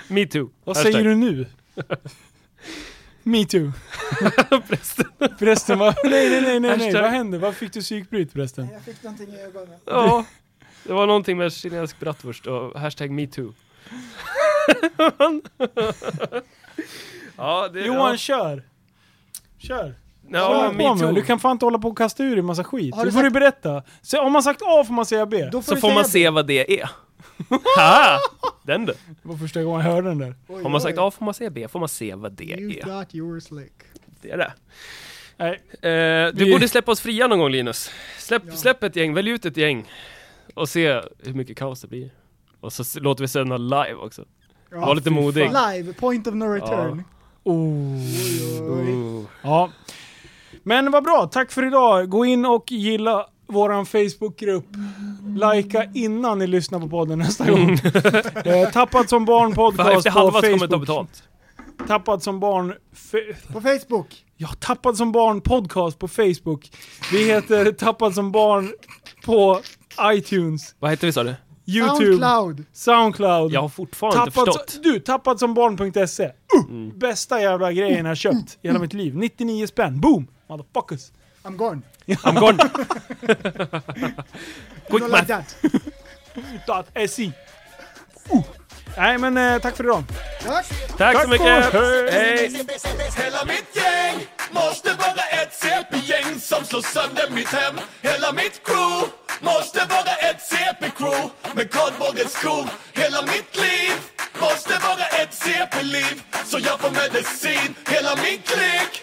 [SPEAKER 3] Me too.
[SPEAKER 2] Vad
[SPEAKER 3] Hashtag. [laughs]
[SPEAKER 2] säger du nu? Me too. Prästen bara, nej nej nej nej, nej.
[SPEAKER 3] Hashtag-
[SPEAKER 2] vad hände? Vad fick du psykbryt prästen?
[SPEAKER 4] Jag fick någonting i ögonen.
[SPEAKER 3] Ja, det var någonting med kinesisk bratwurst och
[SPEAKER 2] [laughs]
[SPEAKER 3] hashtag metoo. ja, det...
[SPEAKER 2] Johan kör! Kör!
[SPEAKER 3] ja,
[SPEAKER 2] Kör på
[SPEAKER 3] ja,
[SPEAKER 2] med. Du
[SPEAKER 3] metoo.
[SPEAKER 2] kan fan inte hålla på och kasta ur dig massa skit.
[SPEAKER 4] Har
[SPEAKER 2] Du
[SPEAKER 4] du
[SPEAKER 2] får du
[SPEAKER 4] sagt-
[SPEAKER 2] berätta. Så om man sagt A får man säga B.
[SPEAKER 4] Då
[SPEAKER 3] Så
[SPEAKER 4] du
[SPEAKER 3] får
[SPEAKER 4] säga
[SPEAKER 3] man
[SPEAKER 4] det.
[SPEAKER 3] se vad det
[SPEAKER 2] [laughs]
[SPEAKER 3] är. ha! Den du.
[SPEAKER 2] Det var första gången jag hörde den där.
[SPEAKER 4] Oj,
[SPEAKER 3] Har man
[SPEAKER 4] oj.
[SPEAKER 3] sagt A får man säga B, får man se vad det
[SPEAKER 4] You
[SPEAKER 3] är.
[SPEAKER 4] got your slick.
[SPEAKER 3] Det är det.
[SPEAKER 2] Nej,
[SPEAKER 3] Eh, du
[SPEAKER 2] Vi-
[SPEAKER 3] borde släppa oss fria någon gång Linus. Släpp,
[SPEAKER 4] Ja.
[SPEAKER 3] släpp ett gäng, välj ut ett gäng. Och se hur mycket kaos det blir. Och så s- låter vi sända live också.
[SPEAKER 4] Ja,
[SPEAKER 3] Var lite modig.
[SPEAKER 4] Live, point of no return.
[SPEAKER 2] Oh.
[SPEAKER 4] Oj.
[SPEAKER 3] Ooh.
[SPEAKER 2] Ja. Men vad bra, tack för idag. Gå in och gilla våran Facebookgrupp. Lajka innan ni lyssnar på podden nästa gång. eh, tappat som barn
[SPEAKER 3] Mm. Fan,
[SPEAKER 2] podcast
[SPEAKER 3] efter
[SPEAKER 2] på
[SPEAKER 3] halva så kommer jag ta
[SPEAKER 2] Facebook.
[SPEAKER 3] betalt.
[SPEAKER 2] Tappat som barn... Fe-
[SPEAKER 4] På Facebook.
[SPEAKER 2] ja, Tappat som barn podcast på Facebook. Vi heter Tappat som barn på iTunes,
[SPEAKER 3] Vad heter vi sa du?
[SPEAKER 2] YouTube, Soundcloud.
[SPEAKER 4] Soundcloud.
[SPEAKER 3] Jag har fortfarande inte
[SPEAKER 2] Tappat
[SPEAKER 3] förstått. Mm.
[SPEAKER 2] som, du, tappat som barn.se. Uh, Bästa jävla grejen jag har köpt i hela mitt liv. 99 spänn. Boom! Motherfuckers.
[SPEAKER 4] I'm gone.
[SPEAKER 3] I'm gone. [laughs]
[SPEAKER 4] You
[SPEAKER 3] Quick
[SPEAKER 4] know like
[SPEAKER 3] math.
[SPEAKER 4] that.
[SPEAKER 2] .se. E. Uh. Nej men eh, tack för idag.
[SPEAKER 4] Tack.
[SPEAKER 2] [laughs]
[SPEAKER 3] Tack så mycket. Hej.
[SPEAKER 1] Hela mitt gäng måste vara ett CP-gäng som slår sönder mitt hem Hela mitt crew måste vara ett CP-crew med kardborrens skor Hela mitt liv måste vara ett CP-liv så jag får medicin Hela min klick